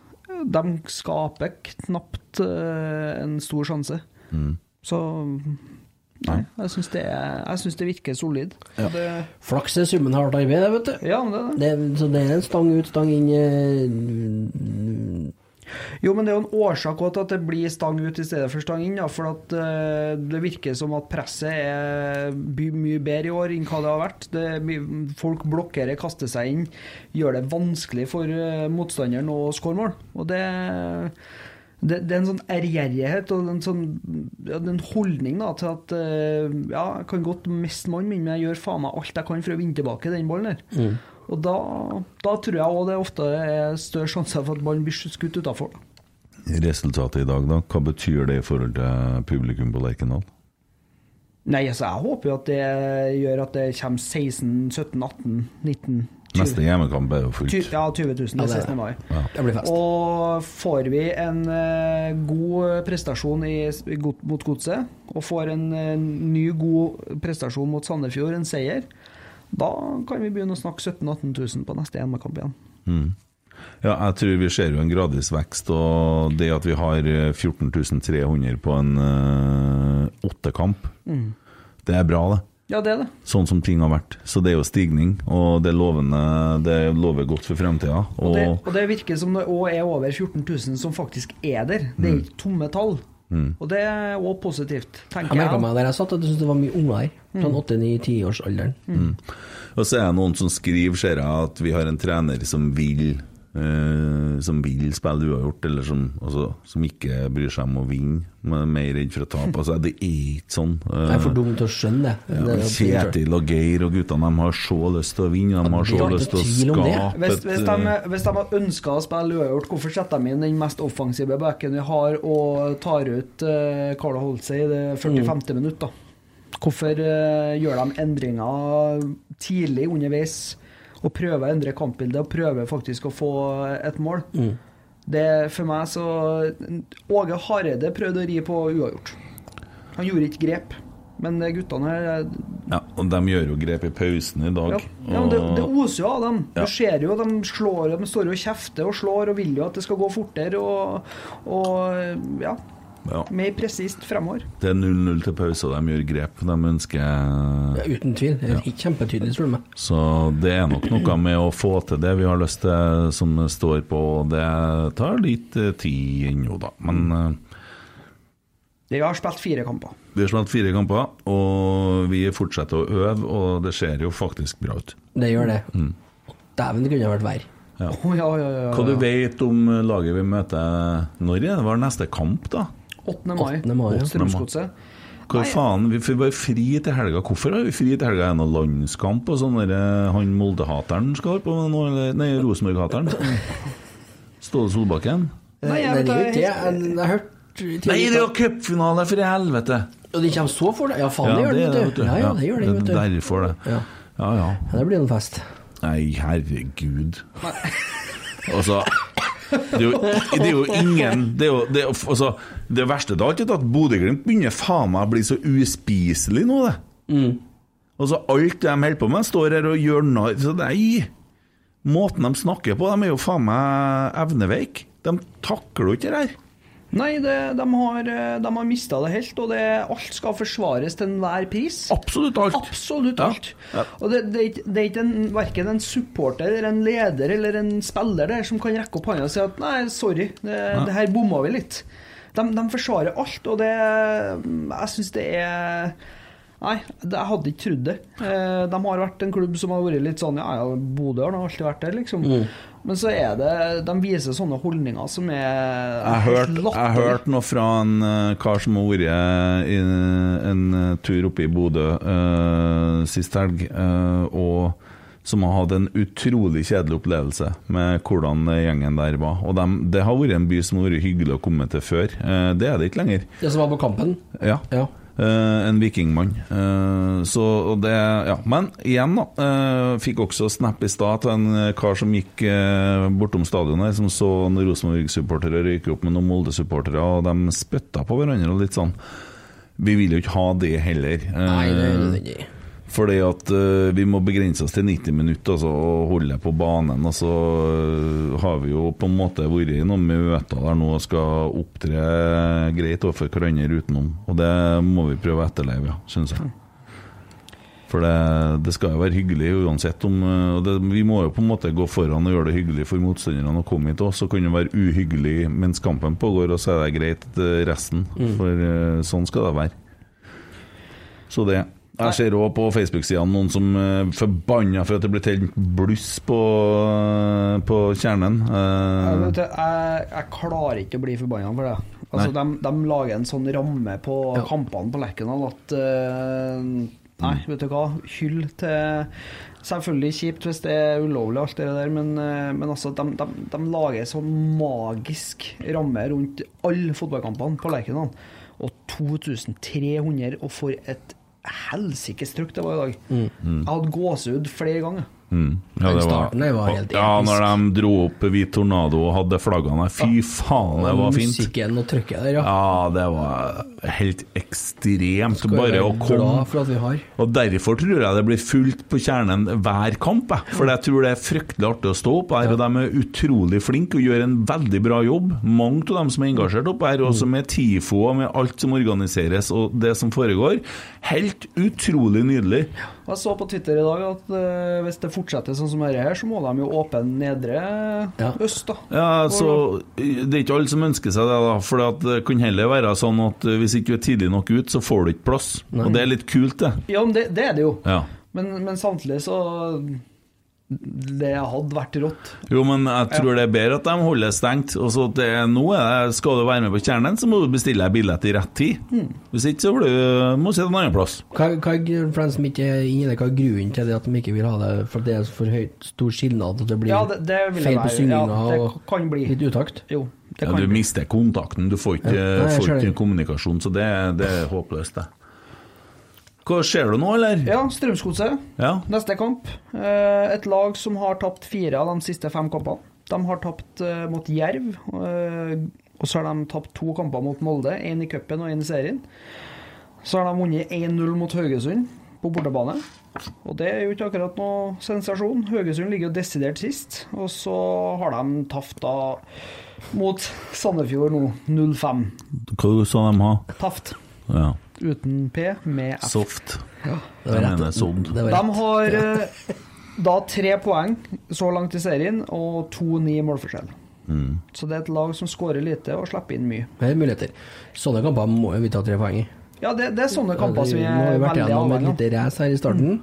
[SPEAKER 7] de skaper knapt eh, en stor sjanse. Så Nei, jeg syns det, er- jeg syns det virker solid. Ja. Det,
[SPEAKER 6] Flaks er summen av hardt arbeid, det, vet du.
[SPEAKER 7] ja, men det er det.
[SPEAKER 6] Det, så det er en stang ut, stang inn eh,
[SPEAKER 7] Jo, men det er jo en årsak også til at det blir stang ut i stedet for stang inn. Ja, for at eh, det virker som at presset er by- mye bedre i år enn hva det har vært. Det, er mye- folk blokkerer, kaster seg inn, gjør det vanskelig for eh, motstanderen å skåre mål. Og det, det, det er en sånn ærgjerrighet og en sånn ja, det er en holdning da, til at eh, ja, jeg kan godt miste mannen min, men jeg gjør faen meg alt jeg kan for å vinne tilbake den ballen der. Og da, da tror jeg òg det ofte er større sjanse for at ballen blir skutt utafor.
[SPEAKER 5] Resultatet i dag, da? Hva betyr det i forhold til publikum på Lerkendal?
[SPEAKER 7] Nei, altså, jeg håper jo at det gjør at det kommer 16 17 18 19 20
[SPEAKER 5] Neste hjemmekamp er jo
[SPEAKER 7] Ty-
[SPEAKER 5] fullt.
[SPEAKER 7] Ja,
[SPEAKER 6] Ja,
[SPEAKER 7] 20 000
[SPEAKER 6] det
[SPEAKER 7] den
[SPEAKER 6] er
[SPEAKER 7] 16. mai.
[SPEAKER 6] Det blir fest.
[SPEAKER 7] Og får vi en eh, god prestasjon i, god, mot Godset, og får en eh, ny god prestasjon mot Sandefjord, en seier, da kan vi begynne å snakke 17 000-18 000 på neste hjemmekamp igjen.
[SPEAKER 5] Ja, jeg tror vi ser jo en gradvis vekst, og det at vi har eh, 14.300 på en eh, åttekamp,
[SPEAKER 7] Mm.
[SPEAKER 5] det er bra, det.
[SPEAKER 7] Ja, det er det.
[SPEAKER 5] Sånn som ting har vært. Så det er jo stigning, og det er lovende, det lover godt for fremtida.
[SPEAKER 7] Og det,
[SPEAKER 5] Og
[SPEAKER 7] og det virker som det òg er over 14 000 som faktisk er der. Det er ikke tomme tall. Og det er òg positivt, tenker
[SPEAKER 6] Mm. Jeg merka
[SPEAKER 7] jeg.
[SPEAKER 6] meg der jeg satt, at jeg syntes det var mye unger her.
[SPEAKER 7] Mm.
[SPEAKER 6] Sånn 8-9-10-årsalderen.
[SPEAKER 5] Og så er det noen som skriver, ser jeg, at vi har en trener som vil eh, som vil spille uavgjort, eller som, altså, som ikke bryr seg om å vinne, men er mer redd for å tape. Altså, det er ikke sånn. Eh,
[SPEAKER 6] Jeg er for dum til å skjønne det. det. er
[SPEAKER 5] ja,
[SPEAKER 6] jo fint,
[SPEAKER 5] Kjetil og Geir og guttene de har så lyst til å vinne, de har
[SPEAKER 6] det
[SPEAKER 5] så
[SPEAKER 6] er ikke
[SPEAKER 5] lyst til å
[SPEAKER 6] tvil om det.
[SPEAKER 5] skape
[SPEAKER 7] Hvis, hvis,
[SPEAKER 5] et,
[SPEAKER 7] de,
[SPEAKER 5] eh,
[SPEAKER 7] hvis de har ønska å spille uavgjort, hvorfor setter de inn den mest offensive backen vi har, og tar ut eh, Carl Holse i det 45. minutt, da? Hvorfor eh, gjør de endringer tidlig underveis, og prøver å endre kampbildet, og prøver faktisk å få et mål? Det For meg så Åge Hareide prøvde å ri på uavgjort. Han gjorde ikke grep. Men guttene her
[SPEAKER 5] eh, ja, og de gjør jo grep i pausen i dag.
[SPEAKER 7] ja. ja, men det, det
[SPEAKER 5] og,
[SPEAKER 7] oser jo av dem.
[SPEAKER 5] Ja.
[SPEAKER 7] Du ser jo at de slår, de står jo og kjefter og slår og vil jo at det skal gå fortere og, og ja,
[SPEAKER 5] ja,
[SPEAKER 7] mer presist fremover.
[SPEAKER 5] det er 0-0 til pause, og de gjør grep. De ønsker
[SPEAKER 6] Ja, uten tvil. Det er ikke kjempetydelig, spør du meg.
[SPEAKER 5] Så det er nok noe med å få til det vi har lyst til, som står på. og Det tar litt eh, tid ennå, da. Men eh,
[SPEAKER 7] Det vi har spilt fire kamper.
[SPEAKER 5] vi har spilt fire kamper, og vi fortsetter å øve, og det ser jo faktisk bra ut.
[SPEAKER 6] Det gjør det.
[SPEAKER 5] Mm.
[SPEAKER 6] Dæven, det kunne ha vært verre.
[SPEAKER 7] Ja. ja, ja, ja,
[SPEAKER 5] Hva du vet om eh, laget vi møter Når er det var neste kamp, da?
[SPEAKER 7] 8. mai.
[SPEAKER 6] 8. mai, ja.
[SPEAKER 7] Strømsgodset.
[SPEAKER 5] Hva
[SPEAKER 7] Nei.
[SPEAKER 5] faen, Vi får bare fri til helga. Hvorfor har vi fri til helga? Er det noen landskamp og sånn der eh, han Molde-hateren skal holde på med nå? eller- Nei, Rosenborg-hateren. Ståle Solbakken.
[SPEAKER 7] Nei, jeg
[SPEAKER 6] Nei,
[SPEAKER 7] vet
[SPEAKER 6] det er jo
[SPEAKER 7] ikke.
[SPEAKER 6] ikke det. Jeg, jeg hørte
[SPEAKER 5] Nei, det er jo cupfinale, for i helvete!
[SPEAKER 6] Og de kommer så fort? Ja, faen, det gjør det, vet du. Ja, ja, det gjør det, vet du.
[SPEAKER 5] er derfor det.
[SPEAKER 6] Ja.
[SPEAKER 5] Ja, ja.
[SPEAKER 6] Ja, det blir en fest.
[SPEAKER 5] Nei, herregud. Altså det er, jo, det er jo ingen Det, er jo, det, er, jo- altså, det verste av alt er at Bodø-Glimt begynner faen meg å bli så uspiselig nå, det. Altså, alt de holder på med, står her og gjør narr Så nei! Måten de snakker på, de er jo faen meg evneveik. De takler jo ikke det her.
[SPEAKER 7] Nei, det, de har, eh, de har mista det helt, og det, alt skal forsvares til enhver pris.
[SPEAKER 5] Absolutt alt.
[SPEAKER 7] Absolutt
[SPEAKER 5] Ja.
[SPEAKER 7] alt.
[SPEAKER 5] Ja.
[SPEAKER 7] Og det, det, er ikke- det er ikke en, verken en supporter eller en leder eller en spiller der som kan rekke opp hånda og si at nei, sorry, det, det her bomma vi litt. De, de forsvarer alt, og det Jeg syns det er Nei, det, jeg hadde ikke trodd det. Eh, De har vært en klubb som har vært litt sånn Ja, ja, Bodø har nå alltid vært der, liksom.
[SPEAKER 5] Mm.
[SPEAKER 7] Men så er det De viser sånne holdninger som er
[SPEAKER 5] Jeg
[SPEAKER 7] helt
[SPEAKER 5] hørte jeg hørt noe fra en eh, kar som har vært i en eh, tur oppe i Bodø eh, sist helg, eh, og som har hatt en utrolig kjedelig opplevelse med hvordan eh, gjengen der var. Og dem- det har vært en by som har vært hyggelig å komme til før. Eh, det er det ikke lenger.
[SPEAKER 6] Det som var på kampen?
[SPEAKER 5] Ja.
[SPEAKER 6] Ja.
[SPEAKER 5] Eh, en vikingmann. Eh, så og det Ja. Men igjen, da. eh, fikk også snap i stad av en eh, kar som gikk eh, bortom stadionet, her, som så noen Rosenborg-supportere røyke opp med noen Molde-supportere, og de spytta på hverandre og litt sånn. Vi vil jo ikke ha det heller. Eh,
[SPEAKER 6] Nei, det er nødvendig.
[SPEAKER 5] fordi at eh, vi må begrense oss til 90 minutter altså, og holde på banen. Og så eh, har vi jo på en måte vært i noen møter der nå og skal opptre greit overfor hverandre utenom. Og det må vi prøve å etterleve, ja, syns jeg. For det, det skal jo være hyggelig uansett om eh, og det, Vi må jo på en måte gå foran og gjøre det hyggelig for motstanderne å komme hit òg. Så kan det være uhyggelig mens kampen pågår, og så er det greit eh, resten.
[SPEAKER 6] Mm.
[SPEAKER 5] For eh, sånn skal det være. Så det. Jeg ser òg på Facebook-sidene noen som er forbanna for at det blir tent bluss på, eh, på kjernen.
[SPEAKER 7] Jeg,
[SPEAKER 5] Eh,
[SPEAKER 7] vet, du, jeg, jeg klarer ikke å bli forbanna for det. Altså, de, de lager en sånn ramme på kampene på Lerkendal at eh, Nei, vet du hva. Hyll til Selvfølgelig kjipt hvis det er ulovlig, alt det der, men, eh, men altså, de, de, de lager sånn magisk ramme rundt alle fotballkampene på Lerkendal. Og 2300, og for et helsikes trykk det var i dag. Jeg hadde gåsehud flere ganger.
[SPEAKER 5] mm. Ja,
[SPEAKER 6] Den
[SPEAKER 5] det var,
[SPEAKER 6] starten der var helt
[SPEAKER 5] ja,
[SPEAKER 6] episk.
[SPEAKER 5] når de dro opp Hvit Tornado og hadde flaggene der. Fy faen, det var fint.
[SPEAKER 6] Musikken og trykket der, ja.
[SPEAKER 5] Ja, det var helt ekstremt.
[SPEAKER 6] Skal jeg
[SPEAKER 5] Bare å
[SPEAKER 6] være
[SPEAKER 5] komme
[SPEAKER 6] Glad for at vi har.
[SPEAKER 5] Og derfor tror jeg det blir fullt på kjernen hver kamp. jeg. For jeg tror det er fryktelig artig å stå opp her, og de er utrolig flinke og gjør en veldig bra jobb. Mange av dem som er engasjert opp her, også med TIFO og med alt som organiseres og det som foregår. Helt utrolig nydelig.
[SPEAKER 7] Jeg så på Twitter i dag at eh, hvis det fortsetter sånn som dette her, så må de jo åpne nedre
[SPEAKER 6] Ja.
[SPEAKER 7] øst, da.
[SPEAKER 5] Ja, så Det er ikke alle som ønsker seg det, da. For at det kan heller være sånn at hvis ikke du er tidlig nok ut, så får du ikke plass. Og det er litt kult, det.
[SPEAKER 7] Ja, men det, det er det jo.
[SPEAKER 5] Ja.
[SPEAKER 7] Men, men samtidig så Det hadde vært rått.
[SPEAKER 5] Jo, men jeg tror det er bedre at de holder stengt. Og så at det er nå er det, Skal du være med på kjernen, så må du bestille deg billett i rett tid. Hvis ikke, så får du, må du sitte en annen plass.
[SPEAKER 6] Hva, hva, er- for dem som ikke er inne i det, hva er grunnen til det at de ikke vil ha det? For det er for høyt, stor skilnad, og det blir
[SPEAKER 7] Ja, det, det vil
[SPEAKER 6] feil på
[SPEAKER 7] jeg være. Ja,
[SPEAKER 6] synginga
[SPEAKER 7] det
[SPEAKER 6] og
[SPEAKER 7] kan bli.
[SPEAKER 6] litt utakt?
[SPEAKER 7] Jo, det
[SPEAKER 5] Ja,
[SPEAKER 7] kan
[SPEAKER 5] du
[SPEAKER 7] bli.
[SPEAKER 5] mister kontakten, du får ikke,
[SPEAKER 6] Ja. Nei, jeg
[SPEAKER 5] får
[SPEAKER 6] ser
[SPEAKER 5] ikke
[SPEAKER 6] det.
[SPEAKER 5] kommunikasjon, så det, det er håpløst, det. Hva skjer det nå, eller?
[SPEAKER 7] Ja, Strømsgodset.
[SPEAKER 5] Ja.
[SPEAKER 7] Neste kamp. Eh, Et lag som har tapt fire av de siste fem kampene. De har tapt eh, mot Jerv, eh, og så har de tapt to kamper mot Molde. Én i cupen og én i serien. Så har de vunnet 1-0 mot Haugesund på bortebane. Og det er jo ikke akkurat noe sensasjon. Haugesund ligger jo desidert sist. Og så har de tapt da mot Sandefjord nå, 0-5.
[SPEAKER 5] Hva sa de ha?
[SPEAKER 7] Tapt.
[SPEAKER 5] Ja.
[SPEAKER 7] Uten P, med F.
[SPEAKER 5] Soft.
[SPEAKER 6] var
[SPEAKER 5] Jeg
[SPEAKER 6] rett.
[SPEAKER 5] mener sånn.
[SPEAKER 6] Det var
[SPEAKER 7] De
[SPEAKER 6] rett.
[SPEAKER 7] har eh, da tre poeng så langt i serien og 2-9 i målforskjell.
[SPEAKER 5] Mm.
[SPEAKER 7] Så det er et lag som skårer lite og slipper inn mye.
[SPEAKER 6] Det er muligheter. Sånne kamper må jo vi ta tre poeng i.
[SPEAKER 7] Ja, det, det er sånne kamper som
[SPEAKER 6] Nå
[SPEAKER 7] vi
[SPEAKER 6] har
[SPEAKER 7] er
[SPEAKER 6] vi vært
[SPEAKER 7] veldig
[SPEAKER 6] igjennom et
[SPEAKER 7] avhengig av.
[SPEAKER 6] lite race her i starten.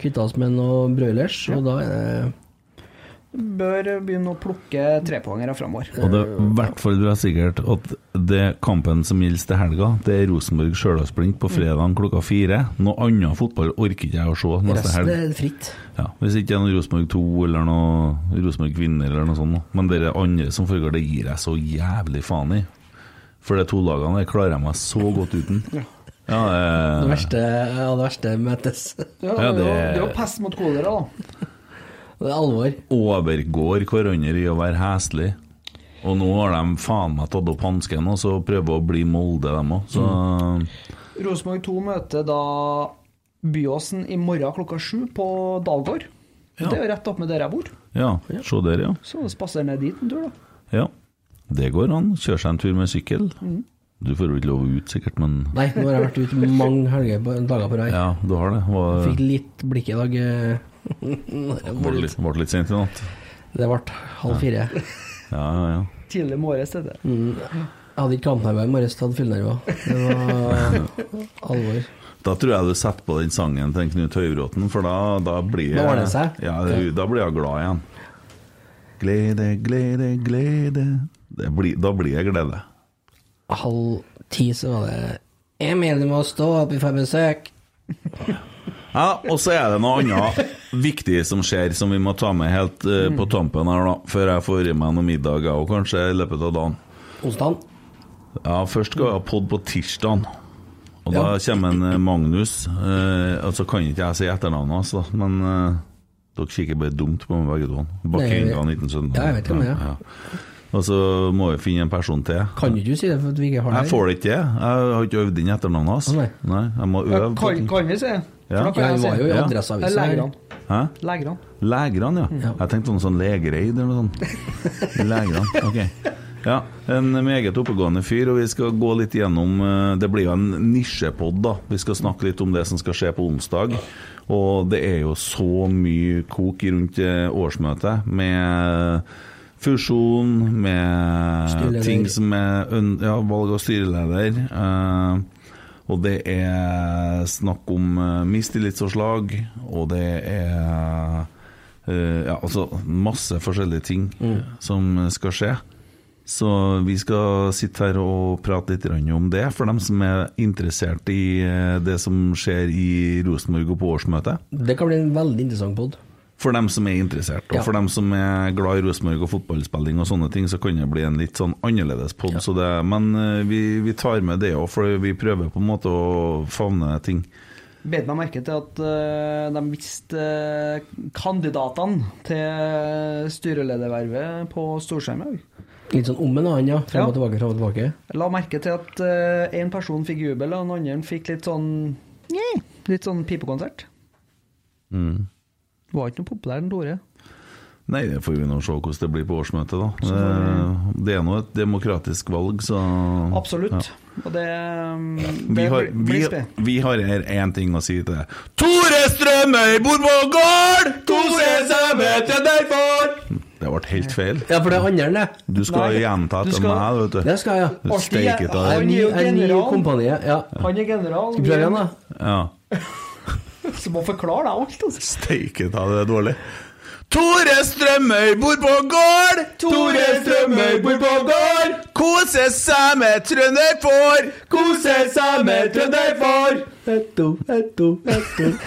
[SPEAKER 6] Kvitta oss med noe broilers, og da er det
[SPEAKER 7] Bør begynne å plukke trepoengere framover.
[SPEAKER 5] Og det i hvert fall du er sikkert at det kampen som gjelder til helga, det er Rosenborg-Stjørdals-Blink
[SPEAKER 6] Mm.
[SPEAKER 5] på fredag klokka fire. Noe annet fotball orker ikke jeg å se neste
[SPEAKER 6] resten
[SPEAKER 5] helg.
[SPEAKER 6] er fritt.
[SPEAKER 5] Ja, hvis ikke det er noe Rosenborg 2 eller noe Rosenborg kvinner eller noe sånt. da. Men det andre som foregår, det gir jeg så jævlig faen i. For de to lagene der klarer jeg meg så godt uten. Ja,
[SPEAKER 6] Det
[SPEAKER 5] eh,
[SPEAKER 6] verste, ja, det verste møtes. Det
[SPEAKER 5] Ja,
[SPEAKER 7] Ja, det, er jo-
[SPEAKER 5] det-
[SPEAKER 7] det er jo pest mot kolera, da.
[SPEAKER 6] er alvor.
[SPEAKER 5] overgår hverandre i å være heslig. Og nå har de faen meg tatt opp hansken og så prøver å bli Molde, dem òg. Så
[SPEAKER 6] Mm.
[SPEAKER 7] Rosenborg 2 møter da Byåsen i morgen klokka sju på Dalgård.
[SPEAKER 5] Ja.
[SPEAKER 7] Det er jo rett opp med der jeg bor,
[SPEAKER 5] ja, se der, ja.
[SPEAKER 7] så spaserer ned dit en tur, da.
[SPEAKER 5] Ja, det går an. Kjøre seg en tur med sykkel.
[SPEAKER 6] Mm.
[SPEAKER 5] Du får jo ikke lov ut, sikkert, men
[SPEAKER 6] Nei, nå har jeg vært ute mange helger på, dager på rad.
[SPEAKER 5] Ja, du har det. Var,
[SPEAKER 6] Fikk litt blikk i dag. eh,
[SPEAKER 5] var, litt, var litt sent i natt.
[SPEAKER 6] Det ble halv fire.
[SPEAKER 5] Ja, ja, ja.
[SPEAKER 7] Tidlig morges er det.
[SPEAKER 6] Jeg hadde ikke kampnerver i morges, jeg hadde fyllenerver. Det var alvor.
[SPEAKER 5] Da tror jeg du setter på den sangen til Knut Høybråten, for da, da blir
[SPEAKER 6] Da ordner det seg.
[SPEAKER 5] Ja, da blir jeg glad igjen. Glede, glede, glede det blir, Da blir jeg glede.
[SPEAKER 6] Halv ti så var det Jeg mener du må stå opp i fem besøk.
[SPEAKER 5] Ja, og så er det noe annet viktig som skjer, som vi må ta med helt eh,
[SPEAKER 6] Mm.
[SPEAKER 5] på tampen her, da. Før jeg får i meg noe middag, jeg òg, kanskje, i løpet av dagen.
[SPEAKER 6] Onsdag.
[SPEAKER 5] Ja, først skal jeg ha podd på tirsdagen. Og da kommer en eh, Magnus. Eh, altså kan ikke jeg si etternavnet hans, da, men eh, dere kikker bare dumt på meg begge to. Bakenga
[SPEAKER 6] Nei,
[SPEAKER 5] 1917.
[SPEAKER 6] Ja, jeg vet hvem det er.
[SPEAKER 5] Og så må vi finne en person til.
[SPEAKER 6] Kan du ikke si det for at vi ikke har
[SPEAKER 5] Jeg
[SPEAKER 6] det? her?
[SPEAKER 5] får det ikke til. Jeg har ikke øvd inn etternavnet hans.
[SPEAKER 6] Å, nei.
[SPEAKER 5] jeg må øve.
[SPEAKER 7] Ja, Kan, kan vi si det? For
[SPEAKER 5] Ja.
[SPEAKER 7] da kan
[SPEAKER 6] Ja, vi
[SPEAKER 7] jeg si
[SPEAKER 6] var jo i
[SPEAKER 7] det.
[SPEAKER 5] Ja.
[SPEAKER 7] Det er
[SPEAKER 6] Adresseavisa. her.
[SPEAKER 7] Legerne.
[SPEAKER 5] Hæ?
[SPEAKER 7] Legerne.
[SPEAKER 5] Legerne, ja. Jeg tenkte noe sånn legereid eller noe sånt. Legerne, ok. Ja, en meget oppegående fyr, og vi skal gå litt gjennom eh, Det blir jo en nisjepod, da. Vi skal snakke litt om det som skal skje på onsdag. Og det er jo så mye kok rundt eh, årsmøtet med eh, fusjon, med
[SPEAKER 6] Styreleder.
[SPEAKER 5] ting som er øn- ja, valg av styreleder. eh, og det er snakk om eh, mistillitsforslag, og det er eh, ja, altså masse forskjellige ting som skal skje. Så vi skal sitte her og prate litt grann om det, for dem som er interessert i eh, det som skjer i Rosenborg og på årsmøtet.
[SPEAKER 6] Det kan bli en veldig interessant pod.
[SPEAKER 5] For dem som er interessert, og
[SPEAKER 6] Ja.
[SPEAKER 5] for dem som er glad i Rosenborg og fotballspilling og sånne ting, så kan det bli en litt sånn annerledes pod. Så det, men eh, vi, vi tar med det òg, for vi prøver på en måte å favne ting.
[SPEAKER 7] Bet meg merke til at eh, de viste eh, kandidatene til styreledervervet på storskjerm i dag.
[SPEAKER 6] Litt sånn om en annen, ja. Frem og
[SPEAKER 7] Ja.
[SPEAKER 6] tilbake, frem og tilbake.
[SPEAKER 7] Jeg La merke til at én person fikk jubel, og den andre fikk litt sånn Njei, Litt sånn pipekonsert. Mm. Var ikke noe populær den Tore.
[SPEAKER 5] Nei, det får vi nå se hvordan det blir på årsmøtet, da. Det, det er nå et demokratisk valg, så
[SPEAKER 7] Absolutt. Og det, um,
[SPEAKER 5] Vi
[SPEAKER 7] det
[SPEAKER 5] har,
[SPEAKER 7] blir-
[SPEAKER 5] vi,
[SPEAKER 7] blir spe-
[SPEAKER 5] vi har her én ting å si til deg. Tore Strømøy bor på gård! Tore Strømøy til derfor! Det ble helt feil.
[SPEAKER 6] Ja, for det er andre, det.
[SPEAKER 5] Du skal
[SPEAKER 7] Mm. Nei,
[SPEAKER 5] gjenta
[SPEAKER 7] du
[SPEAKER 5] etter
[SPEAKER 7] skal-
[SPEAKER 5] meg, vet du.
[SPEAKER 6] Det skal jeg.
[SPEAKER 5] Du steiker
[SPEAKER 7] Alltid-
[SPEAKER 5] av.
[SPEAKER 6] En ny, en ny
[SPEAKER 7] general.
[SPEAKER 6] kompani, ja.
[SPEAKER 7] Han er general.
[SPEAKER 6] Skal vi prøve igjen, da?
[SPEAKER 5] Ja.
[SPEAKER 7] Så må forklare deg alt, altså.
[SPEAKER 5] Steiket av, det er dårlig. Tore Strømøy bor på gård! Tore Strømøy bor på gård! Kose seg med trønderfår! Kose seg med trønderfår!
[SPEAKER 6] Etto, etto, etto.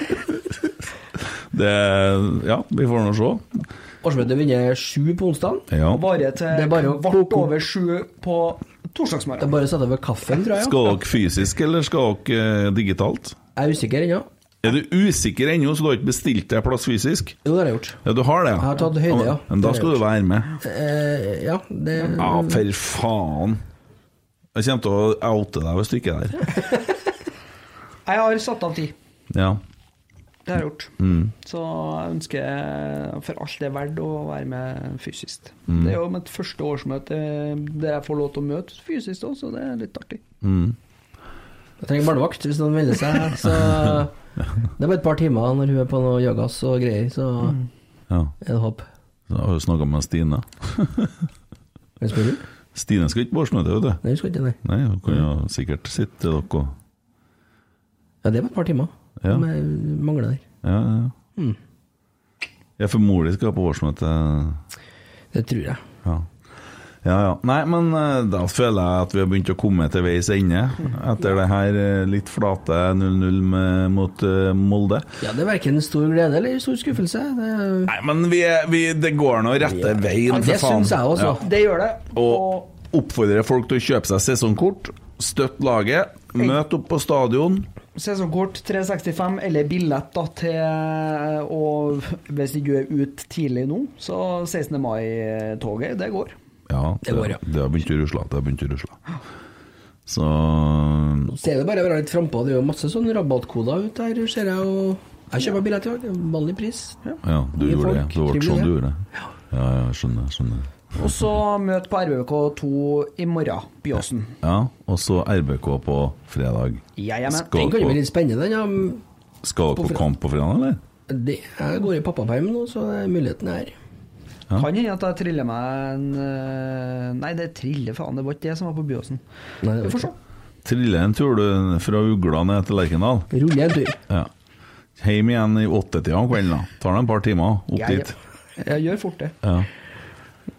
[SPEAKER 5] Det Ja, vi får nå se.
[SPEAKER 6] Årsmøtet begynner sju på onsdag.
[SPEAKER 5] Ja.
[SPEAKER 7] Bare
[SPEAKER 6] Det
[SPEAKER 7] til
[SPEAKER 6] er bare å
[SPEAKER 7] kvart
[SPEAKER 6] koke.
[SPEAKER 7] over sju på
[SPEAKER 6] Det
[SPEAKER 7] torsdagsmorgen.
[SPEAKER 6] er bare å sette over kaffen, tror jeg.
[SPEAKER 5] Skal dere fysisk, eller skal dere eh, digitalt?
[SPEAKER 6] Jeg er usikker ennå.
[SPEAKER 5] Er du usikker ennå, så du har ikke bestilt deg plass fysisk?
[SPEAKER 6] Jo, det har jeg gjort.
[SPEAKER 5] Ja, du har det, ja?
[SPEAKER 6] Jeg har tatt høyde, ja.
[SPEAKER 5] Men da skal du være med.
[SPEAKER 6] Eh, ja, det
[SPEAKER 5] Ja, for faen. Jeg kommer til å oute deg hvis du ikke er der.
[SPEAKER 7] Jeg har satt av tid.
[SPEAKER 5] Ja.
[SPEAKER 7] Det har jeg gjort. Så jeg ønsker for alt det er verdt å være med fysisk. Det er jo mitt første årsmøte der jeg får lov til å møte fysisk òg, så det er litt artig.
[SPEAKER 6] Jeg trenger barnevakt hvis noen melder seg. Så det er bare et par timer når hun er på noe yogas og greier, så
[SPEAKER 5] ja.
[SPEAKER 6] er det håp.
[SPEAKER 5] Så har du snakka med Stine.
[SPEAKER 6] Hvem spør du?
[SPEAKER 5] Stine skal ikke på årsmøte, vet du.
[SPEAKER 6] Nei, husker ikke, nei.
[SPEAKER 5] Nei, hun kan jo sikkert sitte til dere og
[SPEAKER 6] Ja, det var et par timer.
[SPEAKER 5] Ja.
[SPEAKER 6] Som jeg mangler der.
[SPEAKER 5] Ja, ja.
[SPEAKER 6] Mm.
[SPEAKER 5] Ja, for mor di skal på årsmøte.
[SPEAKER 6] Det tror jeg.
[SPEAKER 5] Ja. Ja, ja. Nei, men eh, da føler jeg at vi har begynt å komme til veis ende etter det her eh, litt flate 0-0 med- mot eh, Molde.
[SPEAKER 6] Ja, det er verken stor glede eller stor skuffelse. Det, er-
[SPEAKER 5] Nei, men vi, er- vi, det går nå rette
[SPEAKER 6] ja,
[SPEAKER 5] veien,
[SPEAKER 6] det
[SPEAKER 5] for faen.
[SPEAKER 6] syns jeg også.
[SPEAKER 5] Ja.
[SPEAKER 7] Det gjør det. Og
[SPEAKER 5] Og oppfordre folk til å kjøpe seg sesongkort, støtt laget, møt opp på stadion.
[SPEAKER 7] sesongkort 365 eller billett da, til Og hvis ikke du er ute tidlig nå, så 16. mai-toget, det går.
[SPEAKER 5] Ja,
[SPEAKER 6] Det går, ja.
[SPEAKER 5] det har begynt å rusle. Det har begynt å rusle. Så
[SPEAKER 6] Så er det bare å være litt frampå. Det er jo masse sånne rabattkoder ute her, ser jeg. Og jeg kjøper billett i dag. det er Vanlig pris.
[SPEAKER 5] Ja, du gjorde det.
[SPEAKER 6] Mye folk,
[SPEAKER 5] Det ble
[SPEAKER 6] trivelig,
[SPEAKER 5] sånn du
[SPEAKER 6] det.
[SPEAKER 5] gjorde det. Ja, ja, skjønner. skjønner.
[SPEAKER 7] Og så møt på RBK2 i morgen, Byåsen.
[SPEAKER 5] Ja, og så RBK på fredag.
[SPEAKER 7] Ja, ja, men-
[SPEAKER 6] Den
[SPEAKER 5] Skal
[SPEAKER 6] kan jo være
[SPEAKER 5] dere
[SPEAKER 6] litt spennende, den. Ja.
[SPEAKER 5] på- skal dere på kamp på fredag, eller?
[SPEAKER 6] Det, jeg går i pappaperm nå, så det er muligheten er her.
[SPEAKER 7] Kan hende at jeg triller meg en eh, Nei, det triller faen, det var ikke det som var på Byåsen.
[SPEAKER 6] Nei, det
[SPEAKER 7] Vi
[SPEAKER 6] var
[SPEAKER 7] får se.
[SPEAKER 6] ikke.
[SPEAKER 5] Trille en tur du, fra Ugla ned til Lerkendal.
[SPEAKER 6] Rulle en tur.
[SPEAKER 5] Ja. Hjem igjen i åttetida om kvelden. da. Tar det et par timer opp
[SPEAKER 7] Jeg-
[SPEAKER 5] dit.
[SPEAKER 7] Jeg gjør fort det.
[SPEAKER 5] Ja.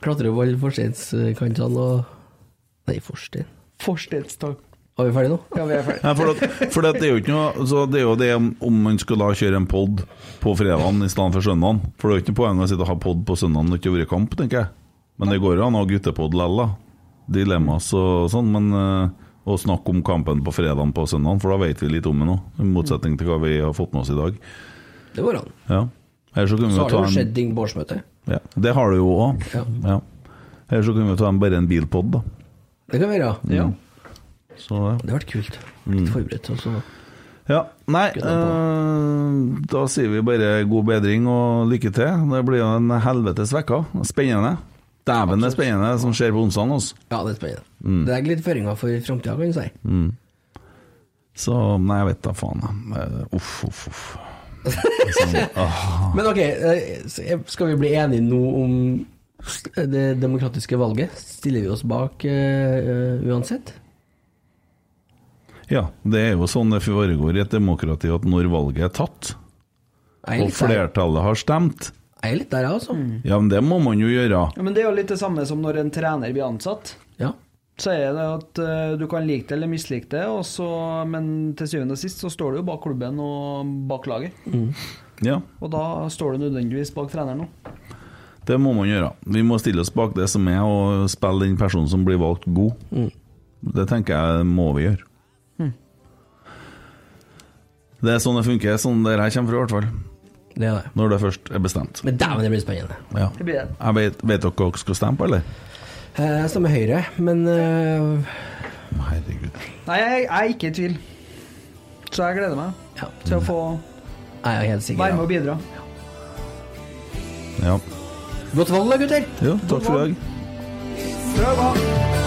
[SPEAKER 6] Klatre opp alle forsteinskantene og Nei, forstein.
[SPEAKER 7] Forstedstak.
[SPEAKER 6] Er vi ferdige nå?
[SPEAKER 7] Ja, vi er ferdig.
[SPEAKER 5] Nei, for at, for at det er jo ikke noe Så det er jo det om- om man skulle da kjøre en pod på fredagen i stedet for søndagen. For det er jo ikke noe poeng å sitte og ha pod på søndagen når det ikke har vært kamp, tenker jeg. Men det går jo an å ha guttepod likevel, da. Dilemmas og sånn. Men eh, å snakke om kampen på fredagen på søndagen, for da vet vi litt om det nå. I motsetning til hva vi har fått med oss i dag.
[SPEAKER 6] Det går an.
[SPEAKER 5] Ja. Ellers så kunne vi
[SPEAKER 6] Så
[SPEAKER 5] jo
[SPEAKER 6] har det
[SPEAKER 5] ta
[SPEAKER 6] jo
[SPEAKER 5] en
[SPEAKER 6] skjedd ting på årsmøtet.
[SPEAKER 5] ja, Det har det jo òg.
[SPEAKER 6] Ja.
[SPEAKER 5] Ja. Ellers så kunne vi jo ta en, bare en bilpod, da.
[SPEAKER 6] Det kan være. Ja.
[SPEAKER 5] Så ja.
[SPEAKER 6] Det har vært kult. Litt forberedt. altså. Og så
[SPEAKER 5] Ja, nei
[SPEAKER 6] Ikke
[SPEAKER 5] eh,
[SPEAKER 6] noe
[SPEAKER 5] Da sier vi bare god bedring og lykke til. Det blir jo en helvetes vekka. Spennende. Dæven det er spennende som skjer på onsdag. Altså.
[SPEAKER 6] Ja, det er spennende. Det legger litt føringer for framtida, kan du si.
[SPEAKER 5] Så nei, jeg vet da faen. jeg. Eh, Uff, uff, uff.
[SPEAKER 6] Men ok, eh, skal vi bli enige nå om det demokratiske valget? Stiller vi oss bak eh, uansett?
[SPEAKER 5] Ja, det er jo sånn det foregår i et demokrati at når valget er tatt,
[SPEAKER 6] Jeg er
[SPEAKER 5] og
[SPEAKER 6] litt der.
[SPEAKER 5] flertallet har stemt,
[SPEAKER 6] Jeg er litt der, jeg, altså.
[SPEAKER 5] Ja, men det må man jo gjøre.
[SPEAKER 7] Ja, men det er jo litt det samme som når en trener blir ansatt.
[SPEAKER 6] Ja.
[SPEAKER 7] Så er det at eh, du kan like det eller mislike det, og så- men til syvende og sist så står du jo bak klubben og bak laget.
[SPEAKER 5] Ja,
[SPEAKER 7] Og da står du nødvendigvis bak treneren òg.
[SPEAKER 5] det må man gjøre. Vi må stille oss bak det som er, og spille den personen som blir valgt god. Det tenker jeg må vi gjøre. Det er sånn det funker, sånn der jeg kommer fra i hvert fall.
[SPEAKER 6] Det er det.
[SPEAKER 5] Når det først er bestemt.
[SPEAKER 6] Men dæven, det blir spennende.
[SPEAKER 5] Ja.
[SPEAKER 7] Det blir det.
[SPEAKER 5] Jeg vet, vet dere hva dere skal stemme på, eller?
[SPEAKER 6] Eh, Jeg stemmer Høyre, men eh,
[SPEAKER 5] Herregud.
[SPEAKER 7] Nei, jeg, jeg er ikke i tvil. Så jeg gleder meg
[SPEAKER 6] ja,
[SPEAKER 7] til å få
[SPEAKER 6] jeg er helt sikker.
[SPEAKER 7] være med
[SPEAKER 6] Ja.
[SPEAKER 7] og bidra.
[SPEAKER 5] Ja.
[SPEAKER 6] Godt valg da, gutter!
[SPEAKER 5] Jo, takk for i dag.
[SPEAKER 7] Prøv, da!